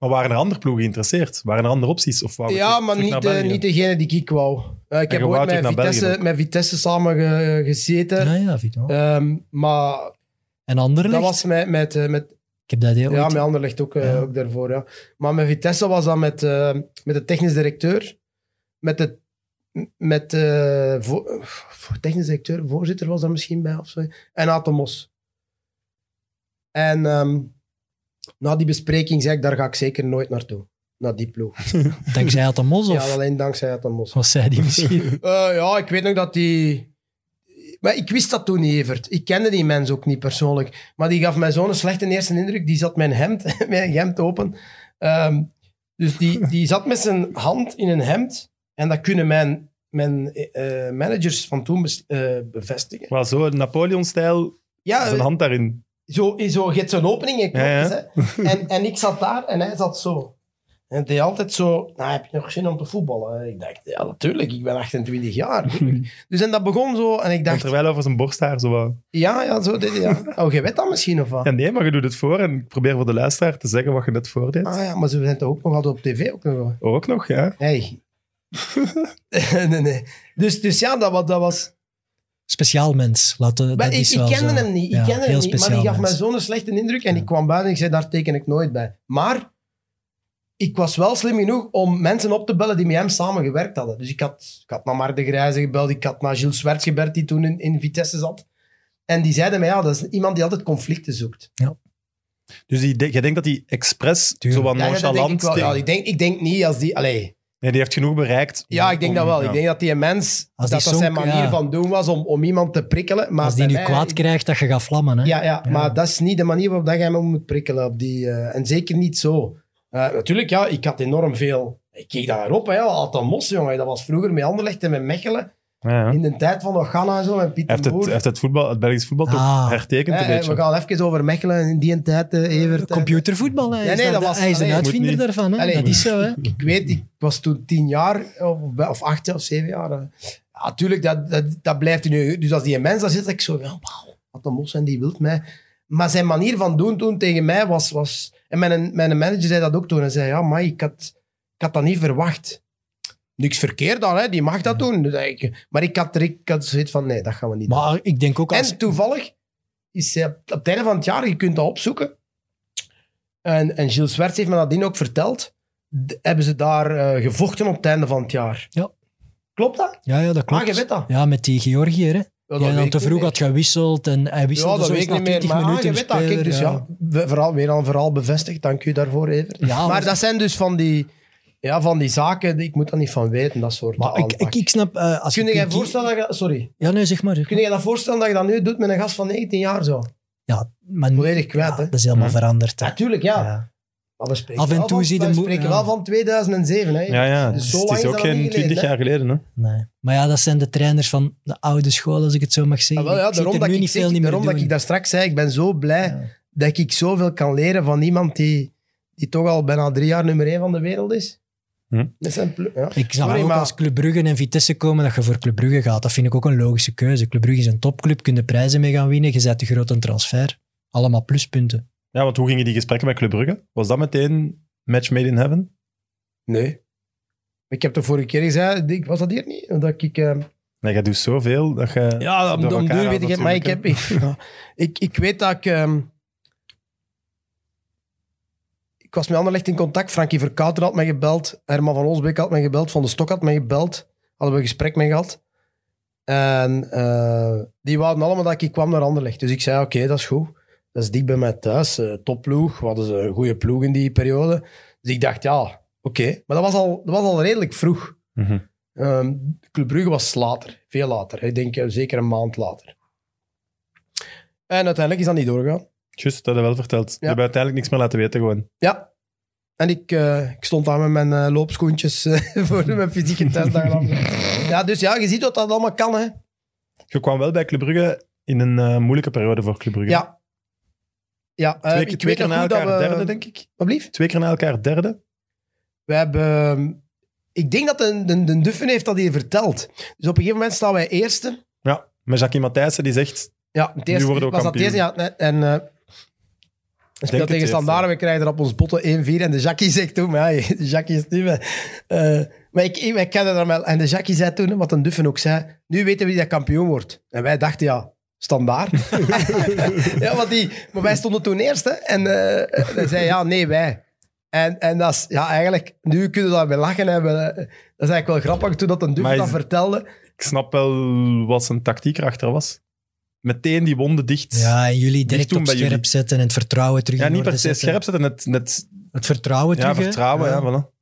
[SPEAKER 1] Oh, Maar waren er andere ploegen geïnteresseerd? Waren er andere opties? Of waren we
[SPEAKER 4] ja,
[SPEAKER 1] terug-
[SPEAKER 4] maar
[SPEAKER 1] terug
[SPEAKER 4] niet,
[SPEAKER 1] naar
[SPEAKER 4] de,
[SPEAKER 1] België?
[SPEAKER 4] niet degene die ik wou. Eh, ik
[SPEAKER 1] En
[SPEAKER 4] heb
[SPEAKER 1] je wou
[SPEAKER 4] ooit met
[SPEAKER 1] terug naar België
[SPEAKER 4] Vitesse,
[SPEAKER 1] ook.
[SPEAKER 4] met Vitesse samen ge- gezeten.
[SPEAKER 2] Ja, ja, vind ik wel.
[SPEAKER 4] Ehm, maar
[SPEAKER 2] En Anderlecht?
[SPEAKER 4] eh, dat was met, met, eh, met,
[SPEAKER 2] Ik heb dat idee
[SPEAKER 4] Ja,
[SPEAKER 2] ooit-
[SPEAKER 4] met Anderlecht ook, eh,
[SPEAKER 2] Ja.
[SPEAKER 4] ook daarvoor. Ja. Maar met Vitesse was dat met, eh, met de technisch directeur, met de met, eh, vo- eh, technisch directeur, voorzitter was dat misschien bij of zo, en Atomos. En ehm, na die bespreking zei ik, daar ga ik zeker nooit naartoe. Naar die ploeg.
[SPEAKER 2] Dankzij Atomos of
[SPEAKER 4] Ja, alleen dankzij Atomos.
[SPEAKER 2] was zij die misschien?
[SPEAKER 4] Eh, ja, ik weet nog dat die... Maar ik wist dat toen niet, Evert. Ik kende die mens ook niet persoonlijk. Maar die gaf mij zo'n slechte eerste indruk. Die zat mijn hemd, mijn hemd open. Ehm, dus die, die zat met zijn hand in een hemd. En dat kunnen mijn, mijn eh, managers van toen bes- eh, bevestigen.
[SPEAKER 1] Maar zo, Napoleon-stijl,
[SPEAKER 4] Ja,
[SPEAKER 1] zijn hand daarin.
[SPEAKER 4] zo, zo, je hebt zo'n opening en knopjes,
[SPEAKER 1] Ja,
[SPEAKER 4] hè. En, en ik zat daar en hij zat zo. En hij deed altijd zo, nou, heb je nog zin om te voetballen? En ik dacht, ja, natuurlijk, ik ben 28 jaar. tuurlijk. dus en dat begon zo en ik
[SPEAKER 1] En
[SPEAKER 4] dacht,
[SPEAKER 1] terwijl over zijn borsthaar zo wat-
[SPEAKER 4] ja, ja, zo deed hij dat. Oh, je weet dat misschien of wat?
[SPEAKER 1] Ja, nee, maar je doet het voor en ik probeer voor de luisteraar te zeggen wat je net voordeed.
[SPEAKER 4] Ah ja, maar ze zijn toch ook nog altijd op tv? Ook nog wel.
[SPEAKER 1] Ook nog, ja.
[SPEAKER 4] Hey. nee, nee. Dus, dus ja, dat, wa- dat was...
[SPEAKER 2] Speciaal mens. Laten,
[SPEAKER 4] Maar
[SPEAKER 2] dat
[SPEAKER 4] ik,
[SPEAKER 2] is
[SPEAKER 4] ik
[SPEAKER 2] wel
[SPEAKER 4] kende
[SPEAKER 2] zo.
[SPEAKER 4] hem niet, ik
[SPEAKER 2] Ja,
[SPEAKER 4] kende hem
[SPEAKER 2] heel
[SPEAKER 4] niet maar die
[SPEAKER 2] speciaal
[SPEAKER 4] gaf mij
[SPEAKER 2] mens.
[SPEAKER 4] zo'n slechte indruk. En
[SPEAKER 2] Ja.
[SPEAKER 4] ik kwam buiten en ik zei, daar teken ik nooit bij. Maar ik was wel slim genoeg om mensen op te bellen die met hem samen gewerkt hadden. Dus ik had, ik had naar Mark de Grijze gebeld, ik had naar Gilles Swerts gebeld, die toen in, in Vitesse zat. En die zeiden mij, ja, dat is iemand die altijd conflicten zoekt.
[SPEAKER 1] Dus die, de- jij denkt dat hij expres
[SPEAKER 2] Tuurlijk.
[SPEAKER 1] zo wat
[SPEAKER 4] Ja, ja, dat denk ik
[SPEAKER 1] nonchalant...
[SPEAKER 4] wel. Ja,
[SPEAKER 1] tegen-
[SPEAKER 4] ik denk, ik denk niet als die... Allee,
[SPEAKER 1] Nee, die heeft genoeg bereikt.
[SPEAKER 4] ja, ik denk
[SPEAKER 1] om-
[SPEAKER 4] dat wel.
[SPEAKER 1] ja.
[SPEAKER 4] Ik denk dat die mens,
[SPEAKER 2] Als
[SPEAKER 4] dat
[SPEAKER 2] die
[SPEAKER 4] dat zijn
[SPEAKER 2] zonk,
[SPEAKER 4] manier
[SPEAKER 2] ja.
[SPEAKER 4] van doen was om, om iemand te prikkelen. Maar
[SPEAKER 2] Als die nu
[SPEAKER 4] bij mij-
[SPEAKER 2] kwaad krijgt, dat je gaat vlammen. Hè?
[SPEAKER 4] Ja, ja,
[SPEAKER 2] Ja.
[SPEAKER 4] maar dat is niet de manier waarop dat jij me moet prikkelen. Op die, eh, en zeker niet zo. Eh, natuurlijk, ja, ik had enorm veel... Ik keek daarop, hè. Alton Mos, jongen. Dat was vroeger met Anderlecht en met Mechelen.
[SPEAKER 1] Ja, ja.
[SPEAKER 4] In de tijd van Ogana en zo, en
[SPEAKER 1] Hij
[SPEAKER 4] Pieter
[SPEAKER 1] heeft het, hij
[SPEAKER 4] Boer.
[SPEAKER 1] heeft het, voetbal, het Belgisch voetbal toch
[SPEAKER 2] Ah.
[SPEAKER 1] hertekend
[SPEAKER 4] Eh,
[SPEAKER 1] een
[SPEAKER 4] eh,
[SPEAKER 1] beetje.
[SPEAKER 4] we gaan even over Mechelen in die tijd, eh, Evert. eh.
[SPEAKER 2] Computervoetbal, hè.
[SPEAKER 4] Ja,
[SPEAKER 2] Is
[SPEAKER 4] nee, dat was-
[SPEAKER 2] hij is
[SPEAKER 4] allee,
[SPEAKER 2] een
[SPEAKER 4] moet
[SPEAKER 2] uitvinder
[SPEAKER 1] niet.
[SPEAKER 2] daarvan. Hè?
[SPEAKER 4] Allee,
[SPEAKER 2] dat is zo, hè.
[SPEAKER 4] Ik weet, ik was toen tien jaar, of, bij- of acht jaar, of zeven jaar. eh. Ja, tuurlijk, dat, dat, dat blijft in je... Dus als die mens daar zit, ik zo, ja, wauw, wat een mos en die wilt mij. Maar zijn manier van doen toen tegen mij was... was en mijn, mijn manager zei dat ook toen. Hij zei, ja, maar ik had, ik had dat niet verwacht. Niks verkeerd dan, hè, die mag dat doen. Dus ik- Maar ik had, er- ik had zoiets van, nee, dat gaan we niet doen.
[SPEAKER 2] Maar ik denk ook als...
[SPEAKER 4] En toevallig is hij op op het einde van het jaar, je kunt dat opzoeken. En, en Gilles Swerts heeft me nadien ook verteld. d- hebben ze daar eh, gevochten op het einde van het jaar?
[SPEAKER 2] Ja.
[SPEAKER 4] Klopt dat?
[SPEAKER 2] Ja, ja, dat
[SPEAKER 4] Maar Ah, je
[SPEAKER 2] klopt.
[SPEAKER 4] weet dat.
[SPEAKER 2] Ja, met die Georgiër, hè.
[SPEAKER 4] Ja, dat
[SPEAKER 2] Die
[SPEAKER 4] weet
[SPEAKER 2] dan
[SPEAKER 4] ik
[SPEAKER 2] te
[SPEAKER 4] niet
[SPEAKER 2] vroeg
[SPEAKER 4] meer.
[SPEAKER 2] had gewisseld en hij
[SPEAKER 4] Ja,
[SPEAKER 2] wisselde
[SPEAKER 4] dat
[SPEAKER 2] zo
[SPEAKER 4] weet
[SPEAKER 2] eens
[SPEAKER 4] ik
[SPEAKER 2] na
[SPEAKER 4] niet meer.
[SPEAKER 2] 20
[SPEAKER 4] Maar ah,
[SPEAKER 2] minuten
[SPEAKER 4] je
[SPEAKER 2] een
[SPEAKER 4] weet dat. Kijk,
[SPEAKER 2] speler,
[SPEAKER 4] dus ja, we- vooral, weer al vooral bevestigd. Dank u daarvoor, Evert.
[SPEAKER 2] Ja,
[SPEAKER 4] maar
[SPEAKER 2] maar-
[SPEAKER 4] dat zijn dus van die... Ja, van die zaken, die- ik moet daar niet van weten, dat soort
[SPEAKER 2] Maar ik,
[SPEAKER 4] aanpak.
[SPEAKER 2] ik, ik snap... eh, als
[SPEAKER 4] Kun
[SPEAKER 2] je
[SPEAKER 4] jij
[SPEAKER 2] kie-
[SPEAKER 4] voorstellen dat je... Sorry.
[SPEAKER 2] Ja, nee, zeg maar.
[SPEAKER 4] Kun je dat voorstellen dat je dat nu doet met een gast van 19 jaar zo?
[SPEAKER 2] Ja, maar
[SPEAKER 4] Volledig kwijt,
[SPEAKER 2] ja,
[SPEAKER 4] hè?
[SPEAKER 2] dat is helemaal
[SPEAKER 1] Hm.
[SPEAKER 2] veranderd. hè.
[SPEAKER 4] Natuurlijk, ja.
[SPEAKER 2] Ja.
[SPEAKER 4] Maar we spreken
[SPEAKER 2] Af en
[SPEAKER 4] wel
[SPEAKER 2] toe
[SPEAKER 4] van-
[SPEAKER 2] zie je
[SPEAKER 4] We
[SPEAKER 2] de mo-
[SPEAKER 4] spreken
[SPEAKER 2] ja.
[SPEAKER 4] wel van 2007, hè.
[SPEAKER 1] Ja, ja. het
[SPEAKER 4] Dus
[SPEAKER 1] is-
[SPEAKER 4] zo
[SPEAKER 1] het
[SPEAKER 4] lang
[SPEAKER 1] is
[SPEAKER 4] is
[SPEAKER 1] ook
[SPEAKER 4] dat nog
[SPEAKER 1] geen
[SPEAKER 4] niet
[SPEAKER 1] 20
[SPEAKER 4] geleden,
[SPEAKER 1] jaar geleden. Hè?
[SPEAKER 2] Nee. Maar ja, dat zijn de trainers van de oude school, als ik het zo mag
[SPEAKER 4] Ah,
[SPEAKER 2] zeggen.
[SPEAKER 4] wel,
[SPEAKER 2] ik
[SPEAKER 4] ja,
[SPEAKER 2] zie het
[SPEAKER 4] daarom
[SPEAKER 2] er
[SPEAKER 4] dat
[SPEAKER 2] nu
[SPEAKER 4] ik,
[SPEAKER 2] niet
[SPEAKER 4] zeg-
[SPEAKER 2] veel niet meer
[SPEAKER 4] daarom dat
[SPEAKER 2] doen.
[SPEAKER 4] ik dat straks zei, ik ben zo blij dat ik zoveel kan leren van iemand die, die toch al bijna drie jaar nummer één van de wereld is.
[SPEAKER 1] Hm.
[SPEAKER 4] Dat zijn plu- ja.
[SPEAKER 2] Ik snap
[SPEAKER 4] Sorry,
[SPEAKER 2] ook
[SPEAKER 4] maar-
[SPEAKER 2] als Club Brugge en Vitesse komen dat je voor Club Brugge gaat. Dat vind ik ook een logische keuze. Club Brugge is een topclub, kun je prijzen mee gaan winnen. Je zet de grote transfer. Allemaal pluspunten.
[SPEAKER 1] Ja, want hoe gingen die gesprekken met Club Brugge? Was dat meteen match made in heaven?
[SPEAKER 4] Nee. Ik heb de vorige keer gezegd, ik- was dat hier niet? Dat ik, eh,
[SPEAKER 1] Nee, jij doet zoveel dat je...
[SPEAKER 4] ja, om,
[SPEAKER 1] eh, door
[SPEAKER 4] om
[SPEAKER 1] elkaar
[SPEAKER 4] duur
[SPEAKER 1] haalt
[SPEAKER 4] weet ik het, maar ik, heb,
[SPEAKER 1] natuurlijk,
[SPEAKER 4] ik, ik, ik weet dat ik... ehm, ik was met Anderlecht in contact. Frankie Verkouter had mij gebeld. Herman van Osbeek had mij gebeld. Van de Stok had mij gebeld. Hadden we een gesprek mee gehad. En eh, die wouden allemaal dat ik kwam naar Anderlecht. Dus ik zei, oké, dat is goed. Dat is dicht bij mij thuis. Eh, topploeg. We hadden ze een goede ploeg in die periode. Dus ik dacht, ja, oké. Maar dat was, al, dat was al redelijk vroeg.
[SPEAKER 1] Mhm.
[SPEAKER 4] Ehm, Club Brugge was later. Veel later. Ik denk eh, zeker een maand later. En uiteindelijk is dat niet doorgegaan.
[SPEAKER 1] Juist, dat had je wel verteld. Je
[SPEAKER 4] Ja.
[SPEAKER 1] hebt uiteindelijk niks meer laten weten gewoon.
[SPEAKER 4] Ja. En ik, eh, ik stond daar met mijn eh, loopschoentjes eh, voor mijn fysieke test. daar aan. ja, dus ja, je ziet wat dat allemaal kan, hè.
[SPEAKER 1] Je kwam wel bij Club Brugge in een eh, moeilijke periode voor Club Brugge.
[SPEAKER 4] Ja. Ja, eh,
[SPEAKER 1] Twee,
[SPEAKER 4] ik
[SPEAKER 1] twee
[SPEAKER 4] weet
[SPEAKER 1] keer
[SPEAKER 4] nog
[SPEAKER 1] na
[SPEAKER 4] goed dat
[SPEAKER 1] elkaar
[SPEAKER 4] we...
[SPEAKER 1] derde, denk ik.
[SPEAKER 4] Wat blieft?
[SPEAKER 1] Twee keer na elkaar derde.
[SPEAKER 4] We hebben... ehm, Ik denk dat de, de, de Duffen heeft dat hier verteld. Dus op een gegeven moment staan wij eerste.
[SPEAKER 1] Ja, met Jackie Matthijssen die zegt...
[SPEAKER 4] Ja, het eerste
[SPEAKER 1] worden we
[SPEAKER 4] was
[SPEAKER 1] kampioen.
[SPEAKER 4] dat eerste. Ja, nee, en... eh, we
[SPEAKER 1] het
[SPEAKER 4] spelen tegen
[SPEAKER 1] eerste.
[SPEAKER 4] Standaard en we krijgen er op ons botten 1-4. En de Jackie zegt toen... Maar ja, de Jackie is nu... eh, eh, maar ik, ik, ik kende dat wel. En de Jackie zei toen, wat een Duffen ook zei... Nu weten we wie dat kampioen wordt. En wij dachten, ja... Standaard. ja, want die, maar wij stonden toen eerst. Hè, en eh, hij zei, ja, nee, wij. En, en dat is, ja, eigenlijk, nu kunnen we daar weer lachen. Hè, we, eh, dat is eigenlijk wel grappig, toen dat een
[SPEAKER 1] Maar
[SPEAKER 4] Duffen
[SPEAKER 1] is-
[SPEAKER 4] dat vertelde.
[SPEAKER 1] Ik snap wel wat zijn tactiek erachter was. Meteen die wonden dicht.
[SPEAKER 2] Ja, en jullie direct
[SPEAKER 1] doen
[SPEAKER 2] op
[SPEAKER 1] bij
[SPEAKER 2] scherp
[SPEAKER 1] jullie.
[SPEAKER 2] zetten en het vertrouwen terug
[SPEAKER 1] Ja,
[SPEAKER 2] in
[SPEAKER 1] niet per
[SPEAKER 2] orde
[SPEAKER 1] se
[SPEAKER 2] zetten.
[SPEAKER 1] scherp zetten. Net, net,
[SPEAKER 2] Het vertrouwen
[SPEAKER 1] ja,
[SPEAKER 2] terug, hè.
[SPEAKER 1] vertrouwen, ja, voilà.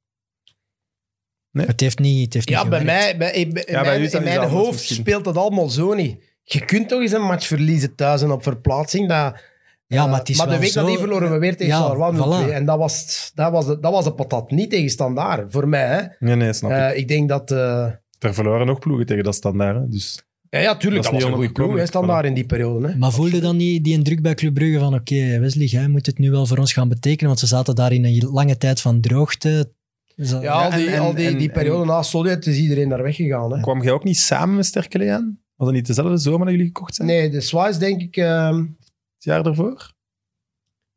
[SPEAKER 2] Het heeft niet, het heeft
[SPEAKER 4] Ja,
[SPEAKER 2] niet
[SPEAKER 4] bij
[SPEAKER 2] gewerkt.
[SPEAKER 4] mij, bij, in- in
[SPEAKER 1] Ja, bij
[SPEAKER 4] mijn,
[SPEAKER 1] u is dat
[SPEAKER 4] in
[SPEAKER 1] iets
[SPEAKER 4] mijn
[SPEAKER 1] anders
[SPEAKER 4] hoofd
[SPEAKER 1] misschien.
[SPEAKER 4] speelt dat allemaal zo niet. Je kunt toch eens een match verliezen thuis en op verplaatsing. Dat,
[SPEAKER 2] Ja,
[SPEAKER 4] eh,
[SPEAKER 2] maar het is
[SPEAKER 4] de
[SPEAKER 2] wel
[SPEAKER 4] week
[SPEAKER 2] zo...
[SPEAKER 4] daarna verloren we weer tegen
[SPEAKER 2] Ja,
[SPEAKER 4] Charleroi
[SPEAKER 2] voilà.
[SPEAKER 4] 0-2. En dat was, dat, was de, dat was de patat. Niet tegen Standaard, voor mij. Hè.
[SPEAKER 1] Nee, nee, snap ik.
[SPEAKER 4] Eh, ik denk dat... eh,
[SPEAKER 1] Er verloren nog ploegen tegen dat standaard. hè, Dus
[SPEAKER 4] ja, ja, tuurlijk,
[SPEAKER 1] Dat is
[SPEAKER 4] dat,
[SPEAKER 1] niet
[SPEAKER 4] was een goede ploeg,
[SPEAKER 1] onopkomelijk,
[SPEAKER 4] hè, Standaard in die periode. Hè.
[SPEAKER 2] Maar voelde dan niet die indruk bij Club Brugge van oké, Wesley, jij moet het nu wel voor ons gaan betekenen, want ze zaten daar in een lange tijd van droogte. Dus dat-
[SPEAKER 4] Ja, al die,
[SPEAKER 1] en- en-
[SPEAKER 4] al die, die
[SPEAKER 1] en-
[SPEAKER 4] periode na Solid is iedereen daar weggegaan. Hè.
[SPEAKER 1] kwam jij ook niet samen met Sterkele aan? Was dat niet dezelfde zomer dat jullie gekocht zijn?
[SPEAKER 4] Nee, de Swice denk ik... ehm,
[SPEAKER 1] Het jaar daarvoor?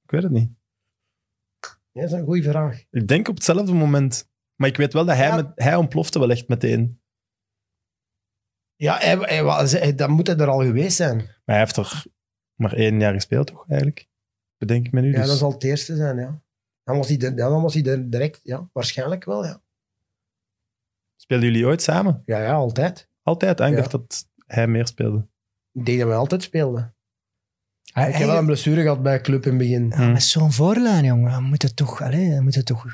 [SPEAKER 1] Ik weet het niet.
[SPEAKER 4] ja, dat is een goede vraag.
[SPEAKER 1] Ik denk op hetzelfde moment. Maar ik weet wel dat hij,
[SPEAKER 4] Ja.
[SPEAKER 1] met, hij ontplofte wel echt meteen.
[SPEAKER 4] Ja, hij, hij was- hij- dan moet hij er al geweest zijn.
[SPEAKER 1] Maar hij heeft er maar één jaar gespeeld, toch? Eigenlijk. Bedenk ik me nu.
[SPEAKER 4] Ja,
[SPEAKER 1] dus.
[SPEAKER 4] dat zal het eerste zijn, ja. Dan was hij, de- ja, dan was hij de- direct, ja, waarschijnlijk wel, ja.
[SPEAKER 1] Speelden jullie ooit samen?
[SPEAKER 4] Ja, ja, altijd.
[SPEAKER 1] Altijd. hè? Ik
[SPEAKER 4] Ja.
[SPEAKER 1] dacht dat hij meer speelde.
[SPEAKER 4] Ik denk dat we altijd speelden.
[SPEAKER 2] Ah,
[SPEAKER 4] Ik heb wel een blessure gehad bij club in het begin.
[SPEAKER 1] Hm.
[SPEAKER 2] Ja, Met zo'n voorlijn, jongen, dan moet het toch, allez, dan moet het toch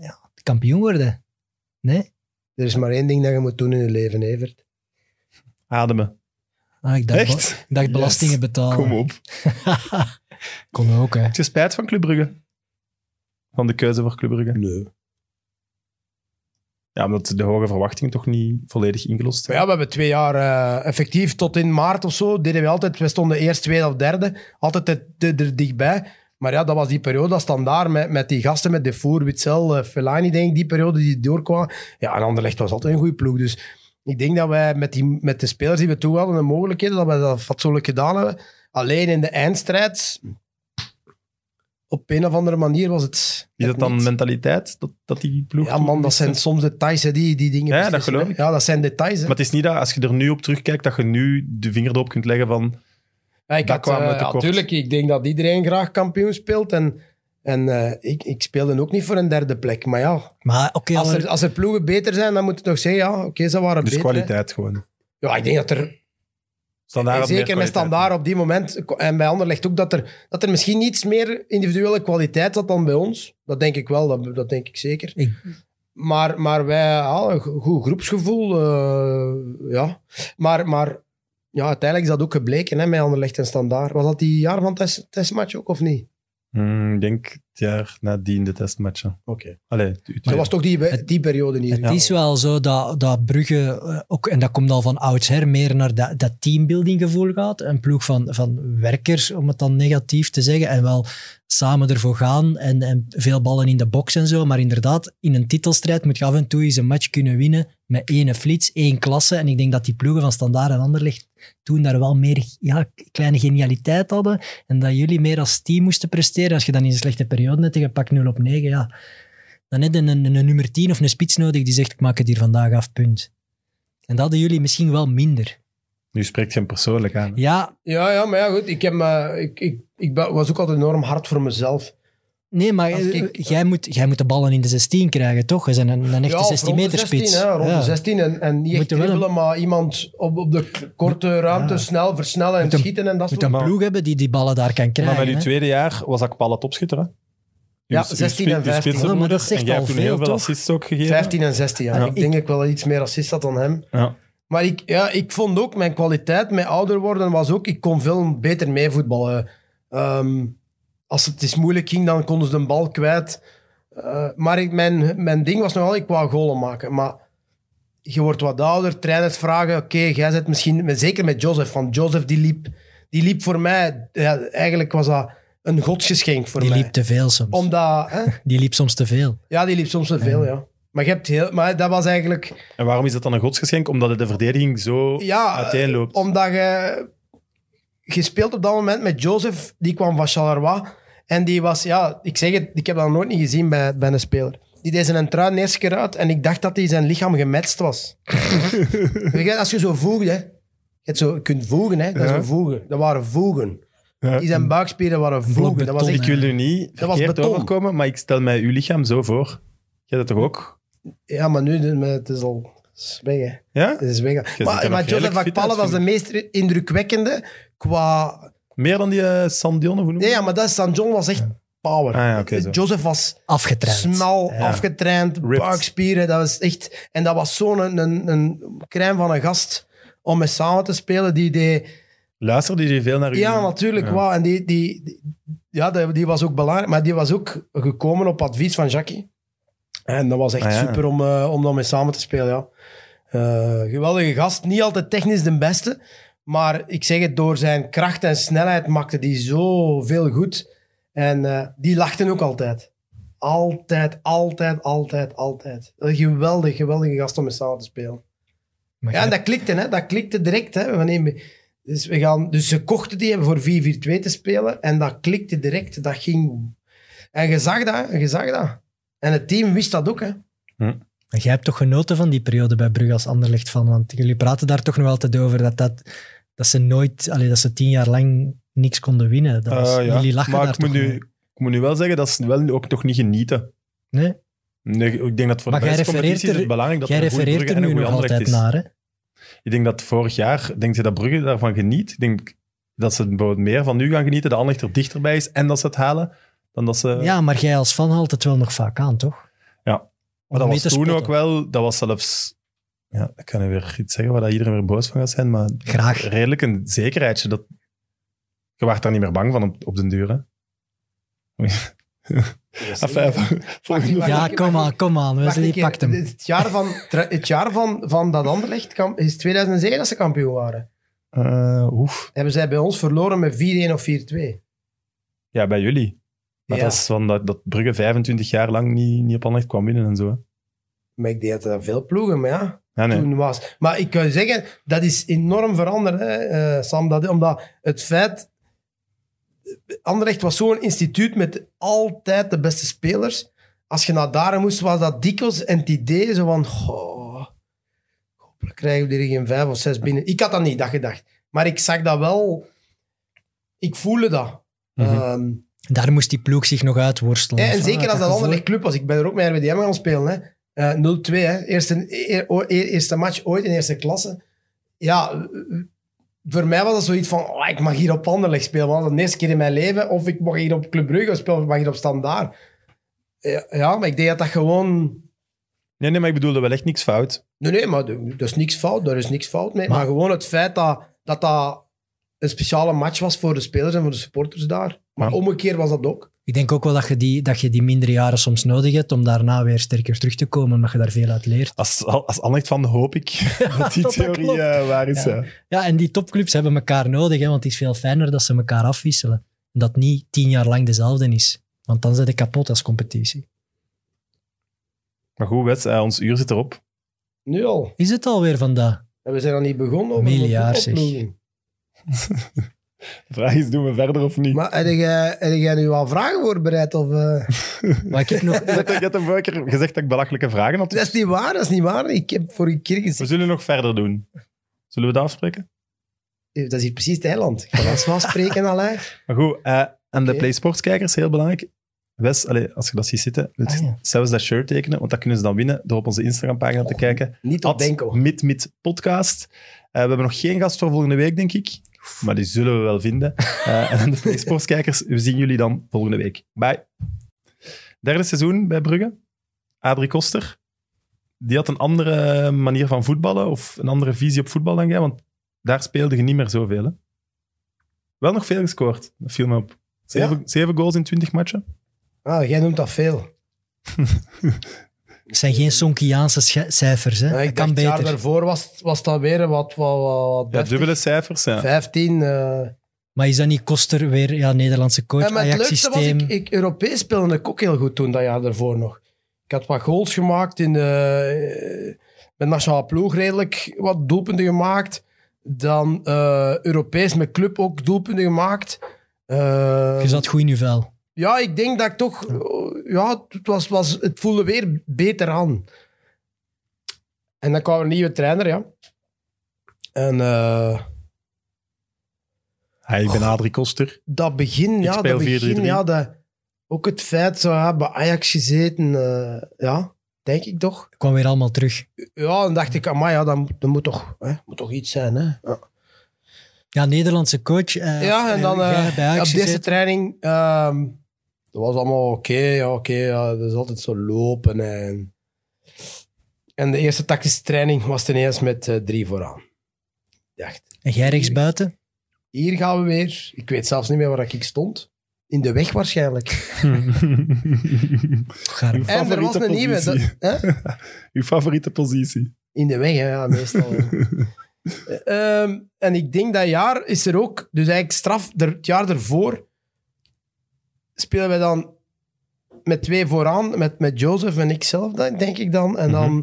[SPEAKER 2] ja, kampioen worden. Nee?
[SPEAKER 4] Er is maar één ding dat je moet doen in je leven, Evert.
[SPEAKER 1] Ademen.
[SPEAKER 2] Ah, ik dacht,
[SPEAKER 1] echt?
[SPEAKER 2] ik dacht belastingen
[SPEAKER 4] Oh.
[SPEAKER 2] betalen.
[SPEAKER 1] Kom op.
[SPEAKER 2] Kon ook, hè.
[SPEAKER 1] Heb je spijt van Club Brugge? Van de keuze voor Club Brugge?
[SPEAKER 4] Nee.
[SPEAKER 1] Ja, omdat de hoge verwachtingen toch niet volledig ingelost
[SPEAKER 4] Maar
[SPEAKER 1] zijn.
[SPEAKER 4] ja, we hebben twee jaar eh, effectief, tot in maart of zo, deden we altijd, we stonden eerst tweede of derde, altijd het- de- er dichtbij. Maar ja, dat was die periode, dat standaard met, met die gasten, met Defour, Witzel, eh, Fellaini, denk ik, die periode die doorkwam. Ja, en Anderlecht was altijd een goede ploeg, dus ik denk dat wij met, die, met de spelers die we toe hadden, de mogelijkheden, dat we dat fatsoenlijk gedaan hebben. Alleen in de eindstrijd, op een of andere manier was het...
[SPEAKER 1] Is dat
[SPEAKER 4] het
[SPEAKER 1] dan
[SPEAKER 4] niet.
[SPEAKER 1] mentaliteit dat, dat die ploeg...
[SPEAKER 4] Ja man, dat zijn soms details, hè, die, die dingen.
[SPEAKER 1] Ja, dat
[SPEAKER 4] beslissen,
[SPEAKER 1] geloof
[SPEAKER 4] hè.
[SPEAKER 1] ik.
[SPEAKER 4] Ja, dat zijn details. hè.
[SPEAKER 1] Maar het is niet dat als je er nu op terugkijkt, dat je nu de vinger erop kunt leggen van...
[SPEAKER 4] Ja, ik
[SPEAKER 1] Daar
[SPEAKER 4] had,
[SPEAKER 1] kwamen we
[SPEAKER 4] eh, ja,
[SPEAKER 1] tekort.
[SPEAKER 4] tuurlijk, ik denk dat iedereen graag kampioen speelt. En, en eh, ik, ik speelde ook niet voor een derde plek. Maar ja,
[SPEAKER 2] Maar oké,
[SPEAKER 4] als
[SPEAKER 2] alle-
[SPEAKER 4] er, als er ploegen beter zijn, dan moet je toch zeggen, ja, oké, ze waren
[SPEAKER 1] Dus
[SPEAKER 4] beter. hè.
[SPEAKER 1] kwaliteit gewoon.
[SPEAKER 4] Ja, ik denk dat er,
[SPEAKER 1] Standaard had meer
[SPEAKER 4] zeker met
[SPEAKER 1] kwaliteit.
[SPEAKER 4] Standaard op die moment, en bij Anderlecht ook, dat er, dat er misschien iets meer individuele kwaliteit zat dan bij ons. Dat denk ik wel, dat, dat denk ik zeker.
[SPEAKER 2] Ik-
[SPEAKER 4] Maar, maar wij hadden een go- goed groepsgevoel. eh, ja. Maar, maar ja, uiteindelijk is dat ook gebleken hè, met Anderlecht en Standaard. Was dat die jaar van test, testmatch ook of niet?
[SPEAKER 1] Hmm, ik denk het jaar nadien de testmatchen.
[SPEAKER 4] Oké.
[SPEAKER 1] Allee,
[SPEAKER 4] Dus Dat was toch die, die periode hier.
[SPEAKER 2] Het is wel zo dat, dat Brugge, eh, ook, en dat komt al van oudsher, meer naar dat, dat teambuilding gevoel gaat. Een ploeg van, van werkers, om het dan negatief te zeggen. En wel samen ervoor gaan en, en veel ballen in de box en zo. Maar inderdaad, in een titelstrijd moet je af en toe eens een match kunnen winnen met één flits, één klasse. En ik denk dat die ploegen van Standaard en Anderlecht toen daar wel meer ja, kleine genialiteit hadden. En dat jullie meer als team moesten presteren. Als je dan in een slechte periode net tegen pak 0 op 9, ja dan net een, een, een nummer 10 of een spits nodig die zegt: Ik maak het hier vandaag af, punt. En dat hadden jullie misschien wel minder.
[SPEAKER 1] Nu spreekt je hem persoonlijk aan. hè?
[SPEAKER 2] Ja,
[SPEAKER 4] Ja, ja, maar ja, goed. Ik, heb, eh, ik, ik, ik ben- was ook altijd enorm hard voor mezelf.
[SPEAKER 2] nee, maar
[SPEAKER 4] Als ik-
[SPEAKER 2] eh, jij, moet, jij moet de ballen in de 16 krijgen, toch? Je bent een, een
[SPEAKER 4] Ja,
[SPEAKER 2] echte
[SPEAKER 4] of
[SPEAKER 2] 16
[SPEAKER 4] rond de
[SPEAKER 2] meter spits.
[SPEAKER 4] 16, hè, rond
[SPEAKER 2] Ja.
[SPEAKER 4] de 16 en, en niet
[SPEAKER 2] Moet
[SPEAKER 4] echt
[SPEAKER 2] er wel een-
[SPEAKER 4] dribbelen, maar iemand op, op de k- korte ruimte
[SPEAKER 2] Ja.
[SPEAKER 4] snel versnellen en
[SPEAKER 2] Moet hem-
[SPEAKER 4] schieten en dat
[SPEAKER 2] Je moet
[SPEAKER 4] soort
[SPEAKER 2] een
[SPEAKER 1] Maar-
[SPEAKER 2] ploeg hebben die die ballen daar kan
[SPEAKER 1] maar
[SPEAKER 2] krijgen.
[SPEAKER 1] met uw
[SPEAKER 2] hè.
[SPEAKER 1] tweede jaar was Akpala topschutter, hè? Uw-
[SPEAKER 4] Ja,
[SPEAKER 1] uw
[SPEAKER 4] 16 en
[SPEAKER 1] spits- uw
[SPEAKER 4] 15.
[SPEAKER 1] spitsenbroeder.
[SPEAKER 2] Ja, Oh, maar dat zegt
[SPEAKER 1] en jij
[SPEAKER 2] al
[SPEAKER 1] hebt toen heel
[SPEAKER 2] veel,
[SPEAKER 1] veel
[SPEAKER 2] toch?
[SPEAKER 1] assists ook gegeven.
[SPEAKER 4] 15 en 16, ja.
[SPEAKER 2] Ja,
[SPEAKER 4] ik
[SPEAKER 2] ik-
[SPEAKER 4] denk dat ik wel iets meer assist had dan hem.
[SPEAKER 1] Ja.
[SPEAKER 4] Maar ik, ja, ik vond ook, mijn kwaliteit met ouder worden was ook, ik kon veel beter mee voetballen. Ehm, als het is moeilijk ging, dan konden ze de bal kwijt. Eh, maar ik, mijn, mijn ding was nogal, ik wou golen maken. Maar je wordt wat ouder, trainers vragen, oké, jij zit misschien, maar zeker met Joseph, want Joseph die liep, die liep voor mij, ja, eigenlijk was dat een godsgeschenk voor
[SPEAKER 2] Die
[SPEAKER 4] mij.
[SPEAKER 2] liep te veel soms.
[SPEAKER 4] Omdat, hè?
[SPEAKER 2] Die liep soms te veel.
[SPEAKER 4] ja, die liep soms te veel, ja. Maar, je hebt heel, maar dat was eigenlijk...
[SPEAKER 1] En waarom is dat dan een godsgeschenk? Omdat het de verdediging zo
[SPEAKER 4] Ja,
[SPEAKER 1] uiteenloopt.
[SPEAKER 4] Omdat je, je speelt op dat moment met Joseph, die kwam van Charleroi. En die was, ja, ik zeg het, ik heb dat nog nooit niet gezien bij, bij een speler. Die deed zijn trui de eerste keer uit en ik dacht dat hij zijn lichaam gemetst was. Weet je, als je zo voegt, hè. Je, hebt zo, je kunt voegen, hè. Dat, is
[SPEAKER 1] Ja.
[SPEAKER 4] een voegen. dat waren voegen.
[SPEAKER 1] Ja.
[SPEAKER 4] Die zijn buikspieren waren voegen. Dat was
[SPEAKER 2] beton.
[SPEAKER 1] Ik
[SPEAKER 4] echt,
[SPEAKER 1] wil u niet
[SPEAKER 4] Dat was
[SPEAKER 1] verkeerd
[SPEAKER 4] beton.
[SPEAKER 1] overkomen, maar ik stel mij uw lichaam zo voor. Jij dat toch ook?
[SPEAKER 4] ja, maar nu, maar het is al... het is weg, hè.
[SPEAKER 1] Ja?
[SPEAKER 4] Het is weg.
[SPEAKER 1] ziet er
[SPEAKER 4] Maar,
[SPEAKER 1] nog
[SPEAKER 4] maar Joseph
[SPEAKER 1] redelijk fit
[SPEAKER 4] Akpala
[SPEAKER 1] uit,
[SPEAKER 4] was de
[SPEAKER 1] vind
[SPEAKER 4] meest indrukwekkende qua
[SPEAKER 1] Meer dan die eh, Sandion of hoe noem je
[SPEAKER 4] Ja,
[SPEAKER 1] dat?
[SPEAKER 4] ja maar dat is San John was echt power. Eh,
[SPEAKER 1] Ah ja, oké, zo.
[SPEAKER 4] Joseph was
[SPEAKER 2] Afgetraind.
[SPEAKER 4] smal,
[SPEAKER 1] Ja.
[SPEAKER 4] afgetraind,
[SPEAKER 1] Ripped.
[SPEAKER 4] buikspieren. Dat was echt, en dat was zo'n een, een, een crème van een gast om mee samen te spelen. Die deed,
[SPEAKER 1] Luisterde je veel naar u?
[SPEAKER 4] ja, natuurlijk. wauw. En die, die, die- ja, die, die was ook belangrijk. Maar die was ook gekomen op advies van Jackie. En dat was echt
[SPEAKER 1] Ah ja.
[SPEAKER 4] super om, eh, om dan mee samen te spelen. Ja. Eh, geweldige gast. Niet altijd technisch de beste. Maar ik zeg het, door zijn kracht en snelheid maakte die zoveel goed. En eh, die lachten ook altijd. Altijd, altijd, altijd, altijd. Een geweldig, geweldige gast om mee samen te spelen.
[SPEAKER 2] Maar
[SPEAKER 4] Ja, en
[SPEAKER 2] jij-
[SPEAKER 4] dat klikte, hè? dat klikte direct. Hè? Wanneer we- dus, we gaan, dus ze kochten die voor 4-4-2 te spelen en dat klikte direct. Dat ging... En je zag dat, hè, je zag dat. En het team wist dat ook. Hè?
[SPEAKER 2] maar jij hebt toch genoten van die periode bij Brugge als Anderlecht van? Want jullie praten daar toch nog altijd over dat, dat, dat ze nooit, allee, dat ze tien jaar lang niks konden winnen. Dat was-
[SPEAKER 1] Eh, ja.
[SPEAKER 2] Jullie lachen
[SPEAKER 1] maar
[SPEAKER 2] daar
[SPEAKER 1] ik moet,
[SPEAKER 2] toch
[SPEAKER 1] nu,
[SPEAKER 2] mee.
[SPEAKER 1] ik moet nu wel zeggen, dat is wel ook toch niet genieten.
[SPEAKER 2] Nee?
[SPEAKER 1] Nee, ik denk dat voor
[SPEAKER 2] Maar
[SPEAKER 1] de
[SPEAKER 2] jij
[SPEAKER 1] beste competitie is
[SPEAKER 2] refereert
[SPEAKER 1] het
[SPEAKER 2] er-
[SPEAKER 1] belangrijk dat
[SPEAKER 2] Jij
[SPEAKER 1] er een goede
[SPEAKER 2] refereert
[SPEAKER 1] Brugge
[SPEAKER 2] er
[SPEAKER 1] en
[SPEAKER 2] nu
[SPEAKER 1] een
[SPEAKER 2] nog
[SPEAKER 1] goede Anderlecht
[SPEAKER 2] altijd
[SPEAKER 1] is.
[SPEAKER 2] naar, hè?
[SPEAKER 1] Ik denk dat vorig jaar, denk je dat Brugge daarvan geniet? Ik denk dat ze bijvoorbeeld meer van nu gaan genieten, de Anderlecht er dichterbij is en dat ze het halen, dan dat ze...
[SPEAKER 2] Ja, maar jij als fan haalt het wel nog vaak aan, toch?
[SPEAKER 1] Eh. Ja.
[SPEAKER 2] Om
[SPEAKER 1] maar dat
[SPEAKER 2] mee
[SPEAKER 1] was
[SPEAKER 2] te
[SPEAKER 1] toen
[SPEAKER 2] spotten.
[SPEAKER 1] ook wel, dat was zelfs... Ja, ik kan nu weer iets zeggen waar dat iedereen weer boos van gaat zijn, maar
[SPEAKER 2] Graag.
[SPEAKER 1] redelijk een zekerheidje. Dat, je werd daar niet meer bang van op, op den duur, hè? Enfin, volgende-
[SPEAKER 4] Mag
[SPEAKER 2] Ja,
[SPEAKER 4] ik-
[SPEAKER 2] kom
[SPEAKER 4] mag ik-
[SPEAKER 2] aan, kom aan.
[SPEAKER 4] Wacht een
[SPEAKER 2] Wesley
[SPEAKER 4] keer,
[SPEAKER 2] pakt hem.
[SPEAKER 4] Het jaar van, tra- het jaar van, van dat Anderlecht kam- is 2007 dat ze kampioen waren.
[SPEAKER 1] Eh, oef.
[SPEAKER 4] Hebben zij bij ons verloren met 4-1 of 4-2.
[SPEAKER 1] Ja, bij jullie. Maar
[SPEAKER 4] Ja.
[SPEAKER 1] dat is van dat, dat Brugge 25 jaar lang niet, niet op Anderlecht kwam winnen en zo. hè.
[SPEAKER 4] Maar ik deed dat veel ploegen, maar ja.
[SPEAKER 1] Ja, nee.
[SPEAKER 4] toen was. Maar ik kan je zeggen, dat is enorm veranderd, hè, eh, Sam. Dat, omdat het feit... Anderlecht was zo'n instituut met altijd de beste spelers. Als je naar daar moest, was dat dikwijls en het idee zo van... Goh, hopelijk krijgen we er geen vijf of zes binnen. Ik had dat niet, dat gedacht. Maar ik zag dat wel... Ik voelde dat.
[SPEAKER 1] Mhm.
[SPEAKER 4] Ehm,
[SPEAKER 2] Daar moest die ploeg zich nog uitworstelen.
[SPEAKER 4] ja, Eh, en
[SPEAKER 2] Of
[SPEAKER 4] zeker als
[SPEAKER 2] vanuit
[SPEAKER 4] dat andere
[SPEAKER 2] gevoel.
[SPEAKER 4] club was. Ik ben er ook met RWDM gaan spelen. Hè. Eh, 0-2, hè. Eerste, eer- o- eer- eerste match ooit in eerste klasse. Ja, eh, voor mij was dat zoiets van, oh, ik mag hier op Anderlecht spelen. Want dat is de eerste keer in mijn leven. Of ik mag hier op Club Brugge spelen, of ik mag hier op Standaard. Ja, ja, maar ik denk dat dat gewoon...
[SPEAKER 1] Nee, nee, maar ik bedoelde wel echt niks fout.
[SPEAKER 4] Nee, nee, maar d- dat is niks fout. Daar is niks fout mee. Maar, gewoon het feit dat, dat dat een speciale match was voor de spelers en voor de supporters daar. Maar
[SPEAKER 1] Ja.
[SPEAKER 4] omgekeerd was dat ook.
[SPEAKER 2] Ik denk ook wel dat je, die, dat je die mindere jaren soms nodig hebt om daarna weer sterker terug te komen, omdat je daar veel uit leert.
[SPEAKER 1] Als, als Annecht van hoop ik dat die
[SPEAKER 2] dat
[SPEAKER 1] theorie
[SPEAKER 2] klopt.
[SPEAKER 1] eh, waar is.
[SPEAKER 2] Ja.
[SPEAKER 1] ja.
[SPEAKER 2] Ja, en die topclubs hebben elkaar nodig, hè, want het is veel fijner dat ze elkaar afwisselen. En dat niet tien jaar lang dezelfde is. Want dan zit je kapot als competitie.
[SPEAKER 1] Maar goed, Wes, eh, ons uur zit erop.
[SPEAKER 4] Nu al.
[SPEAKER 2] Is het alweer vandaag?
[SPEAKER 4] En we zijn al niet begonnen over
[SPEAKER 2] Miljaar, zeg.
[SPEAKER 4] voetbalploegen.
[SPEAKER 1] De vraag is, doen we verder of niet?
[SPEAKER 4] Maar heb jij, heb jij nu al vragen voorbereid? Of, eh?
[SPEAKER 2] Maar ik heb nog...
[SPEAKER 1] Je hebt- je hebt een vorige keer gezegd dat ik belachelijke vragen had.
[SPEAKER 4] Dat is niet waar, dat is niet waar. Ik heb vorige keer
[SPEAKER 1] We
[SPEAKER 4] gezien.
[SPEAKER 1] zullen nog verder doen. Zullen we dat afspreken?
[SPEAKER 4] Dat is hier precies het eiland. Ik ga dat snel spreken, Alain.
[SPEAKER 1] Maar goed, eh, aan de
[SPEAKER 4] Oké.
[SPEAKER 1] PlaySports-kijkers, heel belangrijk. Wes, allee, als je dat ziet zitten, wil je
[SPEAKER 2] Ah, ja.
[SPEAKER 1] zelfs dat shirt tekenen, want dat kunnen ze dan winnen door op onze Instagram-pagina te kijken.
[SPEAKER 4] Niet op
[SPEAKER 1] At
[SPEAKER 4] Denko.
[SPEAKER 1] Mid Mid Podcast. Eh, we hebben nog geen gast voor volgende week, denk ik. Maar die zullen we wel vinden. Eh, en aan de PlaySports-kijkers, we zien jullie dan volgende week. Bye. Derde seizoen bij Brugge. Adrie Koster. Die had een andere manier van voetballen of een andere visie op voetbal dan jij, want daar speelde je niet meer zoveel. Hè? Wel nog veel gescoord, dat viel me op. Zeven, zeven goals in 20 matchen.
[SPEAKER 4] Ah, jij noemt dat veel.
[SPEAKER 2] Het zijn geen Sonkiaanse scha- cijfers, hè.
[SPEAKER 4] Eh, Ja,
[SPEAKER 2] dat
[SPEAKER 4] ik
[SPEAKER 2] kan
[SPEAKER 4] dacht, het jaar
[SPEAKER 2] beter.
[SPEAKER 4] daarvoor was, was dat weer wat... wat, wat
[SPEAKER 1] Ja,
[SPEAKER 4] deftig.
[SPEAKER 1] dubbele cijfers. Ja.
[SPEAKER 4] 15. eh.
[SPEAKER 2] Maar is dat niet Koster weer, ja, Nederlandse coach,
[SPEAKER 4] Ja, maar het leukste was,
[SPEAKER 2] Ajax-systeem?
[SPEAKER 4] ik, ik Europees speelde ik ook heel goed toen, dat jaar daarvoor nog. Ik had wat goals gemaakt in de... Met nationale ploeg redelijk wat doelpunten gemaakt. Dan eh, Europees met club ook doelpunten gemaakt. Eh,
[SPEAKER 2] Je zat goed in je vel.
[SPEAKER 4] Ja, ik denk dat ik toch... Ja, het, was, was, het voelde weer beter aan. En dan kwam er een nieuwe trainer, ja. En eh,
[SPEAKER 1] Hi, ik ben Adrie Koster.
[SPEAKER 4] dat begin, ja,
[SPEAKER 1] speel
[SPEAKER 4] dat
[SPEAKER 1] 4-3-3.
[SPEAKER 4] begin, ja, dat, ook het feit, zo, ja, bij Ajax gezeten, eh, ja, denk ik toch.
[SPEAKER 2] Ik kwam weer allemaal terug.
[SPEAKER 4] Ja, dan dacht ik, amai, ja, dat, moet- dat moet, toch, hè, moet toch iets zijn, hè. Ja,
[SPEAKER 2] Ja, Nederlandse coach. eh,
[SPEAKER 4] Ja, en dan
[SPEAKER 2] eh, jij
[SPEAKER 4] eh,
[SPEAKER 2] bij
[SPEAKER 4] op
[SPEAKER 2] Ajax
[SPEAKER 4] deze
[SPEAKER 2] gezeten.
[SPEAKER 4] training, ehm, dat was allemaal oké, ja, oké, ja, dat is altijd zo lopen en... En de eerste tactische training was ten eerste met eh, drie vooraan. Ik dacht,
[SPEAKER 2] En jij rechtsbuiten?
[SPEAKER 4] hier gaan we weer. Ik weet zelfs niet meer waar ik stond. In de weg waarschijnlijk.
[SPEAKER 2] Gaar.
[SPEAKER 4] En er was een nieuwe.
[SPEAKER 1] positie.
[SPEAKER 4] dat- hè?
[SPEAKER 1] Uw favoriete positie.
[SPEAKER 4] In de weg, hè, ja, meestal. Eh, ehm, en ik denk dat jaar is er ook, dus eigenlijk straf, er, het jaar ervoor spelen wij dan met twee vooraan, met, met Joseph en ikzelf, dan, denk ik dan. En dan viel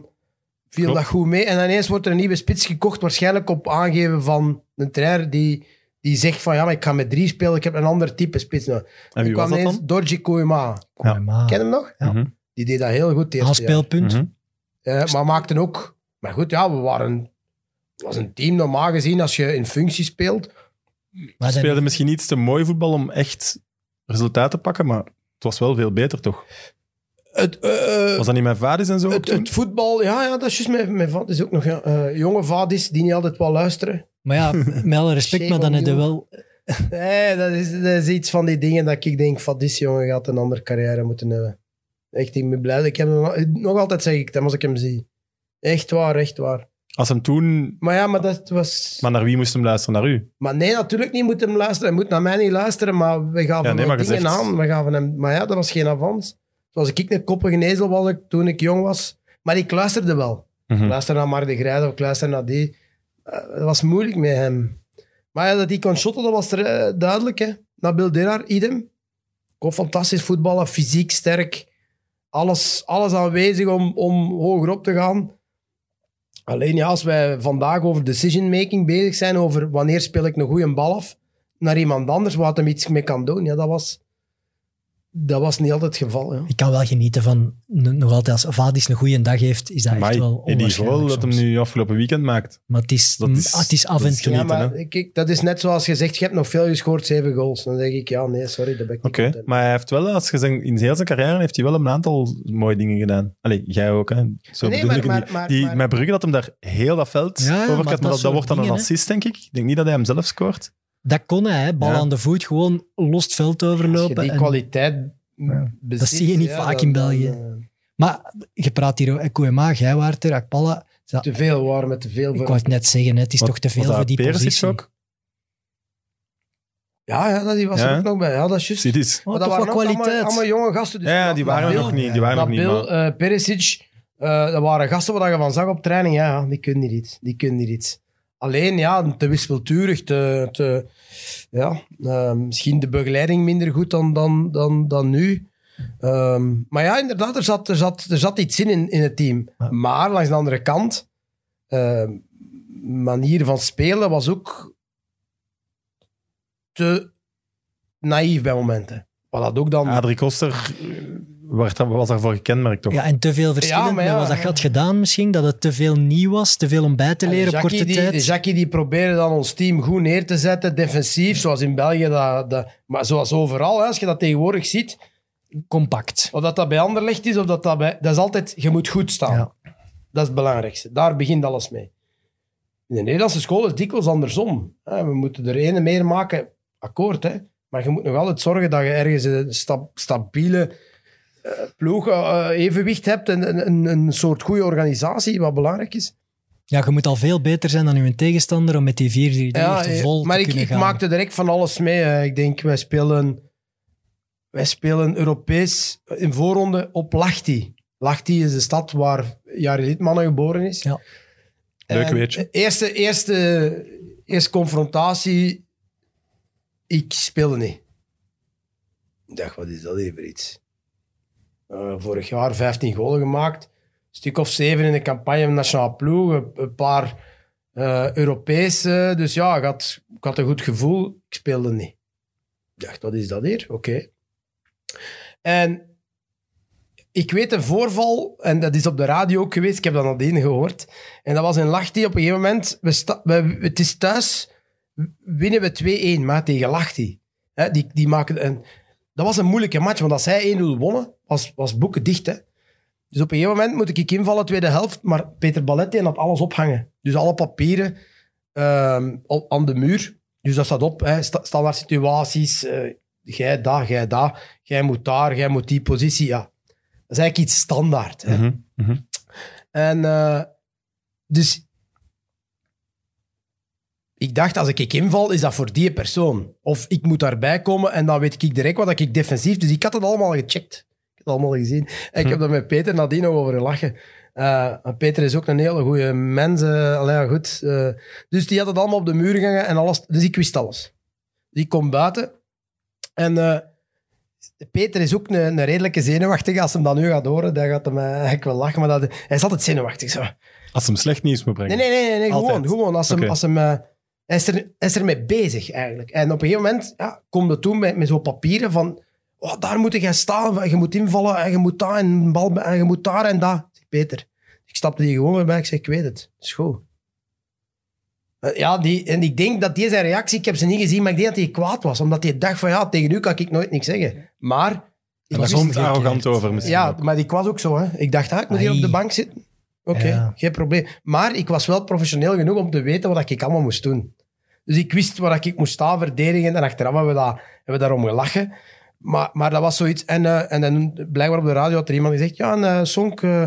[SPEAKER 1] Mhm. Klopt.
[SPEAKER 4] dat goed mee. En ineens wordt er een nieuwe spits gekocht, waarschijnlijk op aangeven van een trainer die, die zegt van ja, maar ik ga met drie spelen, ik heb een ander type spits nodig.
[SPEAKER 1] En wie
[SPEAKER 4] Ik
[SPEAKER 1] was
[SPEAKER 4] kwam
[SPEAKER 1] dat
[SPEAKER 4] ineens
[SPEAKER 1] dan?
[SPEAKER 4] Dorji Kouema.
[SPEAKER 2] Kom maar.
[SPEAKER 4] Ken je hem nog?
[SPEAKER 2] Ja.
[SPEAKER 1] Mhm.
[SPEAKER 4] Die deed dat heel goed het eerste jaar.
[SPEAKER 2] Aanspeelpunt.
[SPEAKER 1] Mhm.
[SPEAKER 4] Eh, maar maakten ook... Maar goed, ja, we waren... Het was een team, normaal gezien, als je in functie speelt.
[SPEAKER 2] Maar dan-
[SPEAKER 1] Speelde misschien iets te mooi voetbal om echt resultaat te pakken, maar het was wel veel beter, toch?
[SPEAKER 4] Het, eh, eh,
[SPEAKER 1] Was dat niet mijn vaders en zo? ook
[SPEAKER 2] Eh,
[SPEAKER 4] het,
[SPEAKER 1] toen?
[SPEAKER 4] het voetbal, ja, ja, dat is juist mijn, mijn vadis ook nog. Ja. Eh, jonge vadis, die niet altijd wel luisteren.
[SPEAKER 2] Maar ja, met alle respect,
[SPEAKER 4] Shame
[SPEAKER 2] maar dan
[SPEAKER 4] on
[SPEAKER 2] heb je
[SPEAKER 4] you.
[SPEAKER 2] wel...
[SPEAKER 4] Nee, dat is, dat is iets van die dingen dat ik denk, vadis, jongen, gaat een andere carrière moeten hebben. Echt, ik ben blij. dat Ik heb hem, nog altijd zeg ik dat als ik hem zie. Echt waar, echt waar.
[SPEAKER 1] Als hem toen...
[SPEAKER 4] Maar ja, maar dat was...
[SPEAKER 1] Maar naar wie moest hem luisteren? Naar u?
[SPEAKER 4] Maar nee, natuurlijk niet moet hem luisteren. Hij moet naar mij niet luisteren, maar we
[SPEAKER 1] Ja,
[SPEAKER 4] gaan van
[SPEAKER 1] nee,
[SPEAKER 4] hem
[SPEAKER 1] maar je
[SPEAKER 4] dingen
[SPEAKER 1] zegt-
[SPEAKER 4] aan. We gaan van hem... Maar ja, dat was geen avans. Zoals ik een koppige ezel was ik, toen ik jong was. Maar ik luisterde wel.
[SPEAKER 1] Mhm.
[SPEAKER 4] Ik luisterde naar Mark de Grijde of ik luisterde naar die. Eh, Het was moeilijk met hem. Maar ja, dat hij kon shotten, dat was er, eh, duidelijk. Hè. Naar Bill Deraar, idem. Kon fantastisch voetballen, fysiek sterk. Alles, alles aanwezig om, om hoger op te gaan. Alleen ja, als wij vandaag over decision-making bezig zijn, over wanneer speel ik een goede bal af naar iemand anders, wat hem iets mee kan doen, ja, dat was, dat was niet altijd het geval. Ja.
[SPEAKER 2] Ik kan wel genieten van... n- Nog altijd, als Vadis een goede dag heeft, is dat echt
[SPEAKER 1] Amai,
[SPEAKER 2] wel
[SPEAKER 1] en die goal
[SPEAKER 2] onwaarschijnlijk
[SPEAKER 1] dat hem
[SPEAKER 2] soms.
[SPEAKER 1] nu afgelopen weekend maakt.
[SPEAKER 2] Maar het is,
[SPEAKER 1] Dat is-
[SPEAKER 2] ah, het is af
[SPEAKER 1] dat
[SPEAKER 2] en
[SPEAKER 1] is
[SPEAKER 2] toe.
[SPEAKER 1] genieten,
[SPEAKER 4] ja,
[SPEAKER 1] hè?
[SPEAKER 4] maar kijk, dat is net zoals je zegt, je hebt nog veel gescoord, zeven goals. Dan zeg ik, ja, nee, sorry, dat ben ik niet
[SPEAKER 1] Oké,
[SPEAKER 4] content.
[SPEAKER 1] maar hij heeft wel, als je zegt, in zijn hele carrière heeft hij wel een aantal mooie dingen gedaan. Allee, jij ook, hè? Zo
[SPEAKER 4] Nee,
[SPEAKER 1] bedoel
[SPEAKER 4] maar-
[SPEAKER 1] ik het
[SPEAKER 4] maar-
[SPEAKER 1] niet.
[SPEAKER 4] maar-
[SPEAKER 1] die,
[SPEAKER 4] maar-
[SPEAKER 1] Met Brugge dat hem daar heel dat veld
[SPEAKER 2] Ja, ja,
[SPEAKER 1] over
[SPEAKER 2] maar
[SPEAKER 1] gaat, maar,
[SPEAKER 2] dat
[SPEAKER 1] dat, dat
[SPEAKER 2] soort
[SPEAKER 1] wordt dan een
[SPEAKER 2] dingen, hè?
[SPEAKER 1] assist, denk ik. Ik denk niet dat hij hem zelf scoort.
[SPEAKER 2] Dat kon hij, hè. bal
[SPEAKER 1] Ja.
[SPEAKER 2] aan de voet, gewoon los het veld
[SPEAKER 4] Als je
[SPEAKER 2] overlopen.
[SPEAKER 4] die
[SPEAKER 2] en-
[SPEAKER 4] kwaliteit bezit,
[SPEAKER 2] Dat zie je niet
[SPEAKER 4] ja,
[SPEAKER 2] vaak
[SPEAKER 4] dan-
[SPEAKER 2] in België.
[SPEAKER 4] dan, eh,
[SPEAKER 2] Maar je praat hier, Kouema, Gijwaarter, Akpalla. Ze-
[SPEAKER 4] Te veel waren met te veel.
[SPEAKER 2] Ik
[SPEAKER 4] voor-
[SPEAKER 2] wou het net zeggen, hè, het is
[SPEAKER 1] Wat-
[SPEAKER 2] toch te veel
[SPEAKER 1] was dat
[SPEAKER 2] voor die
[SPEAKER 1] Perisic
[SPEAKER 2] positie.
[SPEAKER 1] ook?
[SPEAKER 4] Ja, ja, dat- die was
[SPEAKER 1] Ja.
[SPEAKER 4] er ook nog bij. Ja, dat is juist.
[SPEAKER 1] Ziet iets.
[SPEAKER 2] Oh,
[SPEAKER 4] Maar
[SPEAKER 2] toch
[SPEAKER 4] dat
[SPEAKER 2] wat
[SPEAKER 4] waren ook
[SPEAKER 2] kwaliteit.
[SPEAKER 4] Allemaal, allemaal jonge gasten. Dus
[SPEAKER 1] Ja, ja, die waren er
[SPEAKER 4] Nabil-
[SPEAKER 1] nog niet. Die waren er nog niet.
[SPEAKER 4] Nabil,
[SPEAKER 1] maar-
[SPEAKER 4] eh, Perisic, eh, dat waren gasten waar je van zag op training. Ja, ja, die kunnen hier iets. Die kunnen hier iets. Alleen, ja, te wispelturig, te... te ja, eh, misschien de begeleiding minder goed dan, dan, dan, dan nu. Ehm, maar ja, inderdaad, er zat, er zat, er zat iets in, in in het team.
[SPEAKER 1] Ja.
[SPEAKER 4] Maar langs de andere kant, eh, manier van spelen was ook te naïef bij momenten. Wat dat ook dan...
[SPEAKER 1] Adrie Koster eh, werd, was daarvoor gekenmerkt, toch?
[SPEAKER 2] Ja, en te veel verschillend
[SPEAKER 4] Ja, maar
[SPEAKER 2] met
[SPEAKER 4] ja.
[SPEAKER 2] wat dat je had gedaan misschien, dat het te veel nieuw was, te veel om bij te
[SPEAKER 4] En
[SPEAKER 2] leren op
[SPEAKER 4] Jackie
[SPEAKER 2] korte
[SPEAKER 4] die,
[SPEAKER 2] tijd.
[SPEAKER 4] Jackie die probeerde dan ons team goed neer te zetten, defensief, zoals in België. Dat, dat, maar zoals overal, hè, als je dat tegenwoordig ziet,
[SPEAKER 2] Compact.
[SPEAKER 4] of dat dat bij Anderlecht is, of dat dat bij... Dat is altijd, je moet goed staan.
[SPEAKER 2] Ja.
[SPEAKER 4] Dat is het belangrijkste. Daar begint alles mee. In de Nederlandse school is het dikwijls andersom. hè. We moeten er ene meer maken, akkoord, hè. Maar je moet nog altijd zorgen dat je ergens een sta- stabiele eh, ploeg, eh, evenwicht hebt en en- en een soort goede organisatie, wat belangrijk is.
[SPEAKER 2] Ja, je moet al veel beter zijn dan uw tegenstander om met die 4-3-3 echt
[SPEAKER 4] eh,
[SPEAKER 2] vol
[SPEAKER 4] maar
[SPEAKER 2] te
[SPEAKER 4] ik,
[SPEAKER 2] kunnen
[SPEAKER 4] ik
[SPEAKER 2] gaan.
[SPEAKER 4] maakte direct van alles mee. hè. Ik denk, wij spelen, wij spelen Europees eh, in voorronde op Lahti. Lahti is de stad waar Jari Litmanen geboren is.
[SPEAKER 2] Ja.
[SPEAKER 1] Leuk
[SPEAKER 4] En
[SPEAKER 1] weetje.
[SPEAKER 4] Eh, Eerste, eerste, eerste confrontatie, ik speelde niet. Ik dacht, wat is dat hier voor iets? Eh, vorig jaar 15 golen gemaakt. Een stuk of zeven in de campagne van de nationale ploeg. Een, een paar eh, Europese. Dus ja, ik had, ik had een goed gevoel. Ik speelde niet. Ik dacht, wat is dat hier? Oké. En ik weet een voorval, en dat is op de radio ook geweest, ik heb dat nadien gehoord. En dat was in Lachti op een gegeven moment. We sta- we, het is thuis, winnen we 2-1, maar tegen Lachti. Hè, die, die maken een, dat was een moeilijke match, want als zij 1-0 wonnen, was, was boeken dicht. Hè. Dus op een gegeven moment moet ik invallen, tweede helft, maar Peter Balletti had alles ophangen. Dus alle papieren ehm, op- aan de muur. Dus dat staat op, hè, sta- standaard situaties. eh, jij daar, jij daar, jij moet daar, jij moet die positie. Ja. Dat is eigenlijk iets standaard. Hè.
[SPEAKER 1] Mhm, mhm.
[SPEAKER 4] En eh, dus ik dacht, als ik inval, is dat voor die persoon. Of ik moet daarbij komen en dan weet ik direct wat ik defensief... Dus ik had het allemaal gecheckt. Ik heb het allemaal gezien. En ik heb daar met Peter nadien nog over gelachen. Eh, en Peter is ook een hele goede mens. eh, allee, ja, goed. eh, dus die had het allemaal op de muur gehangen en alles. Dus ik wist alles. Dus ik kom buiten. En eh, Peter is ook een, een redelijke zenuwachtige. Als hem dat nu gaat horen, dan gaat hem eh, eigenlijk wel lachen. Maar dat, hij is altijd zenuwachtig. Zo.
[SPEAKER 1] Als ze hem slecht nieuws moet brengen.
[SPEAKER 4] Nee, nee, nee, nee, nee,
[SPEAKER 1] Altijd.
[SPEAKER 4] gewoon. gewoon als hem,
[SPEAKER 1] Oké.
[SPEAKER 4] als hem, eh, hij, is er, hij is ermee bezig eigenlijk. En op een gegeven moment ja, komt het toen met, met zo'n papieren van. Oh, daar moet je staan, van, je moet invallen, en je moet daar en, een bal, en je moet daar en daar. Ik zeg, Peter, ik stapte die gewoon weer bij, ik zeg, ik weet het, is goed. Eh, Ja, die, en ik denk dat die zijn reactie, ik heb ze niet gezien, maar ik denk dat hij kwaad was. Omdat hij dacht van, ja, tegen u kan ik nooit niks zeggen. Maar... ik
[SPEAKER 1] En daar
[SPEAKER 4] wist-
[SPEAKER 1] komt het arrogant over misschien
[SPEAKER 4] ja,
[SPEAKER 1] ook.
[SPEAKER 4] maar ik was ook zo. Hè. Ik dacht, ah, ik moet hier op de
[SPEAKER 2] Ai.
[SPEAKER 4] bank zitten. Oké,
[SPEAKER 2] Ja.
[SPEAKER 4] geen probleem. Maar ik was wel professioneel genoeg om te weten wat ik allemaal moest doen. Dus ik wist waar ik moest staan, verdedigen. En achteraf hebben we, dat, hebben we daarom gelachen. Maar, maar dat was zoiets. En, eh, en dan blijkbaar op de radio had er iemand gezegd... Ja, en, eh, Sonk, eh,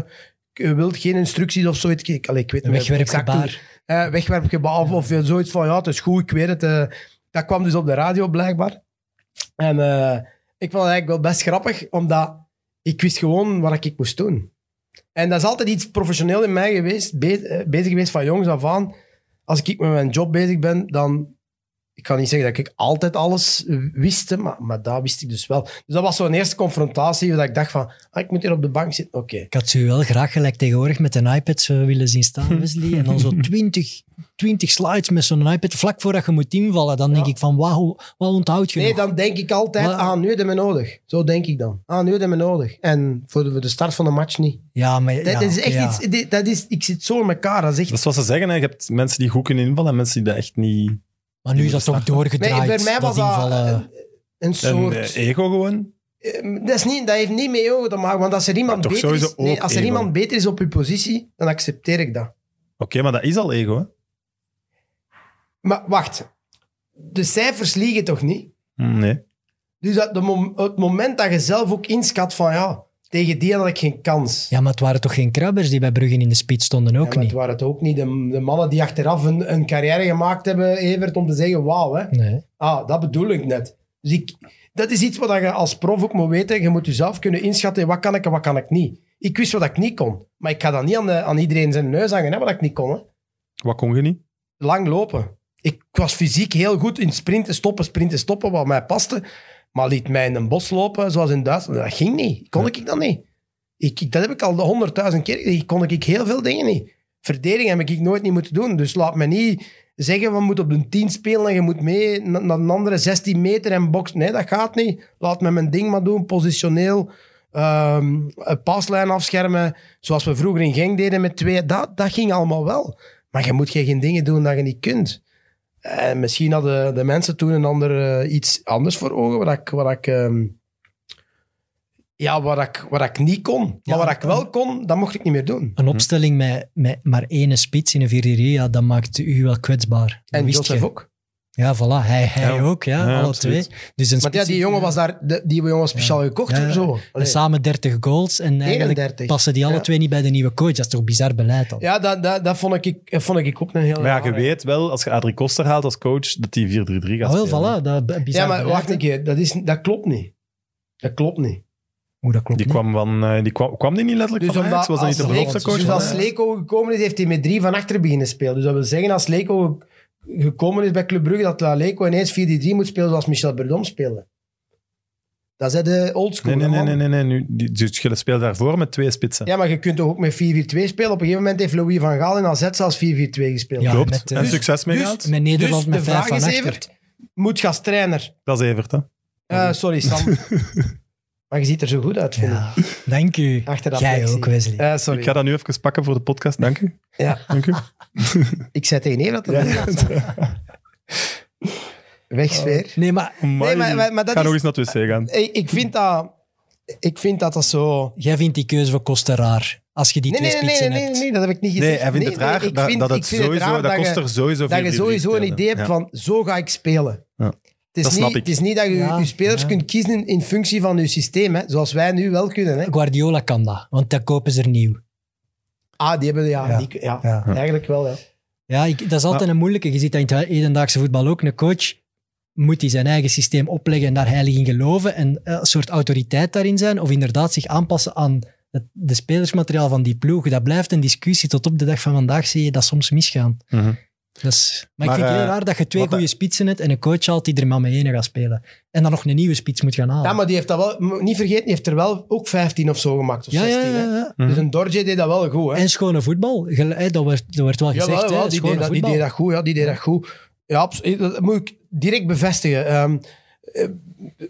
[SPEAKER 4] je wilt geen instructies of zoiets. Ik, allee, ik weet
[SPEAKER 2] Een
[SPEAKER 4] niet meer exact hoe-
[SPEAKER 2] wegwerpgebaar.
[SPEAKER 4] eh, wegwerpgebaar of, of zoiets van, ja, het is goed, ik weet het. eh. dat kwam dus op de radio blijkbaar. En eh, ik vond het eigenlijk wel best grappig, omdat ik wist gewoon wat ik moest doen. En dat is altijd iets professioneel in mij geweest, be- eh, bezig geweest van jongs af aan. Als ik met mijn job bezig ben, dan... Ik kan niet zeggen dat ik altijd alles eh, wist, hè, maar, maar dat wist ik dus wel. Dus dat was zo'n eerste confrontatie, dat ik dacht van, ah, ik moet hier op de bank zitten. Oké,
[SPEAKER 2] Ik had ze u wel graag gelijk tegenwoordig met een iPad zo willen zien staan, Wesley. En dan zo 20, 20 slides met zo'n iPad vlak voordat je moet invallen. Dan denk
[SPEAKER 4] Ja.
[SPEAKER 2] ik van, wauw, wat onthoud je
[SPEAKER 4] Nee,
[SPEAKER 2] nog?
[SPEAKER 4] dan denk ik altijd,
[SPEAKER 2] Maar-
[SPEAKER 4] ah, nu hebben we nodig. Zo denk ik dan. Ah, nu hebben we nodig. En voor de, voor de start van de match niet.
[SPEAKER 2] Ja, maar...
[SPEAKER 4] Dat,
[SPEAKER 2] ja,
[SPEAKER 4] dat is echt
[SPEAKER 2] ja.
[SPEAKER 4] iets, dit- dat is, ik zit zo in elkaar. Dat is echt,
[SPEAKER 1] Dat is wat ze zeggen. Hè. Je hebt mensen die goed kunnen invallen en mensen die dat echt niet...
[SPEAKER 2] Maar nu is dat toch
[SPEAKER 4] Nee,
[SPEAKER 2] doorgedraaid,
[SPEAKER 4] voor mij was dat
[SPEAKER 2] invallen.
[SPEAKER 4] een, een
[SPEAKER 1] Een
[SPEAKER 4] soort...
[SPEAKER 1] eh, ego gewoon.
[SPEAKER 4] Eh, dat, is niet, dat heeft niet mee ogen te maken, want als er iemand,
[SPEAKER 1] toch
[SPEAKER 4] beter is,
[SPEAKER 1] sowieso
[SPEAKER 4] nee,
[SPEAKER 1] ook
[SPEAKER 4] als er
[SPEAKER 1] ego.
[SPEAKER 4] iemand beter is op uw positie, dan accepteer ik dat.
[SPEAKER 1] Oké, maar dat is al ego, hè?
[SPEAKER 4] Maar wacht, de cijfers liegen toch niet?
[SPEAKER 1] Hm, Nee.
[SPEAKER 4] Dus dat de mom- het moment dat je zelf ook inschat van ja, Tegen die had ik geen kans.
[SPEAKER 2] Ja, maar het waren toch geen krabbers die bij Brugge in de spits stonden
[SPEAKER 4] Ja,
[SPEAKER 2] ook
[SPEAKER 4] maar
[SPEAKER 2] niet?
[SPEAKER 4] het waren het ook niet. De, de mannen die achteraf een, een carrière gemaakt hebben, Evert, om te zeggen, wauw, hè.
[SPEAKER 2] Nee.
[SPEAKER 4] Ah, dat bedoel ik net. Dus ik, dat is iets wat je als prof ook moet weten. Je moet jezelf kunnen inschatten, wat kan ik en wat kan ik niet. Ik wist wat ik niet kon. Maar ik ga dat niet aan, de- aan iedereen zijn neus hangen, hè, wat ik niet kon. Hè.
[SPEAKER 1] Wat kon je niet?
[SPEAKER 4] Lang lopen. Ik was fysiek heel goed in sprinten, stoppen, sprinten, stoppen, wat mij paste. Maar liet mij in een bos lopen, zoals in Duitsland. Dat ging niet. Kon ik dat niet. Ik, ik- dat heb ik al de honderdduizend keer gezien. Kon ik heel veel dingen niet. Verdediging heb ik nooit niet moeten doen. Dus laat me niet zeggen, we moeten op de 10 spelen en je moet mee na- naar een andere 16 meter en boksen. Nee, dat gaat niet. Laat me mijn ding maar doen, positioneel. ehm, een paslijn afschermen, zoals we vroeger in Genk deden met twee. Dat, dat ging allemaal wel. Maar je moet geen dingen doen dat je niet kunt. En misschien hadden de mensen toen een ander, eh, iets anders voor ogen, wat ik... Wat ik ehm, ja, wat ik, wat ik niet kon.
[SPEAKER 2] Ja,
[SPEAKER 4] maar wat
[SPEAKER 2] dat
[SPEAKER 4] ik
[SPEAKER 2] kan.
[SPEAKER 4] wel kon, dat mocht ik niet meer doen.
[SPEAKER 1] Hm.
[SPEAKER 2] Een opstelling met, met maar één spits in een 4 ja, dat maakt u wel kwetsbaar. Dat
[SPEAKER 4] En
[SPEAKER 2] wist
[SPEAKER 4] Joseph
[SPEAKER 2] je.
[SPEAKER 4] ook.
[SPEAKER 2] Ja, voilà. Hij, hij
[SPEAKER 1] Ja.
[SPEAKER 2] ook, ja.
[SPEAKER 1] Ja,
[SPEAKER 2] alle
[SPEAKER 1] absoluut.
[SPEAKER 2] twee. Dus een
[SPEAKER 4] Maar ja,
[SPEAKER 2] spits-
[SPEAKER 4] die jongen was daar, de- die jongen was speciaal gekocht
[SPEAKER 2] Ja,
[SPEAKER 4] of zo.
[SPEAKER 2] En
[SPEAKER 4] Allee,
[SPEAKER 2] samen 30 goals en eigenlijk
[SPEAKER 4] 31.
[SPEAKER 2] passen die alle
[SPEAKER 4] Ja.
[SPEAKER 2] twee niet bij de nieuwe coach. Dat is toch bizar beleid dan?
[SPEAKER 4] Ja, dat, dat, dat vond, ik, eh, vond ik ook een heel...
[SPEAKER 1] Maar ja, je
[SPEAKER 4] rare.
[SPEAKER 1] weet wel, als je Adrie Koster haalt als coach, dat die 4-3-3 gaat
[SPEAKER 2] Ah, wel,
[SPEAKER 1] spelen.
[SPEAKER 2] voilà. Dat, bizar
[SPEAKER 4] Ja, maar
[SPEAKER 2] beleid,
[SPEAKER 4] wacht
[SPEAKER 2] hè.
[SPEAKER 4] een keer. Dat, is, dat klopt niet. Dat klopt niet.
[SPEAKER 2] Oeh, dat klopt
[SPEAKER 1] Die
[SPEAKER 2] niet.
[SPEAKER 1] kwam, van, eh, die kwam, kwam die niet letterlijk
[SPEAKER 4] Dus
[SPEAKER 1] van Ajax?
[SPEAKER 4] omdat
[SPEAKER 1] Was dat
[SPEAKER 4] als,
[SPEAKER 1] niet de
[SPEAKER 2] Leek-
[SPEAKER 1] belofte
[SPEAKER 4] Leko,
[SPEAKER 1] coach?
[SPEAKER 4] dus
[SPEAKER 1] van
[SPEAKER 4] als
[SPEAKER 1] Ajax?
[SPEAKER 4] Leko gekomen is, heeft hij met drie van achter beginnen spelen. Dus dat wil zeggen, als Leko ge- gekomen is bij Club Brugge, dat Leko ineens 4-3 moet spelen zoals Michel Berdom speelde. Dat is de oldschool.
[SPEAKER 1] Nee, nee,
[SPEAKER 4] hè,
[SPEAKER 1] nee,
[SPEAKER 4] man.
[SPEAKER 1] nee, nee, nee. Nu, die, dus je speelt daarvoor met twee spitsen.
[SPEAKER 4] Ja, maar je kunt toch ook met 4-4-2 spelen? Op een gegeven moment heeft Louis van Gaal in AZ zelfs 4-4-2 gespeeld.
[SPEAKER 2] Ja,
[SPEAKER 1] Klopt.
[SPEAKER 2] met, eh,
[SPEAKER 1] en
[SPEAKER 2] dus-
[SPEAKER 1] succes mee gehad?
[SPEAKER 2] Met Nederland
[SPEAKER 4] dus
[SPEAKER 2] met
[SPEAKER 4] de
[SPEAKER 2] vijf
[SPEAKER 4] vraag
[SPEAKER 2] van
[SPEAKER 4] is,
[SPEAKER 2] achter.
[SPEAKER 4] Evert, moet je als trainer...
[SPEAKER 1] Dat is Evert, hè?
[SPEAKER 4] Eh, sorry, Sam. maar je ziet er zo goed uit, vind ik.
[SPEAKER 2] Ja, dank u.
[SPEAKER 4] Achter dat
[SPEAKER 2] Jij
[SPEAKER 4] plexi.
[SPEAKER 2] ook, Wesley.
[SPEAKER 4] Eh, sorry.
[SPEAKER 1] Ik ga dat nu even pakken voor de podcast. Dank u.
[SPEAKER 4] Ja,
[SPEAKER 1] Dank u.
[SPEAKER 4] ik zei tegen Evert dat het inderdaad zo-
[SPEAKER 1] Oh.
[SPEAKER 4] Weg, sfeer.
[SPEAKER 2] Nee, maar
[SPEAKER 1] Amai.
[SPEAKER 4] maar- maar- maar dat
[SPEAKER 1] ga nog
[SPEAKER 4] is-
[SPEAKER 1] eens naar het wc gaan.
[SPEAKER 4] Ik, ik vind dat... Ik vind dat dat zo...
[SPEAKER 2] jij vindt die keuze van Koster raar. Als je die
[SPEAKER 4] Nee,
[SPEAKER 2] twee
[SPEAKER 4] nee, nee,
[SPEAKER 2] spitsen
[SPEAKER 4] nee, nee,
[SPEAKER 2] hebt.
[SPEAKER 4] nee, dat heb ik niet gezegd.
[SPEAKER 1] Nee, hij vindt
[SPEAKER 4] Nee,
[SPEAKER 1] het
[SPEAKER 4] nee,
[SPEAKER 1] raar
[SPEAKER 4] ik
[SPEAKER 1] dat,
[SPEAKER 4] vind-
[SPEAKER 1] dat
[SPEAKER 4] ik
[SPEAKER 1] het
[SPEAKER 4] vind
[SPEAKER 1] sowieso,
[SPEAKER 4] raar
[SPEAKER 1] dat,
[SPEAKER 4] je-
[SPEAKER 1] kost er sowieso
[SPEAKER 4] dat je
[SPEAKER 1] 4-3-3
[SPEAKER 4] sowieso een
[SPEAKER 1] speelde.
[SPEAKER 4] idee hebt
[SPEAKER 1] Ja.
[SPEAKER 4] van zo ga ik spelen.
[SPEAKER 1] Ja.
[SPEAKER 4] Het,
[SPEAKER 1] Dat
[SPEAKER 4] is
[SPEAKER 1] snap
[SPEAKER 4] niet,
[SPEAKER 1] ik.
[SPEAKER 4] het is niet dat je
[SPEAKER 2] Ja,
[SPEAKER 4] je spelers
[SPEAKER 2] ja.
[SPEAKER 4] kunt kiezen in, in functie van je systeem, hè, zoals wij nu wel kunnen. Hè.
[SPEAKER 2] Guardiola kan dat, want dat kopen ze er nieuw.
[SPEAKER 4] Ah, die hebben ja,
[SPEAKER 2] Ja.
[SPEAKER 4] die- ja,
[SPEAKER 2] Ja.
[SPEAKER 4] eigenlijk wel. Ja.
[SPEAKER 2] Ja, ik, dat is altijd
[SPEAKER 1] Maar-
[SPEAKER 2] een moeilijke. Je ziet dat in het hedendaagse voetbal ook. Een coach moet hij zijn eigen systeem opleggen en daar heilig in geloven en eh, een soort autoriteit daarin zijn. Of inderdaad zich aanpassen aan het de spelersmateriaal van die ploeg. Dat blijft een discussie. Tot op de dag van vandaag zie je dat soms misgaan.
[SPEAKER 1] Mhm.
[SPEAKER 2] Dat is, maar,
[SPEAKER 1] Maar,
[SPEAKER 2] ik vind het heel
[SPEAKER 1] eh,
[SPEAKER 2] raar dat je twee
[SPEAKER 1] wat
[SPEAKER 2] goede spitsen hebt en een coach haalt die er maar mee ene gaat spelen. En dan nog een nieuwe spits moet gaan halen.
[SPEAKER 4] ja, maar die heeft dat wel, moet niet vergeten, die heeft er wel ook 15 of zo gemaakt. Of
[SPEAKER 2] ja,
[SPEAKER 4] 16,
[SPEAKER 2] ja, ja,
[SPEAKER 4] hè.
[SPEAKER 2] ja.
[SPEAKER 1] Mhm.
[SPEAKER 4] Dus een Dorje deed dat wel goed. Hè.
[SPEAKER 2] En schone voetbal. Gel- eh, Dat werd, dat werd wel
[SPEAKER 4] ja,
[SPEAKER 2] gezegd.
[SPEAKER 4] wel, wel,
[SPEAKER 2] hè,
[SPEAKER 4] die,
[SPEAKER 2] schone
[SPEAKER 4] deed dat, die
[SPEAKER 2] voetbal.
[SPEAKER 4] deed dat goed. Ja, die deed dat goed. Ja, abs- eh, dat moet ik direct bevestigen. Ehm, eh,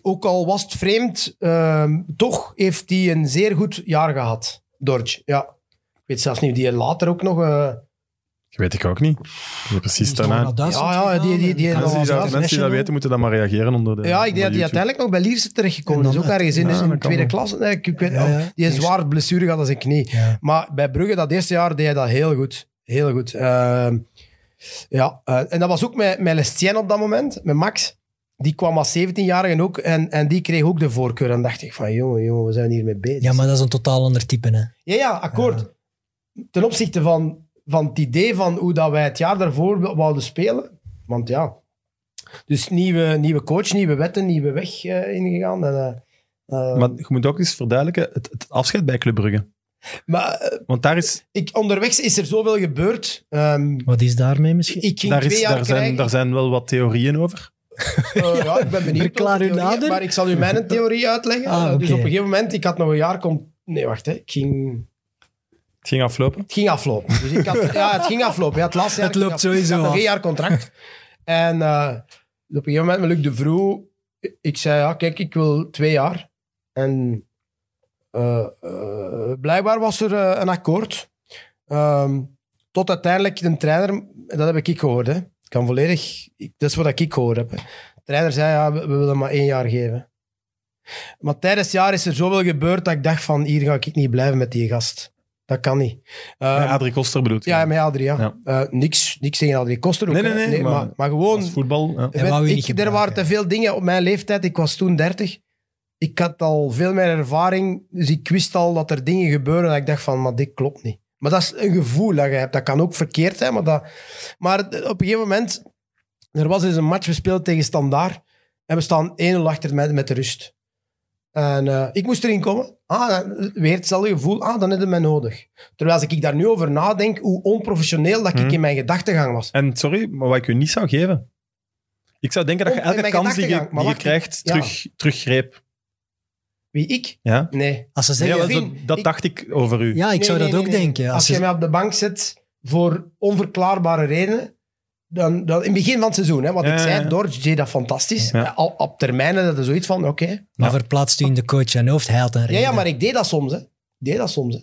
[SPEAKER 4] ook al was het vreemd, ehm, toch heeft hij een zeer goed jaar gehad, Dorje. Ja. Ik weet zelfs niet, die later ook nog... eh,
[SPEAKER 1] Dat weet ik ook niet. Die
[SPEAKER 2] Die
[SPEAKER 1] precies
[SPEAKER 2] is nog
[SPEAKER 1] daarna.
[SPEAKER 2] naar Duitsland
[SPEAKER 4] Ja, ja, die- die- die-
[SPEAKER 2] gegaan.
[SPEAKER 1] Mensen die,
[SPEAKER 4] Ja,
[SPEAKER 1] dat, mensen die dat weten, moeten dan maar reageren onder de
[SPEAKER 4] Ja, ik denk dat hij
[SPEAKER 1] onder YouTube.
[SPEAKER 4] uiteindelijk nog bij Lierse terechtgekomen
[SPEAKER 2] En dan
[SPEAKER 4] is. Ook ergens in,
[SPEAKER 1] uit-
[SPEAKER 4] is
[SPEAKER 1] Ja,
[SPEAKER 4] in de
[SPEAKER 1] dat kan
[SPEAKER 4] tweede
[SPEAKER 1] wel.
[SPEAKER 4] klas. Nee, ik, ik weet,
[SPEAKER 2] Ja, ja.
[SPEAKER 4] oh, die een zwaar blessure gehad als zijn knie.
[SPEAKER 2] Ja.
[SPEAKER 4] Maar bij Brugge, dat eerste jaar, deed hij dat heel goed. Heel goed. Ehm, ja, eh, en dat was ook met, met Lestien op dat moment, met Max. Die kwam als 17-jarige ook en, en die kreeg ook de voorkeur. En dacht ik van, jongen, jongen, we zijn hiermee bezig.
[SPEAKER 2] Ja, maar dat is een totaal ander type. Hè.
[SPEAKER 4] Ja, ja, akkoord. Ten opzichte van, van het idee van hoe dat wij het jaar daarvoor w- wouden spelen. Want ja, dus nieuwe, nieuwe coach, nieuwe wetten, nieuwe weg eh, ingegaan. En, eh, eh, maar
[SPEAKER 1] Maar je moet ook eens verduidelijken, het, het afscheid bij Club Brugge.
[SPEAKER 4] eh,
[SPEAKER 1] Want daar is,
[SPEAKER 4] ik, onderweg is er zoveel gebeurd. Ehm,
[SPEAKER 2] Wat is daarmee misschien?
[SPEAKER 4] ik ging
[SPEAKER 1] daar,
[SPEAKER 4] twee
[SPEAKER 1] is
[SPEAKER 4] jaar
[SPEAKER 1] daar, zijn,
[SPEAKER 4] krijgen.
[SPEAKER 1] daar zijn wel wat theorieën over.
[SPEAKER 4] Eh, ja, ik ben benieuwd.
[SPEAKER 2] Verklaar
[SPEAKER 4] over
[SPEAKER 2] u
[SPEAKER 4] theorieën,
[SPEAKER 2] nader.
[SPEAKER 4] Maar ik zal u mijn theorie uitleggen.
[SPEAKER 2] Ah,
[SPEAKER 4] Eh, Dus
[SPEAKER 2] oké.
[SPEAKER 4] op een gegeven moment, ik had nog een jaar... Kom... Nee, wacht, hè. Ik ging...
[SPEAKER 1] Het ging aflopen.
[SPEAKER 4] Het ging aflopen. Dus ik had, ja, het ging aflopen. Ja, het laatste jaar
[SPEAKER 2] Het loopt
[SPEAKER 4] ging aflopen.
[SPEAKER 2] sowieso
[SPEAKER 4] Ik had nog
[SPEAKER 2] af.
[SPEAKER 4] één jaar contract. En eh, op een gegeven moment met Luc de Vroe, ik zei, ja, kijk, ik wil twee jaar. En eh, eh, blijkbaar was er eh, een akkoord. Ehm, tot uiteindelijk de trainer, dat heb ik gehoord, hè. Ik kan volledig, ik- dat is wat ik gehoord heb. hè. De trainer zei, ja, we, we willen maar één jaar geven. Maar tijdens het jaar is er zoveel gebeurd dat ik dacht van, hier ga ik niet blijven met die gast. Dat kan niet. Ehm,
[SPEAKER 1] Ja, Adrie Koster bedoelt.
[SPEAKER 4] ja, met Adrie, ja.
[SPEAKER 1] Ja.
[SPEAKER 4] Eh, niks, niks tegen Adrie Koster ook.
[SPEAKER 1] Nee, nee,
[SPEAKER 4] hè.
[SPEAKER 1] nee, maar-
[SPEAKER 4] maar, maar gewoon...
[SPEAKER 1] Als voetbal. Ja.
[SPEAKER 2] Hij wou je
[SPEAKER 4] ik-
[SPEAKER 2] niet
[SPEAKER 4] er
[SPEAKER 2] gebruiken.
[SPEAKER 4] waren te veel dingen op mijn leeftijd. Ik was toen 30. ik had al veel meer ervaring, dus ik wist al dat er dingen gebeuren dat ik dacht van, maar dit klopt niet. Maar dat is een gevoel dat je hebt. Dat kan ook verkeerd zijn, maar, dat, maar op een gegeven moment, er was eens een match gespeeld tegen Standaard en we staan 1-0 achter met, met de rust. En eh, ik moest erin komen. Ah, dan- weer hetzelfde gevoel. Ah, dan heb je mij nodig. Terwijl als ik daar nu over nadenk, hoe onprofessioneel dat ik
[SPEAKER 1] Mhm.
[SPEAKER 4] in mijn gedachtegang was.
[SPEAKER 1] En sorry, maar wat ik u niet zou geven. Ik zou denken dat je
[SPEAKER 4] Om- in
[SPEAKER 1] elke
[SPEAKER 4] mijn
[SPEAKER 1] kans die je,
[SPEAKER 4] gedachtegang, maar
[SPEAKER 1] die je
[SPEAKER 4] wacht,
[SPEAKER 1] krijgt
[SPEAKER 4] ja.
[SPEAKER 1] terug, teruggreep.
[SPEAKER 4] Wie ik?
[SPEAKER 1] Ja?
[SPEAKER 4] Nee.
[SPEAKER 2] Als ze
[SPEAKER 1] Nee,
[SPEAKER 2] zeggen,
[SPEAKER 1] wel,
[SPEAKER 4] Vin,
[SPEAKER 1] dat, dat
[SPEAKER 4] ik-
[SPEAKER 1] dacht ik over u.
[SPEAKER 2] ja, ik
[SPEAKER 4] Nee,
[SPEAKER 2] zou
[SPEAKER 4] nee,
[SPEAKER 2] dat
[SPEAKER 4] nee,
[SPEAKER 2] ook
[SPEAKER 4] nee.
[SPEAKER 2] denken.
[SPEAKER 4] Als,
[SPEAKER 2] Als
[SPEAKER 4] je
[SPEAKER 2] ze-
[SPEAKER 4] mij op de bank zet voor onverklaarbare redenen, dan, dan in het begin van het seizoen, hè, wat
[SPEAKER 1] Ja,
[SPEAKER 4] ik zei,
[SPEAKER 1] ja.
[SPEAKER 4] Dortch deed dat fantastisch.
[SPEAKER 1] Ja.
[SPEAKER 4] Al, op termijnen dat is zoiets van, oké.
[SPEAKER 1] Ja.
[SPEAKER 2] Maar verplaatst u in de coach zijn hoofd, hij had een
[SPEAKER 4] Ja,
[SPEAKER 2] reden.
[SPEAKER 4] ja, maar ik deed dat soms. Hè. Ik deed dat soms. Hè.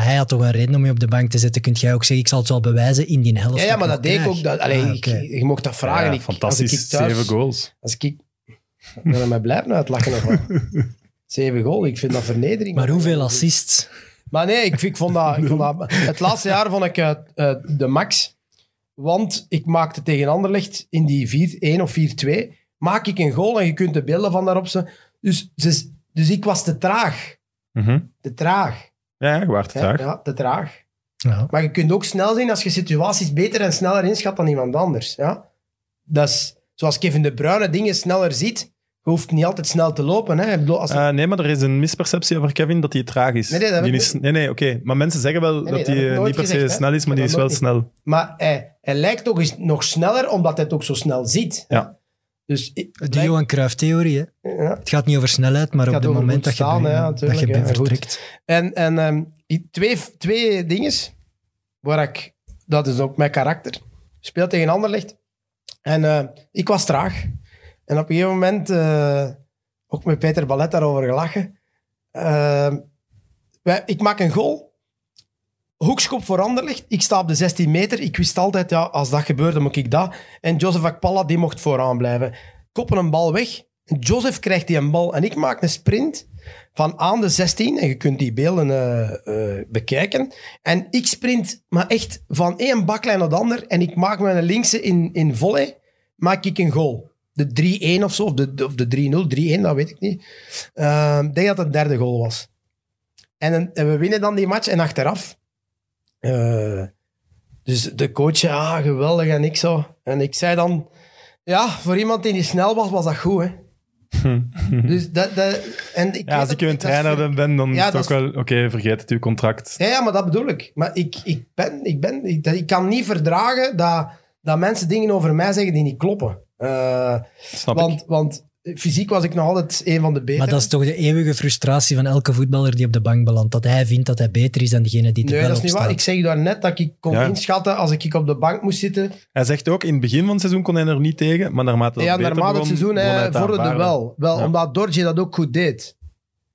[SPEAKER 2] Hij had toch een reden om je op de bank te zetten. Kun jij ook zeggen, ik zal het wel bewijzen in die helft.
[SPEAKER 4] Ja, ja, maar dat deed ik
[SPEAKER 2] krijg.
[SPEAKER 4] ook. Dat, allee,
[SPEAKER 2] Ah,
[SPEAKER 4] ik-
[SPEAKER 2] oké.
[SPEAKER 4] je mocht dat vragen.
[SPEAKER 1] Ja,
[SPEAKER 4] ik,
[SPEAKER 1] fantastisch,
[SPEAKER 4] Als ik thuis,
[SPEAKER 1] zeven goals.
[SPEAKER 4] Als ik... Dan ben mij blijven uitlachen. Of wat. Zeven goal, ik vind dat vernedering.
[SPEAKER 2] Maar hoeveel assists?
[SPEAKER 4] Maar nee, ik, ik vond dat, ik vond dat... Het laatste jaar vond ik eh, eh, de max. Want ik maakte tegen Anderlecht in die 4-1 of 4-2... Maak ik een goal en je kunt de beelden van daarop zien. Dus, dus, dus ik was te traag.
[SPEAKER 1] Mhm.
[SPEAKER 4] Te traag.
[SPEAKER 1] Ja, je waart
[SPEAKER 4] hè.
[SPEAKER 1] het daar.
[SPEAKER 4] Ja, te traag.
[SPEAKER 2] Ja.
[SPEAKER 4] Maar je kunt ook snel zien als je situaties beter en sneller inschat dan iemand anders. Ja? Dat is zoals Kevin De Bruyne dingen sneller ziet. Je hoeft niet altijd snel te lopen. Hè? Ik bedoel, als
[SPEAKER 1] Eh, nee, maar er is een misperceptie over Kevin dat hij traag is.
[SPEAKER 4] Nee, nee, dat heb
[SPEAKER 1] Die
[SPEAKER 4] ik
[SPEAKER 1] is- nee, nee, oké. Maar mensen zeggen wel
[SPEAKER 4] nee,
[SPEAKER 1] dat
[SPEAKER 4] dat
[SPEAKER 1] hij
[SPEAKER 4] heb ik
[SPEAKER 1] eh,
[SPEAKER 4] nooit
[SPEAKER 1] niet per se
[SPEAKER 4] gezegd, hè.
[SPEAKER 1] snel is, maar die
[SPEAKER 4] Ik
[SPEAKER 1] is
[SPEAKER 4] heb
[SPEAKER 1] wel
[SPEAKER 4] dat
[SPEAKER 1] snel.
[SPEAKER 4] Maar hij, hij lijkt toch eens nog sneller, omdat hij het ook zo snel ziet. hè.
[SPEAKER 1] Ja.
[SPEAKER 4] Dus ik-
[SPEAKER 2] De
[SPEAKER 4] lijkt-
[SPEAKER 2] Johan Cruijff-theorie. hè.
[SPEAKER 4] ja.
[SPEAKER 2] Het gaat niet over snelheid, maar op
[SPEAKER 4] Het gaat
[SPEAKER 2] het
[SPEAKER 4] over
[SPEAKER 2] moment dat
[SPEAKER 4] goed
[SPEAKER 2] je,
[SPEAKER 4] staan,
[SPEAKER 2] bij-
[SPEAKER 4] hè,
[SPEAKER 2] dat je
[SPEAKER 4] natuurlijk,
[SPEAKER 2] bij
[SPEAKER 4] ja, goed.
[SPEAKER 2] vertrekt.
[SPEAKER 4] En, en ehm, i- twee, twee dingen waar ik... Dat is ook mijn karakter. Speelt tegen Anderlecht. En eh, ik was traag. En op een gegeven moment, eh, ook met Peter Ballet daarover gelachen. eh, wij- ik maak een goal. Hoekschop voor Anderlecht. Ik sta op de 16 meter. Ik wist altijd, ja, als dat gebeurt, dan moet ik dat. En Joseph Akpala, die mocht vooraan blijven. Koppen een bal weg. En Joseph krijgt die een bal. En ik maak een sprint van aan de 16. En je kunt die beelden eh, eh, bekijken. En ik sprint, maar echt van één baklijn naar de ander. En ik maak mijn linkse in, in volley. Maak ik een goal. De 3-1 of zo, of de, de- of de 3-0, 3-1, dat weet ik niet. Ehm, Ik denk dat het de derde goal was. En, dan- en we winnen dan die match. En achteraf... eh, dus de coach, ja, geweldig en ik zo. En ik zei dan... Ja, voor iemand die niet snel was, was dat goed, hè. Dus dat... dat en ik
[SPEAKER 1] Ja, als ik een trainer
[SPEAKER 4] ben.
[SPEAKER 1] ben, ben, dan
[SPEAKER 4] Ja,
[SPEAKER 1] is het
[SPEAKER 4] dat
[SPEAKER 1] ook
[SPEAKER 4] is-
[SPEAKER 1] wel... Oké, vergeet het, uw contract.
[SPEAKER 4] Ja, ja, maar dat bedoel ik. Maar ik, ik, ben, ik, ben, ik, dat- ik kan niet verdragen dat, dat mensen dingen over mij zeggen die niet kloppen. Eh,
[SPEAKER 1] Snap ik.
[SPEAKER 4] want, want fysiek was ik nog altijd een van de betere.
[SPEAKER 2] Maar dat is toch de eeuwige frustratie van elke voetballer die op de bank belandt. Dat hij vindt dat hij beter is dan degene die er
[SPEAKER 4] Nee,
[SPEAKER 2] wel
[SPEAKER 4] dat is
[SPEAKER 2] op
[SPEAKER 4] niet waar.
[SPEAKER 2] staat.
[SPEAKER 4] Ik zeg daar net dat ik kon
[SPEAKER 1] Ja.
[SPEAKER 4] inschatten als ik op de bank moest zitten.
[SPEAKER 1] Hij zegt ook, in het begin van het seizoen kon hij er niet tegen, maar naarmate dat
[SPEAKER 4] Ja,
[SPEAKER 1] beter
[SPEAKER 4] naarmate het
[SPEAKER 1] begon,
[SPEAKER 4] seizoen
[SPEAKER 1] begon hij
[SPEAKER 4] eh,
[SPEAKER 1] het
[SPEAKER 4] vorderde
[SPEAKER 1] aanvaarden.
[SPEAKER 4] wel. wel
[SPEAKER 1] Ja.
[SPEAKER 4] Omdat Dorje dat ook goed deed.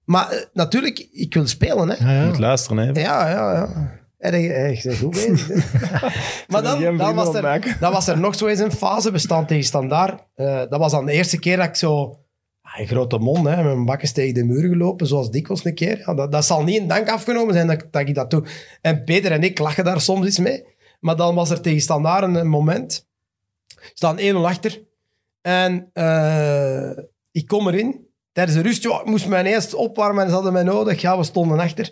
[SPEAKER 4] Maar eh, natuurlijk, ik wil spelen. Hè.
[SPEAKER 2] Ja, ja.
[SPEAKER 1] Je moet luisteren, hè.
[SPEAKER 4] Ja, ja, ja. Erg, erg, zeg, goed bezig. hè. maar
[SPEAKER 1] Zullen we geen
[SPEAKER 4] dan, dan,
[SPEAKER 1] vrienden
[SPEAKER 4] was
[SPEAKER 1] opmaken?
[SPEAKER 4] er, dan was er nog zo eens een fase bestand tegen Standaard. Eh, dat was dan de eerste keer dat ik zo... ah, een grote mond, hè, met mijn bakken tegen de muur gelopen, zoals dikwijls een keer. Ja, dat, dat zal niet in dank afgenomen zijn dat, ik- dat ik dat doe. En Peter en ik lachen daar soms iets mee. Maar dan was er tegen Standaard een, een moment. Ze staan 1-0 achter. En eh, ik kom erin. Tijdens de rust, ja, ik moest mij eerst opwarmen en ze hadden mij nodig. Ja, we stonden achter.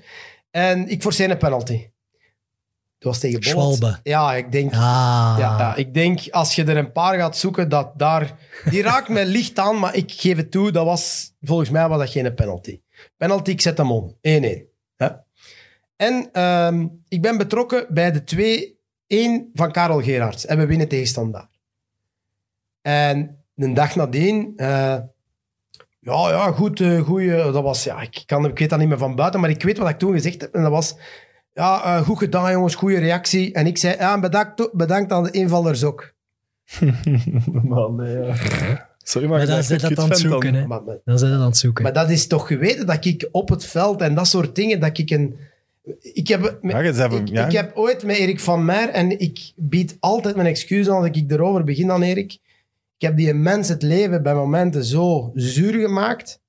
[SPEAKER 4] En ik forceer een penalty. Dat was tegen Bolland.
[SPEAKER 2] Schwalbe.
[SPEAKER 4] Ja, ik denk...
[SPEAKER 2] Ah,
[SPEAKER 4] Ja, ja, ik denk als je er een paar gaat zoeken, dat daar... Die raakt mij licht aan, maar ik geef het toe, dat was... Volgens mij was dat geen penalty. Penalty, ik zet hem om. 1-1. Ja. En ehm, ik ben betrokken bij de 2-1 van Karel Gerards. En we winnen tegenstandaar. En een dag nadien... eh, ja, ja, goed, eh goeie, dat was... Ja, ik, kan, ik weet dat niet meer van buiten, maar ik weet wat ik toen gezegd heb. En dat was... Ja, eh, goed gedaan jongens, goede reactie. En ik zei, ja, bedankt, bedankt aan de invallers ook.
[SPEAKER 1] Man, nee, ja. Sorry, maar, je
[SPEAKER 2] Maar dan
[SPEAKER 1] bent
[SPEAKER 2] zijn
[SPEAKER 1] echt
[SPEAKER 2] dat aan
[SPEAKER 1] goed
[SPEAKER 2] het
[SPEAKER 1] fan
[SPEAKER 2] zoeken,
[SPEAKER 1] dan.
[SPEAKER 2] hè.
[SPEAKER 4] Maar, maar,
[SPEAKER 2] Dan zijn dat aan het zoeken.
[SPEAKER 4] maar dat is toch geweten dat ik op het veld en dat soort dingen, dat ik een... Ik heb,
[SPEAKER 1] Ja, je zei van-
[SPEAKER 4] ik,
[SPEAKER 1] ja.
[SPEAKER 4] ik heb ooit met Erik van Meer, en ik bied altijd mijn excuus aan als ik erover begin aan Erik. Ik heb die mens het leven bij momenten zo zuur gemaakt.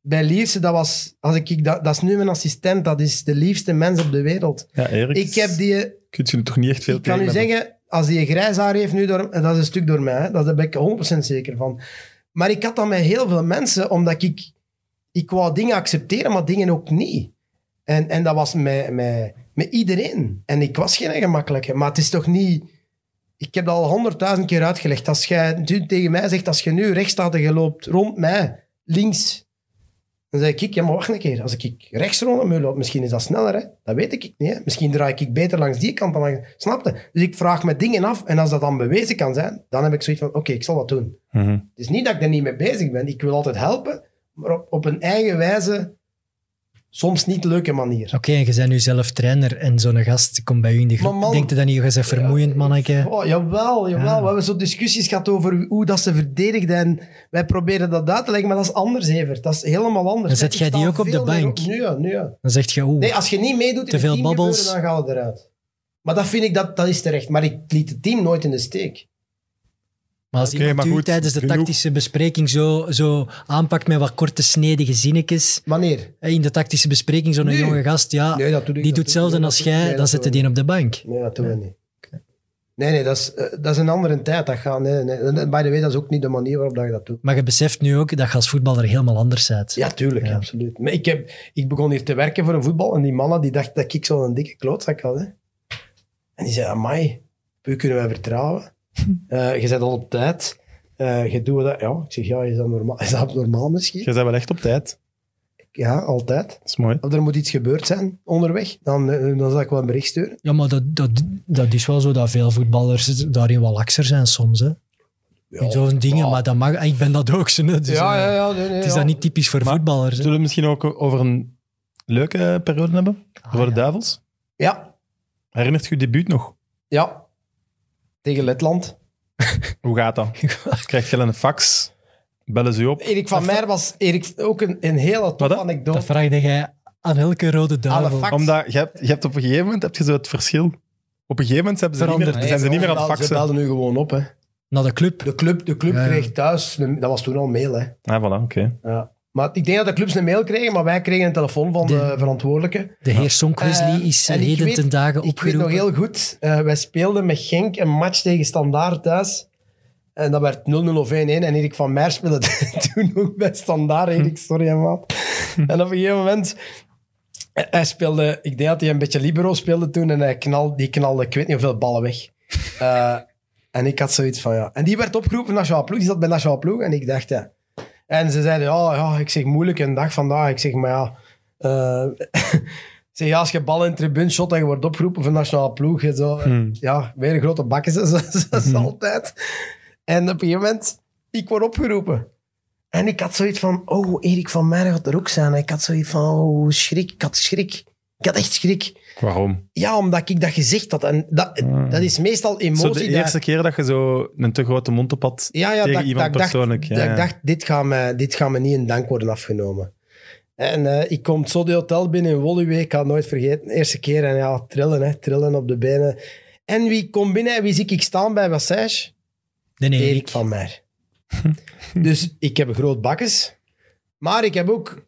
[SPEAKER 4] Bij Lierse, dat was... Als ik, dat, dat is nu mijn assistent, dat is de liefste mens op de wereld.
[SPEAKER 1] Ja, Erik,
[SPEAKER 4] Ik heb die
[SPEAKER 1] kunt jullie toch niet echt veel
[SPEAKER 4] ik kan u
[SPEAKER 1] tegen hebben?
[SPEAKER 4] zeggen, als die grijs haar heeft nu, door, en dat is een stuk door mij, hè, dat- daar ben ik 100% zeker van. Maar ik had dat met heel veel mensen, omdat ik, ik wou dingen accepteren, maar dingen ook niet. En, en dat was met, met, met iedereen. En ik was geen gemakkelijke. Maar het is toch niet... Ik heb dat al honderdduizend keer uitgelegd. Als jij nu tegen mij zegt, als je nu rechtsstatige loopt rond mij, links, dan zeg ik, ja, maar wacht een keer. Als ik rechts rondom u loop, misschien is dat sneller, hè? Dat weet ik niet, hè? Misschien draai ik beter langs die kant dan langs... Snap je? Dus ik vraag me dingen af. En als dat dan bewezen kan zijn, dan heb ik zoiets van, oké, ik zal dat doen.
[SPEAKER 1] Mhm.
[SPEAKER 4] Het is niet dat ik er niet mee bezig ben. Ik wil altijd helpen, maar op, op een eigen wijze, soms niet leuke manier.
[SPEAKER 2] Oké, en je bent nu zelf trainer en zo'n gast komt bij u in de groep.
[SPEAKER 4] Maar man-
[SPEAKER 2] Denkt u dan niet, je bent vermoeiend, manneke?
[SPEAKER 4] Oh, jawel, jawel.
[SPEAKER 2] Ja.
[SPEAKER 4] We hebben zo discussies gehad over hoe dat ze verdedigden. En wij proberen dat uit te leggen, maar dat is anders, Evert. Dat is helemaal anders.
[SPEAKER 2] Dan zet
[SPEAKER 4] Ik
[SPEAKER 2] jij die
[SPEAKER 4] sta
[SPEAKER 2] ook op de
[SPEAKER 4] veel meer
[SPEAKER 2] bank?
[SPEAKER 4] Nu, ja, nu. ja.
[SPEAKER 2] Dan zegt je, oeh,
[SPEAKER 4] Nee, als je niet meedoet in
[SPEAKER 2] Te
[SPEAKER 4] het
[SPEAKER 2] veel
[SPEAKER 4] team
[SPEAKER 2] babbels.
[SPEAKER 4] gebeuren, dan gaan we eruit. Maar dat vind ik, dat, dat is terecht. Maar ik liet het team nooit in de steek.
[SPEAKER 2] maar als
[SPEAKER 1] Oké,
[SPEAKER 2] iemand
[SPEAKER 1] maar
[SPEAKER 2] u
[SPEAKER 1] goed,
[SPEAKER 2] tijdens de
[SPEAKER 1] genoeg.
[SPEAKER 2] tactische bespreking zo, zo aanpakt met wat korte snedige zinnetjes,
[SPEAKER 4] Wanneer?
[SPEAKER 2] eh, in de tactische bespreking zo'n
[SPEAKER 4] Nu?
[SPEAKER 2] jonge gast, ja,
[SPEAKER 4] Nee, dat doe ik-
[SPEAKER 2] Ah, die doet
[SPEAKER 4] dat doe- nee,
[SPEAKER 2] hetzelfde
[SPEAKER 4] dat
[SPEAKER 2] als
[SPEAKER 4] doe- nee,
[SPEAKER 2] jij,
[SPEAKER 4] dat
[SPEAKER 2] dan
[SPEAKER 4] doe
[SPEAKER 2] zet je
[SPEAKER 4] ik
[SPEAKER 2] die op de bank.
[SPEAKER 4] Nee, dat doen we niet. Nee, nee, dat is, eh, dat is een andere tijd. Dat gaat, nee, nee. En By the way, dat is ook niet de manier waarop dat je dat doet.
[SPEAKER 2] Maar je beseft nu ook dat je als voetballer helemaal anders bent.
[SPEAKER 4] Ja, tuurlijk,
[SPEAKER 2] Ja.
[SPEAKER 4] absoluut. Maar ik, heb, ik begon hier te werken voor een voetbal en die mannen die dachten dat ik zo'n dikke klootzak had. Hè. En die zeiden, amai, op u kunnen wij vertrouwen. Eh, je bent al op tijd. Eh, je doet dat. Ja, ik zeg, ja, is dat normaal, is dat normaal misschien?
[SPEAKER 1] Jij bent wel echt op tijd.
[SPEAKER 4] Ja, altijd.
[SPEAKER 1] Dat is mooi.
[SPEAKER 4] Of er moet iets gebeurd zijn onderweg, dan, eh, dan zal ik wel een bericht sturen.
[SPEAKER 2] Ja, maar dat, dat, dat is wel zo dat veel voetballers daarin wel lakser zijn soms. Hè? In zo'n dingen, maar dat mag, ik ben dat ook. zo, hè, Dus,
[SPEAKER 4] ja,
[SPEAKER 2] eh,
[SPEAKER 4] ja, ja, nee, nee,
[SPEAKER 2] Het is
[SPEAKER 4] ja.
[SPEAKER 2] dat niet typisch voor
[SPEAKER 1] Maar-
[SPEAKER 2] voetballers. hè.
[SPEAKER 1] Zullen we misschien ook over een leuke periode hebben?
[SPEAKER 2] Ah,
[SPEAKER 1] voor de
[SPEAKER 2] ja.
[SPEAKER 1] Duivels?
[SPEAKER 4] Ja,
[SPEAKER 1] Herinnert je je debuut nog?
[SPEAKER 4] ja. Tegen Letland.
[SPEAKER 1] Hoe gaat dat? Krijg je een fax? Bellen ze je op?
[SPEAKER 4] Erik van Meijer was Erik, ook een, een hele
[SPEAKER 1] Wat
[SPEAKER 4] toffe
[SPEAKER 1] dat?
[SPEAKER 4] anekdote.
[SPEAKER 2] Dat vraagde jij aan elke rode
[SPEAKER 4] Alle
[SPEAKER 2] duivel.
[SPEAKER 4] fax-
[SPEAKER 1] Omdat je hebt, je hebt op een gegeven moment heb je zo het verschil. Op een gegeven moment hebben ze niet meer,
[SPEAKER 2] Veranderd.
[SPEAKER 1] zijn ze niet meer aan het
[SPEAKER 4] Ze
[SPEAKER 1] faxen.
[SPEAKER 4] belden nu gewoon op. Hè.
[SPEAKER 2] Naar de club.
[SPEAKER 4] De club, de club
[SPEAKER 2] Ja, ja.
[SPEAKER 4] kreeg thuis, een- dat was toen al mail. Hè.
[SPEAKER 1] Ah, voilà, oké.
[SPEAKER 4] Ja. Maar ik denk dat de clubs een mail kregen, maar wij kregen een telefoon van de,
[SPEAKER 2] De-
[SPEAKER 4] verantwoordelijke.
[SPEAKER 2] De heer Sonquisli
[SPEAKER 4] Eh,
[SPEAKER 2] is
[SPEAKER 4] en ik
[SPEAKER 2] heden
[SPEAKER 4] weet-
[SPEAKER 2] ten dagen
[SPEAKER 4] Ik weet nog
[SPEAKER 2] opgeroepen.
[SPEAKER 4] heel goed, eh, wij speelden met Genk een match tegen Standaard thuis. En dat werd 0-0 of 1-1. En Erik van Meijer speelde toen ook bij Standaard. Erik, sorry hè, maat. En op een gegeven moment... eh, Hij speelde... Ik denk dat hij een beetje libero speelde toen. En hij knal, die knalde ik weet niet hoeveel ballen weg. Eh, en ik had zoiets van, ja... En die werd opgeroepen naar Nationale Ploeg. Die zat bij Nationale Ploeg. En ik dacht, ja... En ze zeiden, ja, ja, ik zeg moeilijk een dag vandaag. Ik zeg, maar ja... eh, ik zeg, ja, als je bal in de tribune shot en je wordt opgeroepen voor Nationale Ploeg... en Zo, eh,
[SPEAKER 1] Hmm.
[SPEAKER 4] ja, weer een grote bak is dat, zoals- zoals altijd. En op een gegeven moment, ik word opgeroepen. En ik had zoiets van, oh, Erik van Meijer gaat er ook zijn. Ik had zoiets van, oh, schrik. Ik had schrik. Ik had echt schrik.
[SPEAKER 1] Waarom?
[SPEAKER 4] Ja, omdat ik dat gezegd had. En dat,
[SPEAKER 1] Ah.
[SPEAKER 4] dat is meestal
[SPEAKER 1] Zo
[SPEAKER 4] emotie.
[SPEAKER 1] de
[SPEAKER 4] daar-
[SPEAKER 1] eerste keer dat je zo een te grote mond op had.
[SPEAKER 4] ja, ja,
[SPEAKER 1] tegen
[SPEAKER 4] dat,
[SPEAKER 1] iemand
[SPEAKER 4] dat ik dacht-
[SPEAKER 1] persoonlijk, ja,
[SPEAKER 4] dat
[SPEAKER 1] ja.
[SPEAKER 4] ik dacht, dit gaat, me, dit gaat me niet in dank worden afgenomen. En eh, ik kom zo de hotel binnen in Woluwe, ik had het nooit vergeten. Eerste keer en ja, trillen, hè, trillen op de benen. En wie komt binnen en wie zie ik staan bij Massage?
[SPEAKER 2] De Erik.
[SPEAKER 4] Erik van Meer. dus ik heb een groot bakkes. Maar ik heb ook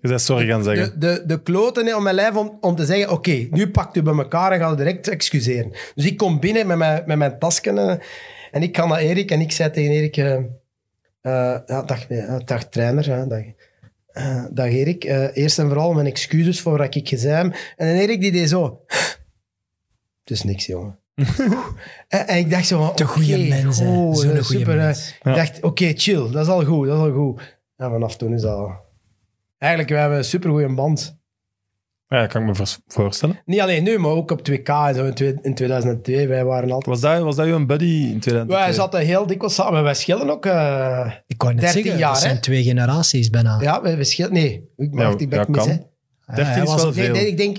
[SPEAKER 1] Je zei sorry gaan zeggen.
[SPEAKER 4] de, de, de kloten hè, om mijn lijf om, om te zeggen: Oké, nu pakt u bij elkaar en gaat u direct excuseren. Dus ik kom binnen met mijn, met mijn tasken eh, en ik ga naar Erik en ik zei tegen Erik: eh eh, ja, dag, eh, dag trainer, hè, dag, eh, dag Erik. eh, eerst en vooral mijn excuses voor wat ik gezegd heb. En Erik die deed zo: Het is niks, jongen. en, en ik dacht zo:
[SPEAKER 2] De goede
[SPEAKER 4] oké,
[SPEAKER 2] mens, hè.
[SPEAKER 4] oh,
[SPEAKER 2] Zo'n
[SPEAKER 4] eh,
[SPEAKER 2] goede
[SPEAKER 4] super, eh.
[SPEAKER 2] mens.
[SPEAKER 1] Ja.
[SPEAKER 4] Ik dacht: Oké, chill, dat is al goed, dat is al goed. En vanaf toen is dat al. Eigenlijk, we hebben een supergoeie band.
[SPEAKER 1] Ja, dat kan ik me voor- voorstellen.
[SPEAKER 4] Niet alleen nu, maar ook op 2K en zo in twee- in 2002. Wij waren altijd...
[SPEAKER 1] Was dat, was dat jouw buddy in 2002?
[SPEAKER 4] Wij zaten heel dikwijls samen. Wij schillen ook... eh,
[SPEAKER 2] Ik kan net
[SPEAKER 4] 13
[SPEAKER 2] zeggen,
[SPEAKER 4] jaar,
[SPEAKER 2] dat zijn
[SPEAKER 4] hè?
[SPEAKER 2] twee generaties bijna. Eh,
[SPEAKER 4] ja, wij, wij schillen... Nee, ik mag
[SPEAKER 1] Ja,
[SPEAKER 4] die back
[SPEAKER 1] ja,
[SPEAKER 4] mis,
[SPEAKER 1] kan.
[SPEAKER 4] hè.
[SPEAKER 1] 13
[SPEAKER 2] hij
[SPEAKER 1] is
[SPEAKER 2] was
[SPEAKER 1] wel
[SPEAKER 2] al-
[SPEAKER 4] Nee,
[SPEAKER 1] veel.
[SPEAKER 4] nee, ik denk...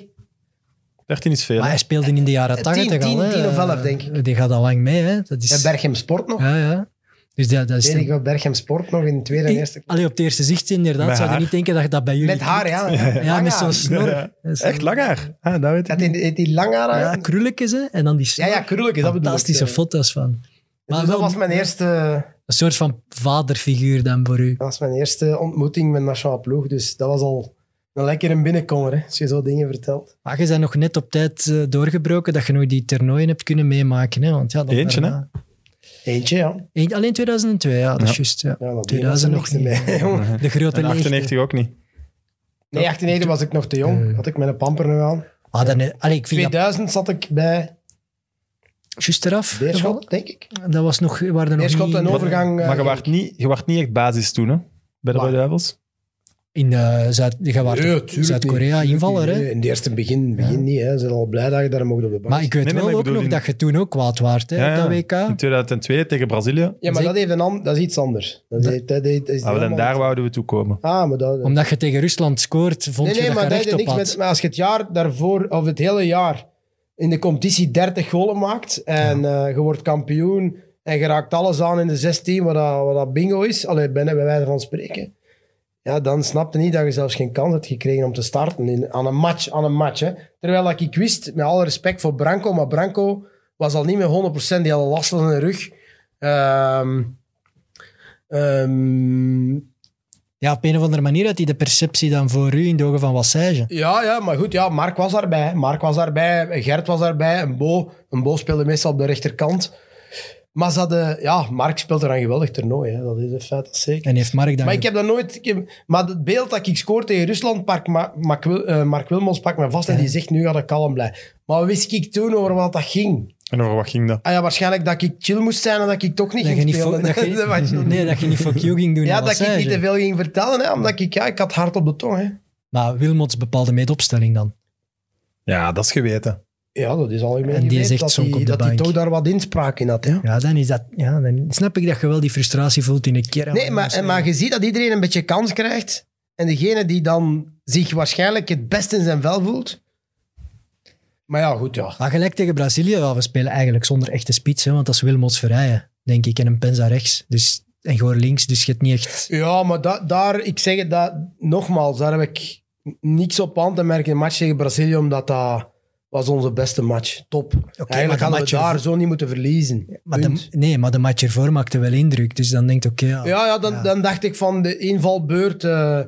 [SPEAKER 1] 13 is veel.
[SPEAKER 2] Maar
[SPEAKER 1] hè?
[SPEAKER 2] hij speelde in de jaren
[SPEAKER 4] Eh,
[SPEAKER 2] 80 al.
[SPEAKER 4] tien,
[SPEAKER 2] hè.
[SPEAKER 4] tien of elf, denk ik.
[SPEAKER 2] Die gaat al lang mee. Hè? Dat is,
[SPEAKER 4] eh, Berchem Sport nog.
[SPEAKER 2] ja, ja. Dus dat, dat is...
[SPEAKER 4] Weet ik wel, Berchem Sport nog in de tweede en eerste.
[SPEAKER 2] Allee, op het eerste zicht inderdaad
[SPEAKER 1] Met
[SPEAKER 2] zou je
[SPEAKER 1] haar.
[SPEAKER 2] niet denken dat je dat bij jullie...
[SPEAKER 4] Met haar, ja.
[SPEAKER 2] Ja,
[SPEAKER 4] Lang
[SPEAKER 2] met
[SPEAKER 4] haar.
[SPEAKER 2] zo'n snor.
[SPEAKER 1] Ja,
[SPEAKER 2] Dat is-
[SPEAKER 1] Echt lang haar. Ah, dat weet ik.
[SPEAKER 4] Dat die, die- die lang haar...
[SPEAKER 2] Ja,
[SPEAKER 4] Ah, Ja,
[SPEAKER 2] krulletjes hè? en dan die
[SPEAKER 4] ja,
[SPEAKER 2] snor.
[SPEAKER 4] ja krullig is dat bedoel ik.
[SPEAKER 2] Fantastische
[SPEAKER 4] Eh,
[SPEAKER 2] foto's van. Maar
[SPEAKER 4] dus dat
[SPEAKER 2] wel
[SPEAKER 4] was mijn eerste...
[SPEAKER 2] een soort van vaderfiguur dan voor u.
[SPEAKER 4] Dat was mijn eerste ontmoeting met Nationale Ploeg. Dus dat was al een lekkere binnenkomer, hè. Als je zo dingen vertelt.
[SPEAKER 2] Maar je bent nog net op tijd eh, doorgebroken dat je nog die toernooien hebt kunnen meemaken. Hè? Want ja, dat
[SPEAKER 1] Eentje,
[SPEAKER 2] daarna-
[SPEAKER 4] Eentje, ja.
[SPEAKER 2] Eén- alleen 2002, ja, dat is juist. Ja.
[SPEAKER 4] ja dat
[SPEAKER 2] 2000 nog niet.
[SPEAKER 4] Mee, jongen.
[SPEAKER 2] De grote
[SPEAKER 1] En 98
[SPEAKER 2] leegte.
[SPEAKER 1] ook niet.
[SPEAKER 4] Nee, 98 was ik nog te jong.
[SPEAKER 2] Eh.
[SPEAKER 4] Had ik mijn pamper nog aan.
[SPEAKER 2] Ah, dan, allee, ik vind dat
[SPEAKER 4] 2000 zat ik bij
[SPEAKER 2] juist eraf. gevallen.
[SPEAKER 4] Beerschot, denk ik.
[SPEAKER 2] Dat was nog, waren er nog
[SPEAKER 4] Beerschot
[SPEAKER 2] niet-
[SPEAKER 4] en overgang. eh,
[SPEAKER 1] Maar je waart niet, je waart niet echt basis toen, hè? Bij de
[SPEAKER 4] Waar?
[SPEAKER 1] Rode Duivels.
[SPEAKER 2] in eh, Zuid, je waart
[SPEAKER 4] Nee,
[SPEAKER 2] toch
[SPEAKER 4] tuurlijk niet.
[SPEAKER 2] Zuid-Korea
[SPEAKER 4] Tuurlijk
[SPEAKER 2] invaller.
[SPEAKER 4] niet.
[SPEAKER 2] Hè?
[SPEAKER 4] Nee, In het eerste begin, begin niet. Hè. Ze zijn al blij dat je daar mocht op de bank
[SPEAKER 2] Maar ik weet
[SPEAKER 1] Nee, nee,
[SPEAKER 2] wel
[SPEAKER 1] maar ik
[SPEAKER 2] ook
[SPEAKER 1] bedoel
[SPEAKER 2] nog
[SPEAKER 1] in-
[SPEAKER 2] dat je toen ook kwaad waart hè,
[SPEAKER 1] Ja, ja.
[SPEAKER 2] op dat WK.
[SPEAKER 1] In 2002 tegen Brazilië.
[SPEAKER 4] Ja, maar
[SPEAKER 2] Zeker.
[SPEAKER 4] dat, heeft een an- dat is iets anders. Dat
[SPEAKER 2] Dat-
[SPEAKER 4] heeft- dat heeft- dat is
[SPEAKER 1] Ah, wel, en
[SPEAKER 4] helemaal-
[SPEAKER 1] daar wouden we toe komen.
[SPEAKER 4] Ah, maar dat...
[SPEAKER 2] Omdat je tegen Rusland scoort, vond
[SPEAKER 4] nee,
[SPEAKER 2] je
[SPEAKER 4] nee,
[SPEAKER 2] dat
[SPEAKER 4] maar
[SPEAKER 2] je
[SPEAKER 4] dat
[SPEAKER 2] recht
[SPEAKER 4] heeft
[SPEAKER 2] op
[SPEAKER 4] niks
[SPEAKER 2] had.
[SPEAKER 4] met... Maar als je het jaar daarvoor, of het hele jaar, in de competitie 30 golen maakt en eh, je wordt kampioen en je raakt alles aan in de 16, wat dat, wat dat bingo is, alleen ben bij wijze van spreken, ja, dan snapte niet dat je zelfs geen kans hebt gekregen om te starten in, aan een match. Aan een match hè. Terwijl dat ik wist, met alle respect voor Branco, maar Branco was al niet meer 100%, die had last van zijn rug. Ehm, ehm,
[SPEAKER 2] Ja, op een of andere manier had hij de perceptie dan voor u in de ogen van Wassage.
[SPEAKER 4] Ja, ja, maar goed, ja, Mark was daarbij. Mark was daarbij, Gert was daarbij, en Bo. En Bo speelde meestal op de rechterkant. Maar ze hadden, ja, Mark speelt er een geweldig toernooi, hè. dat is een feit, dat is zeker.
[SPEAKER 2] En heeft Mark dan...
[SPEAKER 4] Maar ik heb dat nooit... ik heb- maar het beeld dat ik scoor tegen Rusland, Mark, Ma- Mark, Wil- eh, Mark Wilmos pakt me vast en
[SPEAKER 2] Ja.
[SPEAKER 4] die zegt, nu ga ik kalm blij. Maar wist ik toen over wat dat ging?
[SPEAKER 1] En over wat ging dat?
[SPEAKER 4] Ah ja, waarschijnlijk dat ik chill moest zijn en dat ik toch niet
[SPEAKER 2] dat je
[SPEAKER 4] ging
[SPEAKER 2] niet
[SPEAKER 4] spelen.
[SPEAKER 2] fo- dat
[SPEAKER 4] Dat was-
[SPEAKER 2] je, nee, dat je niet fuck you ging doen
[SPEAKER 4] ja,
[SPEAKER 2] aan
[SPEAKER 4] dat ik
[SPEAKER 2] Wassage.
[SPEAKER 4] niet te veel ging vertellen, hè, omdat ik, ja, ik had hard op de tong. Hè.
[SPEAKER 2] Maar Wilmots bepaalde mee de opstelling dan.
[SPEAKER 1] Ja, dat is geweten.
[SPEAKER 4] Ja, dat is algemeen
[SPEAKER 2] En die
[SPEAKER 4] geweten,
[SPEAKER 2] zegt
[SPEAKER 4] dat
[SPEAKER 2] zonk
[SPEAKER 4] die-
[SPEAKER 2] op de
[SPEAKER 4] Dat hij
[SPEAKER 2] bank.
[SPEAKER 4] toch daar wat inspraak in had, hè.
[SPEAKER 2] Ja, dan, is dat, ja, dan snap ik dat je wel die frustratie voelt in een keer.
[SPEAKER 4] Nee, maar, en
[SPEAKER 2] eh,
[SPEAKER 4] maar je ziet dat iedereen een beetje kans krijgt. En degene die dan zich waarschijnlijk het best in zijn vel voelt. Maar ja, goed, ja.
[SPEAKER 2] Maar gelijk tegen Brazilië, ja, we spelen eigenlijk zonder echte spits, hè, want dat is Wilmots Verrijen, denk ik, en een Penza rechts. Dus, en Goor links, dus je hebt niet echt...
[SPEAKER 4] Ja, maar da- daar, ik zeg het dat, nogmaals, daar heb ik niks op aan te merken. in De match tegen Brazilië, omdat dat was onze beste match. Top.
[SPEAKER 2] maar
[SPEAKER 4] Eigenlijk
[SPEAKER 2] de
[SPEAKER 4] hadden
[SPEAKER 2] match
[SPEAKER 4] we daar
[SPEAKER 2] ervoor-
[SPEAKER 4] zo niet moeten verliezen.
[SPEAKER 2] Maar
[SPEAKER 4] Punt.
[SPEAKER 2] de, nee, maar de match ervoor maakte wel indruk. Dus dan denkt oké, ja,
[SPEAKER 4] Ja, ja, dan,
[SPEAKER 2] Ja.
[SPEAKER 4] dan dacht ik van de invalbeurt. eh,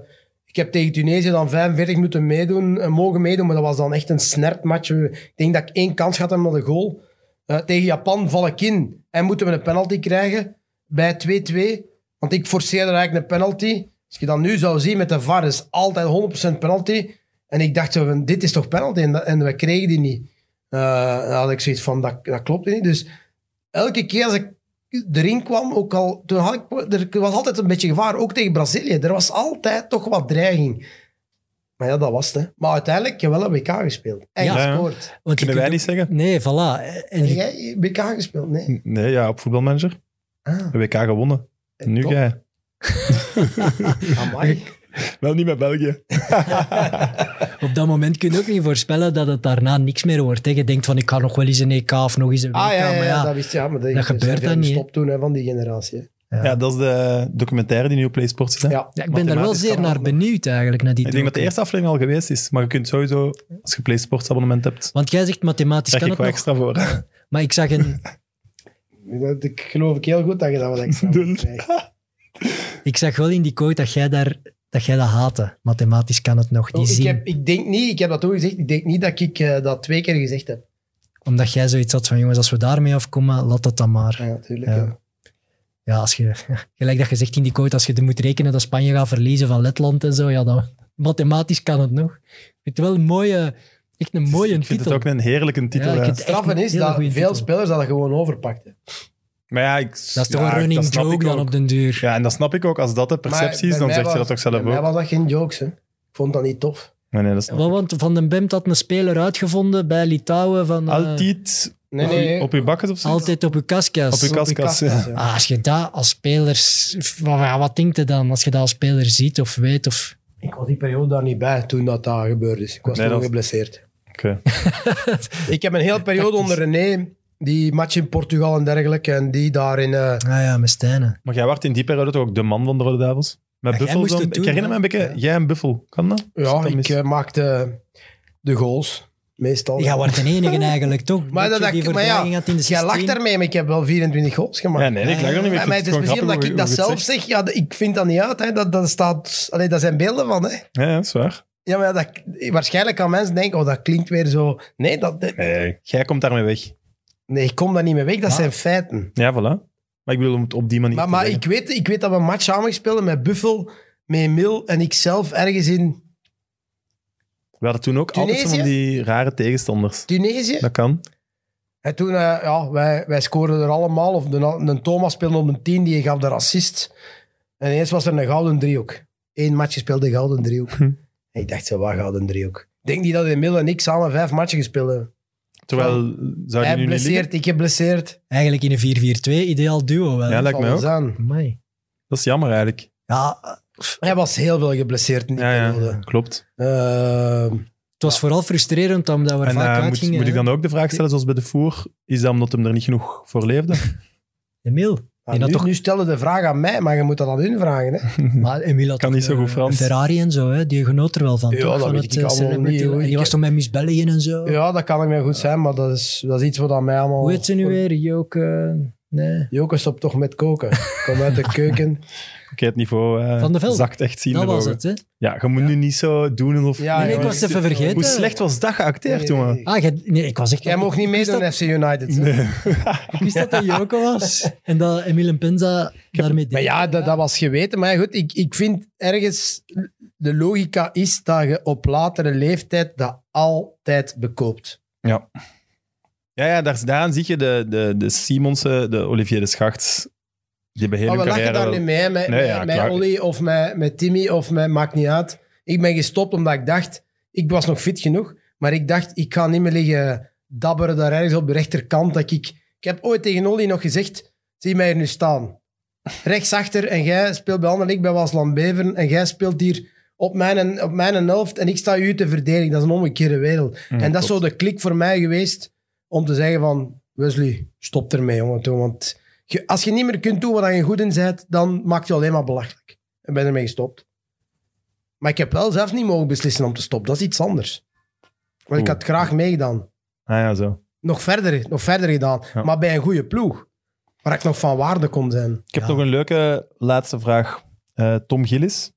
[SPEAKER 4] ik heb tegen Tunesië dan 45 minuten meedoen, eh, mogen meedoen, maar dat was dan echt een snertmatch. Ik denk dat ik één kans had hebben met de goal. Eh, tegen Japan val ik in en moeten we een penalty krijgen bij 2-2. Want ik forceerde eigenlijk een penalty. Als je dat nu zou zien met de VAR, is altijd 100% penalty. En ik dacht, zo van, dit is toch penalty? En, dat- en we kregen die niet. Eh, dan had ik zoiets van, dat, dat klopt niet. Dus elke keer als ik erin kwam, ook al, toen had ik, er was altijd een beetje gevaar, ook tegen Brazilië. Er was altijd toch wat dreiging. Maar ja, dat was het. Hè. Maar uiteindelijk heb je wel een WK gespeeld. En
[SPEAKER 1] Ja.
[SPEAKER 4] gescoord.
[SPEAKER 2] want je
[SPEAKER 1] Kunnen wij
[SPEAKER 2] kunt
[SPEAKER 1] niet zeggen?
[SPEAKER 2] ook- Nee, voilà. En
[SPEAKER 4] Heb
[SPEAKER 2] je-
[SPEAKER 4] jij WK gespeeld? Nee.
[SPEAKER 1] Nee, ja, op voetbalmanager.
[SPEAKER 4] Ah,
[SPEAKER 1] De WK gewonnen. En nu
[SPEAKER 4] top.
[SPEAKER 1] jij.
[SPEAKER 4] Amai.
[SPEAKER 1] Wel niet met België.
[SPEAKER 2] op dat moment kun je ook niet voorspellen dat het daarna niks meer wordt. Hè. Je denkt van, ik ga nog wel eens een EK of nog eens een WK.
[SPEAKER 4] Ah ja, ja,
[SPEAKER 2] maar
[SPEAKER 4] ja,
[SPEAKER 2] ja,
[SPEAKER 4] dat wist je. Ja, maar dat,
[SPEAKER 2] Dat
[SPEAKER 4] zijn
[SPEAKER 2] gebeurt
[SPEAKER 4] veel
[SPEAKER 2] dan niet, hè.
[SPEAKER 4] gestopt toen hè, van die generatie. hè.
[SPEAKER 1] Ja. dat is de documentaire die nu op PlaySports is. Hè?
[SPEAKER 4] Ja.
[SPEAKER 2] Ja, ik ben daar wel
[SPEAKER 1] Mathematisch
[SPEAKER 2] zeer
[SPEAKER 1] kan dat
[SPEAKER 2] naar
[SPEAKER 1] nog.
[SPEAKER 2] benieuwd eigenlijk, naar die
[SPEAKER 1] Ik denk dat de
[SPEAKER 2] docu.
[SPEAKER 1] eerste aflevering al geweest is. Maar je kunt sowieso, als je PlaySports abonnement hebt,
[SPEAKER 2] Want jij zegt mathematisch
[SPEAKER 1] krijg
[SPEAKER 2] kan
[SPEAKER 1] ik
[SPEAKER 2] het
[SPEAKER 1] wel
[SPEAKER 2] nog,
[SPEAKER 1] extra voor.
[SPEAKER 2] maar ik zag een,
[SPEAKER 4] Dat, ik geloof ik heel goed dat je dat wat extra
[SPEAKER 1] Doe.
[SPEAKER 4] krijgt.
[SPEAKER 2] ik zag wel in die quote dat jij, daar, dat jij dat haatte. Mathematisch kan het nog, die
[SPEAKER 4] Oh, ik,
[SPEAKER 2] zin.
[SPEAKER 4] heb, ik denk niet, ik heb dat ook gezegd, ik denk niet dat ik eh, dat twee keer gezegd heb.
[SPEAKER 2] Omdat jij zoiets had van, jongens, als we daarmee afkomen, laat dat dan maar.
[SPEAKER 4] Ja, natuurlijk.
[SPEAKER 2] Ja.
[SPEAKER 4] ja.
[SPEAKER 2] Ja, als je, gelijk dat je zegt in die quote, als je er moet rekenen dat Spanje gaat verliezen van Letland en zo, ja, dan mathematisch kan het nog. Ik vind het wel een mooie, echt een mooie
[SPEAKER 1] ik vind
[SPEAKER 2] titel.
[SPEAKER 1] het ook een heerlijke titel.
[SPEAKER 2] Ja, ik
[SPEAKER 1] ja.
[SPEAKER 2] vind het echt
[SPEAKER 4] Straffen
[SPEAKER 2] een
[SPEAKER 4] is
[SPEAKER 2] hele
[SPEAKER 4] dat veel
[SPEAKER 2] goeie titel.
[SPEAKER 4] spelers dat gewoon overpakten.
[SPEAKER 1] Maar ja, ik,
[SPEAKER 2] Dat is toch
[SPEAKER 1] ja,
[SPEAKER 2] een
[SPEAKER 1] dat
[SPEAKER 2] running
[SPEAKER 1] snap ik
[SPEAKER 2] joke dan
[SPEAKER 1] ook.
[SPEAKER 2] op den duur.
[SPEAKER 1] Ja, en dat snap ik ook. Als dat de perceptie is,
[SPEAKER 4] Maar
[SPEAKER 1] dan
[SPEAKER 4] bij mij
[SPEAKER 1] zegt je
[SPEAKER 4] was-
[SPEAKER 1] dat toch zelf
[SPEAKER 4] bij mij
[SPEAKER 1] ook.
[SPEAKER 4] was dat geen jokes, hè. Ik vond dat niet tof.
[SPEAKER 1] Nee, nee, dat snap ik.
[SPEAKER 2] Wel, Want Van den Bemt had een speler uitgevonden bij Litouwen van... eh,
[SPEAKER 1] Altijd
[SPEAKER 4] Nee, nee.
[SPEAKER 1] op je bakkes of zo?
[SPEAKER 2] altijd op uw kaskas.
[SPEAKER 1] Op uw
[SPEAKER 4] Op je
[SPEAKER 1] kaskas, ja.
[SPEAKER 4] kaskas, ja.
[SPEAKER 2] Ah, als je dat als spelers... Wat, wat- wat denkt je dan als je dat als speler ziet of weet? Of,
[SPEAKER 4] Ik was die periode daar niet bij toen dat, dat gebeurd is. Ik was
[SPEAKER 1] Nee,
[SPEAKER 4] toen
[SPEAKER 1] dat-
[SPEAKER 4] geblesseerd.
[SPEAKER 1] Oké.
[SPEAKER 4] Ik heb een hele periode onder René, die match in Portugal en dergelijke, en die daar in... eh,
[SPEAKER 2] ah ja, met Stijnen.
[SPEAKER 1] Maar jij werd in die periode toch ook de man van de Rode Duivels? Met
[SPEAKER 2] Ja, jij
[SPEAKER 1] Buffel
[SPEAKER 2] moest
[SPEAKER 1] dan?
[SPEAKER 2] het
[SPEAKER 1] ik
[SPEAKER 2] doen,
[SPEAKER 1] herinner me een beetje, jij en Buffel. Kan dat? Zit
[SPEAKER 4] ja,
[SPEAKER 1] dat
[SPEAKER 4] ik
[SPEAKER 1] mis?
[SPEAKER 4] eh, maakte de goals, meestal.
[SPEAKER 2] Jij wordt de enige eigenlijk, toch?
[SPEAKER 4] Maar, dat,
[SPEAKER 2] je
[SPEAKER 4] dat-
[SPEAKER 2] die
[SPEAKER 4] maar ja,
[SPEAKER 2] verdraging had in de
[SPEAKER 4] jij
[SPEAKER 2] 16.
[SPEAKER 4] lacht daarmee, maar ik heb wel 24 goals gemaakt.
[SPEAKER 1] Ja, nee, nee, ik lag er niet mee.
[SPEAKER 4] maar, maar het is
[SPEAKER 1] gewoon
[SPEAKER 4] misschien
[SPEAKER 1] grappig
[SPEAKER 4] omdat
[SPEAKER 1] hoe-
[SPEAKER 4] ik
[SPEAKER 1] hoe
[SPEAKER 4] dat
[SPEAKER 1] je het
[SPEAKER 4] zelf zeg. Ja, d- ik vind dat niet uit. Hè. Dat, dat staat, allee, daar zijn beelden van.
[SPEAKER 1] zegt.
[SPEAKER 4] Hè.
[SPEAKER 1] Ja, ja, dat is waar.
[SPEAKER 4] Ja, maar dat, waarschijnlijk gaan mensen denken, oh, dat klinkt weer zo... Nee, dat,
[SPEAKER 1] Nee, jij komt daarmee weg.
[SPEAKER 4] nee ik kom daar niet mee weg. Dat
[SPEAKER 2] Maar-
[SPEAKER 4] zijn feiten.
[SPEAKER 1] Ja, voilà. Maar ik bedoel, om het op die manier
[SPEAKER 4] Maar,
[SPEAKER 1] te
[SPEAKER 4] maar
[SPEAKER 1] zeggen.
[SPEAKER 4] ik, weet, ik weet dat we een match samen spelen met Buffel, met Mil en ikzelf ergens in
[SPEAKER 1] We hadden toen ook altijd zo van
[SPEAKER 4] Tunesië?
[SPEAKER 1] die rare tegenstanders.
[SPEAKER 4] Tunesië.
[SPEAKER 1] Dat kan.
[SPEAKER 4] En toen, eh, ja, wij, wij scoorden er allemaal. Of de, de Thomas speelde op een 10, die gaf de racist. En ineens was er een gouden driehoek. Eén match gespeeld, een gouden driehoek.
[SPEAKER 1] Hm.
[SPEAKER 4] En ik dacht, zo, wat gouden driehoek? Ik denk niet dat Emil en ik samen vijf matchen gespeeld hebben.
[SPEAKER 1] Terwijl, zou je
[SPEAKER 4] Hij
[SPEAKER 1] nu niet liggen?
[SPEAKER 4] blesseert, ik heb blesseerd.
[SPEAKER 2] Eigenlijk in een 4-4-2, ideaal duo wel.
[SPEAKER 1] Ja, lijkt mij
[SPEAKER 4] Alles
[SPEAKER 1] ook.
[SPEAKER 4] aan.
[SPEAKER 2] Amai.
[SPEAKER 1] Dat is jammer eigenlijk.
[SPEAKER 2] Ja,
[SPEAKER 4] Hij was heel veel geblesseerd in die
[SPEAKER 1] Ja, ja,
[SPEAKER 2] eh,
[SPEAKER 4] periode.
[SPEAKER 1] klopt.
[SPEAKER 4] Ehm,
[SPEAKER 2] het was vooral frustrerend omdat we er
[SPEAKER 1] En
[SPEAKER 2] vaak
[SPEAKER 1] eh, moet,
[SPEAKER 2] uitgingen.
[SPEAKER 1] moet ik
[SPEAKER 2] hè.
[SPEAKER 1] dan ook de vraag stellen, zoals bij de voer, is dat omdat hem er niet genoeg voor leefde?
[SPEAKER 2] Emil.
[SPEAKER 4] maar
[SPEAKER 2] Die
[SPEAKER 4] nu,
[SPEAKER 2] had toch-
[SPEAKER 4] nu stelde de vraag aan mij, maar je moet dat aan hun vragen. Hè?
[SPEAKER 2] Maar Emil had
[SPEAKER 1] Kan
[SPEAKER 2] toch,
[SPEAKER 1] niet zo
[SPEAKER 2] eh,
[SPEAKER 1] goed Frans.
[SPEAKER 2] Ferrari en zo, hè? die genoot er wel van.
[SPEAKER 4] Ja,
[SPEAKER 2] toch?
[SPEAKER 4] dat
[SPEAKER 2] van
[SPEAKER 4] weet
[SPEAKER 2] het,
[SPEAKER 4] ik
[SPEAKER 2] eh,
[SPEAKER 4] allemaal
[SPEAKER 2] celebrity.
[SPEAKER 4] niet, hoor.
[SPEAKER 2] En
[SPEAKER 4] Ik
[SPEAKER 2] die was
[SPEAKER 4] heb-
[SPEAKER 2] toch met Miss Belgium en zo.
[SPEAKER 4] Ja, dat kan ik mij goed zijn, maar dat is, dat is iets wat aan mij allemaal...
[SPEAKER 2] Hoe heet ze nu weer? Joke? eh, Nee.
[SPEAKER 4] Joke, stop toch met koken. Kom uit de keuken.
[SPEAKER 1] Oké, het niveau eh,
[SPEAKER 2] Van de Velde.
[SPEAKER 1] zakt echt zien.
[SPEAKER 2] Dat was het, hè?
[SPEAKER 1] Ja, je moet nu niet zo doen alsof...
[SPEAKER 4] Ja,
[SPEAKER 2] nee, ik
[SPEAKER 4] jongen,
[SPEAKER 2] was het even vergeten.
[SPEAKER 1] Hoe slecht was dat geacteerd,
[SPEAKER 4] Nee,
[SPEAKER 1] jongen?
[SPEAKER 4] nee.
[SPEAKER 2] Ah, jij- nee, ik was echt...
[SPEAKER 4] Jij mocht niet
[SPEAKER 2] ik wist
[SPEAKER 4] meedoen
[SPEAKER 2] dat-
[SPEAKER 4] FC United. hè?
[SPEAKER 2] Ik wist dat dat Joke was. En dat Emil en Penza daarmee deed.
[SPEAKER 4] Maar ja, dat, dat was geweten. Maar ja, goed, ik, ik vind ergens... De logica is dat je op latere leeftijd dat altijd bekoopt.
[SPEAKER 1] Ja, ja daar, daaraan zie je de, de, de Simonsen, de Olivier de Schacht, die bij hele
[SPEAKER 4] Maar Oh, we lachen
[SPEAKER 1] carrière...
[SPEAKER 4] daar niet mee, hè, met,
[SPEAKER 1] Nee,
[SPEAKER 4] met,
[SPEAKER 1] ja,
[SPEAKER 4] met
[SPEAKER 1] klaar.
[SPEAKER 4] Olly of met, met Timmy of met... Maakt niet uit. Ik ben gestopt omdat ik dacht... Ik was nog fit genoeg, maar ik dacht, ik ga niet meer liggen dabberen daar ergens op de rechterkant. Dat ik, ik heb ooit tegen Olly nog gezegd, zie mij hier nu staan. Rechtsachter en jij speelt bij Anderlecht, ik bij Wasland Beveren en jij speelt hier op mijn, op mijn helft en ik sta u te verdedigen. Dat is een omgekeerde wereld.
[SPEAKER 1] Mm.
[SPEAKER 4] en dat is zo de klik voor mij geweest om te zeggen van, Wesley, stop ermee jongen. Toe, want je- als je niet meer kunt doen waar je goed in bent, dan maakt je alleen maar belachelijk. En ben ermee gestopt. Maar ik heb wel zelf niet mogen beslissen om te stoppen. Dat is iets anders. Want
[SPEAKER 1] Oeh.
[SPEAKER 4] ik had graag meegedaan
[SPEAKER 1] Ah ja, zo.
[SPEAKER 4] nog verder, nog verder gedaan.
[SPEAKER 1] Ja.
[SPEAKER 4] Maar bij een goede ploeg. Waar ik nog van waarde kon zijn.
[SPEAKER 1] Ik heb
[SPEAKER 2] Ja.
[SPEAKER 1] nog een leuke laatste vraag. Eh, Tom Gillis.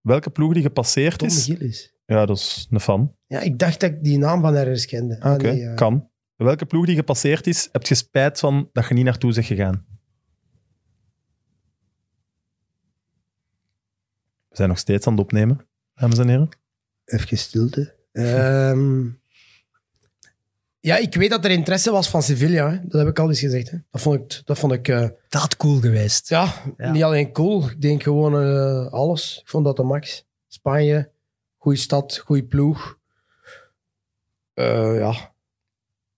[SPEAKER 1] Welke ploeg die gepasseerd
[SPEAKER 4] Tom
[SPEAKER 1] is...
[SPEAKER 4] Gillis.
[SPEAKER 1] Ja, dat is een fan.
[SPEAKER 4] Ja, ik dacht dat ik die naam van ergens kende.
[SPEAKER 1] Ah, Oké,
[SPEAKER 4] Ah, nee, ja.
[SPEAKER 1] kan. Welke ploeg die gepasseerd is, heb je spijt van dat je niet naartoe bent gegaan? We zijn nog steeds aan het opnemen, dames en heren.
[SPEAKER 4] Even stilte. Ehm, ja, ik weet dat er interesse was van Sevilla. Hè. Dat heb ik al eens gezegd. Hè. Dat vond ik... Dat vond ik eh,
[SPEAKER 2] Dat had cool geweest.
[SPEAKER 4] ja,
[SPEAKER 2] Ja.
[SPEAKER 4] niet alleen cool. Ik denk gewoon eh, alles. Ik vond dat de max. Spanje, goede stad, goede ploeg. Eh, ja.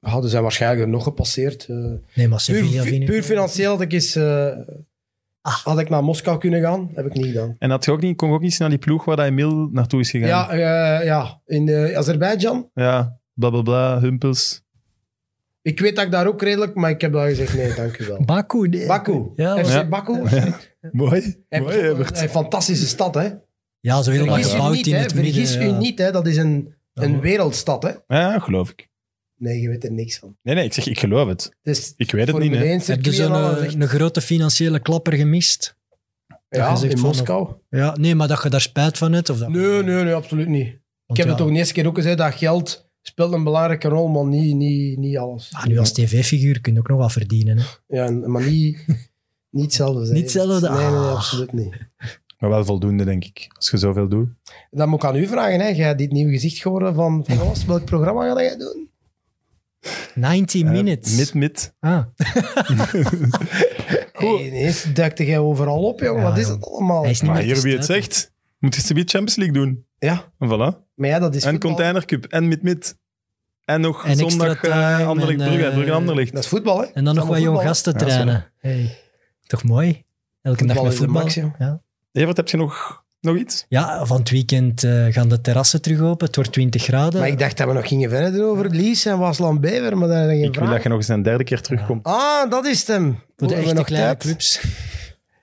[SPEAKER 4] ja. Er zijn waarschijnlijk er nog gepasseerd. eh.
[SPEAKER 2] Nee, maar Sevilla
[SPEAKER 4] Puur,
[SPEAKER 2] vind ik...
[SPEAKER 4] puur financieel had ik, eens, eh,
[SPEAKER 2] Ah.
[SPEAKER 4] had ik naar Moskou kunnen gaan. Heb ik niet gedaan.
[SPEAKER 1] En had je ook niet, kon je ook niet eens naar die ploeg waar dat Emil naartoe is gegaan?
[SPEAKER 4] Ja, eh, ja in eh Azerbeidzjan.
[SPEAKER 1] Ja, bla bla bla, humpels.
[SPEAKER 4] Ik weet dat ik daar ook redelijk, maar ik heb daar gezegd: nee, dank u wel.
[SPEAKER 2] Baku, nee.
[SPEAKER 4] Baku.
[SPEAKER 2] Ja,
[SPEAKER 4] FC
[SPEAKER 1] Ja.
[SPEAKER 4] Baku.
[SPEAKER 1] Mooi.
[SPEAKER 4] Heb-
[SPEAKER 1] Mooi, Evert.
[SPEAKER 4] Een fantastische stad, hè?
[SPEAKER 2] Ja, zo helemaal
[SPEAKER 4] Vergis u
[SPEAKER 2] gebouwd
[SPEAKER 4] niet,
[SPEAKER 2] in
[SPEAKER 4] hè?
[SPEAKER 2] het midden. eh,
[SPEAKER 4] Vergis u
[SPEAKER 2] ja.
[SPEAKER 4] niet, hè? Dat is een, een
[SPEAKER 2] Ja.
[SPEAKER 4] wereldstad, hè?
[SPEAKER 1] Ja, geloof ik.
[SPEAKER 4] Nee, je weet er niks van.
[SPEAKER 1] Nee, nee, ik zeg, ik geloof het.
[SPEAKER 4] Dus
[SPEAKER 1] Ik weet het
[SPEAKER 4] Formule
[SPEAKER 1] niet, hè.
[SPEAKER 4] 1
[SPEAKER 2] Heb je
[SPEAKER 4] circuit en
[SPEAKER 2] zo'n
[SPEAKER 4] alles,
[SPEAKER 2] eh,
[SPEAKER 4] echt.
[SPEAKER 2] een grote financiële klapper gemist?
[SPEAKER 4] Ja,
[SPEAKER 2] gezegd
[SPEAKER 4] in
[SPEAKER 2] van-
[SPEAKER 4] Moskou.
[SPEAKER 2] Ja, nee, maar dat je daar spijt van hebt? Of dat...
[SPEAKER 4] Nee, nee, nee, absoluut niet. ik heb het ook de eerste keer ook gezegd: dat geld speelt een belangrijke rol, maar niet, niet, niet alles.
[SPEAKER 2] Ah, nu als tv-figuur kun je ook nog wat verdienen. Hè.
[SPEAKER 4] Ja, maar niet, niet hetzelfde zijn.
[SPEAKER 2] Niet hetzelfde?
[SPEAKER 4] Nee, nee, nee,
[SPEAKER 2] Ah.
[SPEAKER 4] absoluut niet.
[SPEAKER 1] Maar wel voldoende, denk ik, als je zoveel doet.
[SPEAKER 4] Dat moet ik aan u vragen, hè. Jij hebt dit nieuwe gezicht geworden van, van alles. Welk programma ga jij doen?
[SPEAKER 2] 90
[SPEAKER 1] Eh,
[SPEAKER 2] minutes.
[SPEAKER 1] Mid, Oh, mid.
[SPEAKER 2] Ah,
[SPEAKER 4] Hey, ineens duikte jij overal op, jongen.
[SPEAKER 2] Ja,
[SPEAKER 4] Wat is
[SPEAKER 2] jong.
[SPEAKER 4] dat allemaal?
[SPEAKER 2] hij is niet
[SPEAKER 1] Maar
[SPEAKER 2] meer
[SPEAKER 1] hier,
[SPEAKER 2] te
[SPEAKER 1] wie het
[SPEAKER 2] stuiten.
[SPEAKER 1] zegt, moet je de Champions League doen.
[SPEAKER 4] Ja,
[SPEAKER 1] En voilà.
[SPEAKER 4] maar ja, dat is
[SPEAKER 1] en
[SPEAKER 4] voetbal.
[SPEAKER 1] Container Cup en mid, mid. En nog
[SPEAKER 2] En extra
[SPEAKER 1] zondag
[SPEAKER 2] time
[SPEAKER 1] eh Anderlecht
[SPEAKER 2] en,
[SPEAKER 1] Brugge,
[SPEAKER 2] eh,
[SPEAKER 1] Brugge Anderlecht.
[SPEAKER 4] Dat is voetbal, hè.
[SPEAKER 2] En dan nog wat jong gasten
[SPEAKER 1] Ja,
[SPEAKER 2] trainen. Hey. Toch mooi? Elke dag
[SPEAKER 4] Voetbal
[SPEAKER 2] met
[SPEAKER 4] is de
[SPEAKER 2] voetbal.
[SPEAKER 4] max, joh.
[SPEAKER 2] ja.
[SPEAKER 1] Evert, heb je nog, nog iets?
[SPEAKER 2] ja, van het weekend eh, gaan de terrassen terug open. Het wordt 20 graden.
[SPEAKER 4] Maar ik dacht dat we nog gingen verder doen over Lies en Wasland Bever, maar daar heb je geen
[SPEAKER 1] Ik wil dat
[SPEAKER 4] vraag.
[SPEAKER 1] je nog eens een derde keer terugkomt.
[SPEAKER 4] Ah, dat is het hem.
[SPEAKER 2] Voor de
[SPEAKER 4] Hebben we
[SPEAKER 2] echte
[SPEAKER 4] nog
[SPEAKER 2] kleine
[SPEAKER 4] tijd?
[SPEAKER 2] clubs.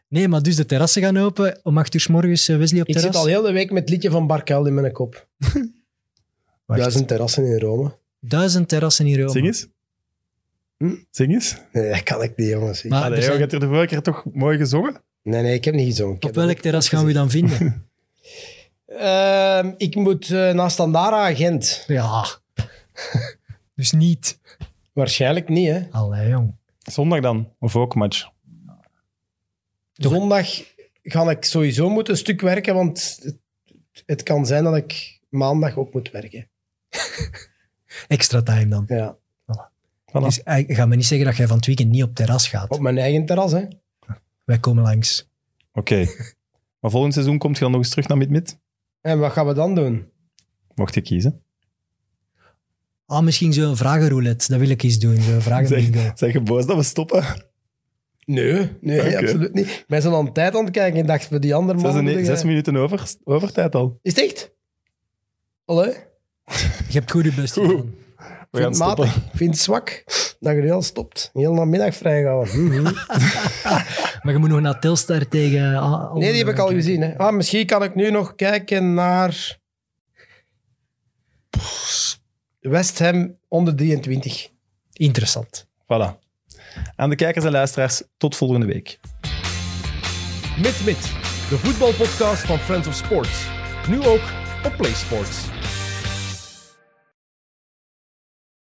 [SPEAKER 2] Nee, maar dus de terrassen gaan open. Om 8 uur s morgens eh, Wesley op
[SPEAKER 4] Ik
[SPEAKER 2] terras.
[SPEAKER 4] zit al heel de week met het liedje van Barkel in mijn kop.
[SPEAKER 1] Wacht.
[SPEAKER 4] Duizend terrassen in Rome.
[SPEAKER 2] Duizend terrassen in Rome.
[SPEAKER 1] Zing eens.
[SPEAKER 4] Hm?
[SPEAKER 1] Zing eens.
[SPEAKER 4] Nee, dat kan ik niet, jongens.
[SPEAKER 2] Maar
[SPEAKER 1] Allee,
[SPEAKER 2] er
[SPEAKER 1] joh,
[SPEAKER 2] zijn-
[SPEAKER 1] je hebt er de vorige keer toch mooi gezongen?
[SPEAKER 4] Nee, nee, ik heb niet gezongen. Ik
[SPEAKER 2] op
[SPEAKER 4] heb dat
[SPEAKER 2] welk terras gaan we dan vinden?
[SPEAKER 4] Ehm, ik moet eh, naar Standaard agent.
[SPEAKER 2] ja. dus niet.
[SPEAKER 4] Waarschijnlijk niet, hè?
[SPEAKER 2] Allee, jong.
[SPEAKER 1] Zondag dan, of ook match.
[SPEAKER 4] Zondag ga ik sowieso moeten een stuk werken, want het, het kan zijn dat ik maandag ook moet werken.
[SPEAKER 2] Extra time dan.
[SPEAKER 4] Ja.
[SPEAKER 1] Voilà.
[SPEAKER 2] Dus eh, ga me niet zeggen dat jij van het weekend niet op terras gaat.
[SPEAKER 4] Op mijn eigen terras, hè.
[SPEAKER 2] Wij komen langs.
[SPEAKER 1] Oké. Maar volgend seizoen komt je dan nog eens terug naar Mid-Mid?
[SPEAKER 4] En wat gaan we dan doen?
[SPEAKER 1] Mocht je kiezen.
[SPEAKER 2] Ah, misschien zo'n vragenroulette. Dat wil ik eens doen. Zo'n vragenbingo.
[SPEAKER 1] Zeg je boos dat we stoppen?
[SPEAKER 4] Nee, nee,
[SPEAKER 1] Oké.
[SPEAKER 4] absoluut niet. Wij zijn aan de tijd aan het kijken. Ik dacht, voor die andere man...
[SPEAKER 1] Zes, en-
[SPEAKER 4] moet ik-
[SPEAKER 1] zes minuten over, overtijd al.
[SPEAKER 4] Is het echt? Hallo?
[SPEAKER 2] Je hebt goed je best
[SPEAKER 1] Goed.
[SPEAKER 2] gedaan.
[SPEAKER 1] We
[SPEAKER 4] vind
[SPEAKER 1] gaan
[SPEAKER 4] het
[SPEAKER 1] stoppen.
[SPEAKER 4] matig. Ik vind het zwak dat je heel stopt. Heel namiddag vrijgehouden.
[SPEAKER 1] Mhm.
[SPEAKER 2] Maar je moet nog naar Telstar tegen... ah,
[SPEAKER 4] Nee, die
[SPEAKER 1] Oh,
[SPEAKER 4] heb ik al
[SPEAKER 2] Alderwijk.
[SPEAKER 4] gezien. Hè. Ah, misschien kan ik nu nog kijken naar... West Ham onder 23.
[SPEAKER 2] Interessant.
[SPEAKER 1] Voilà. Aan de kijkers en luisteraars, tot volgende week.
[SPEAKER 3] Mit Mit, de voetbalpodcast van Friends of Sports. Nu ook op PlaySports.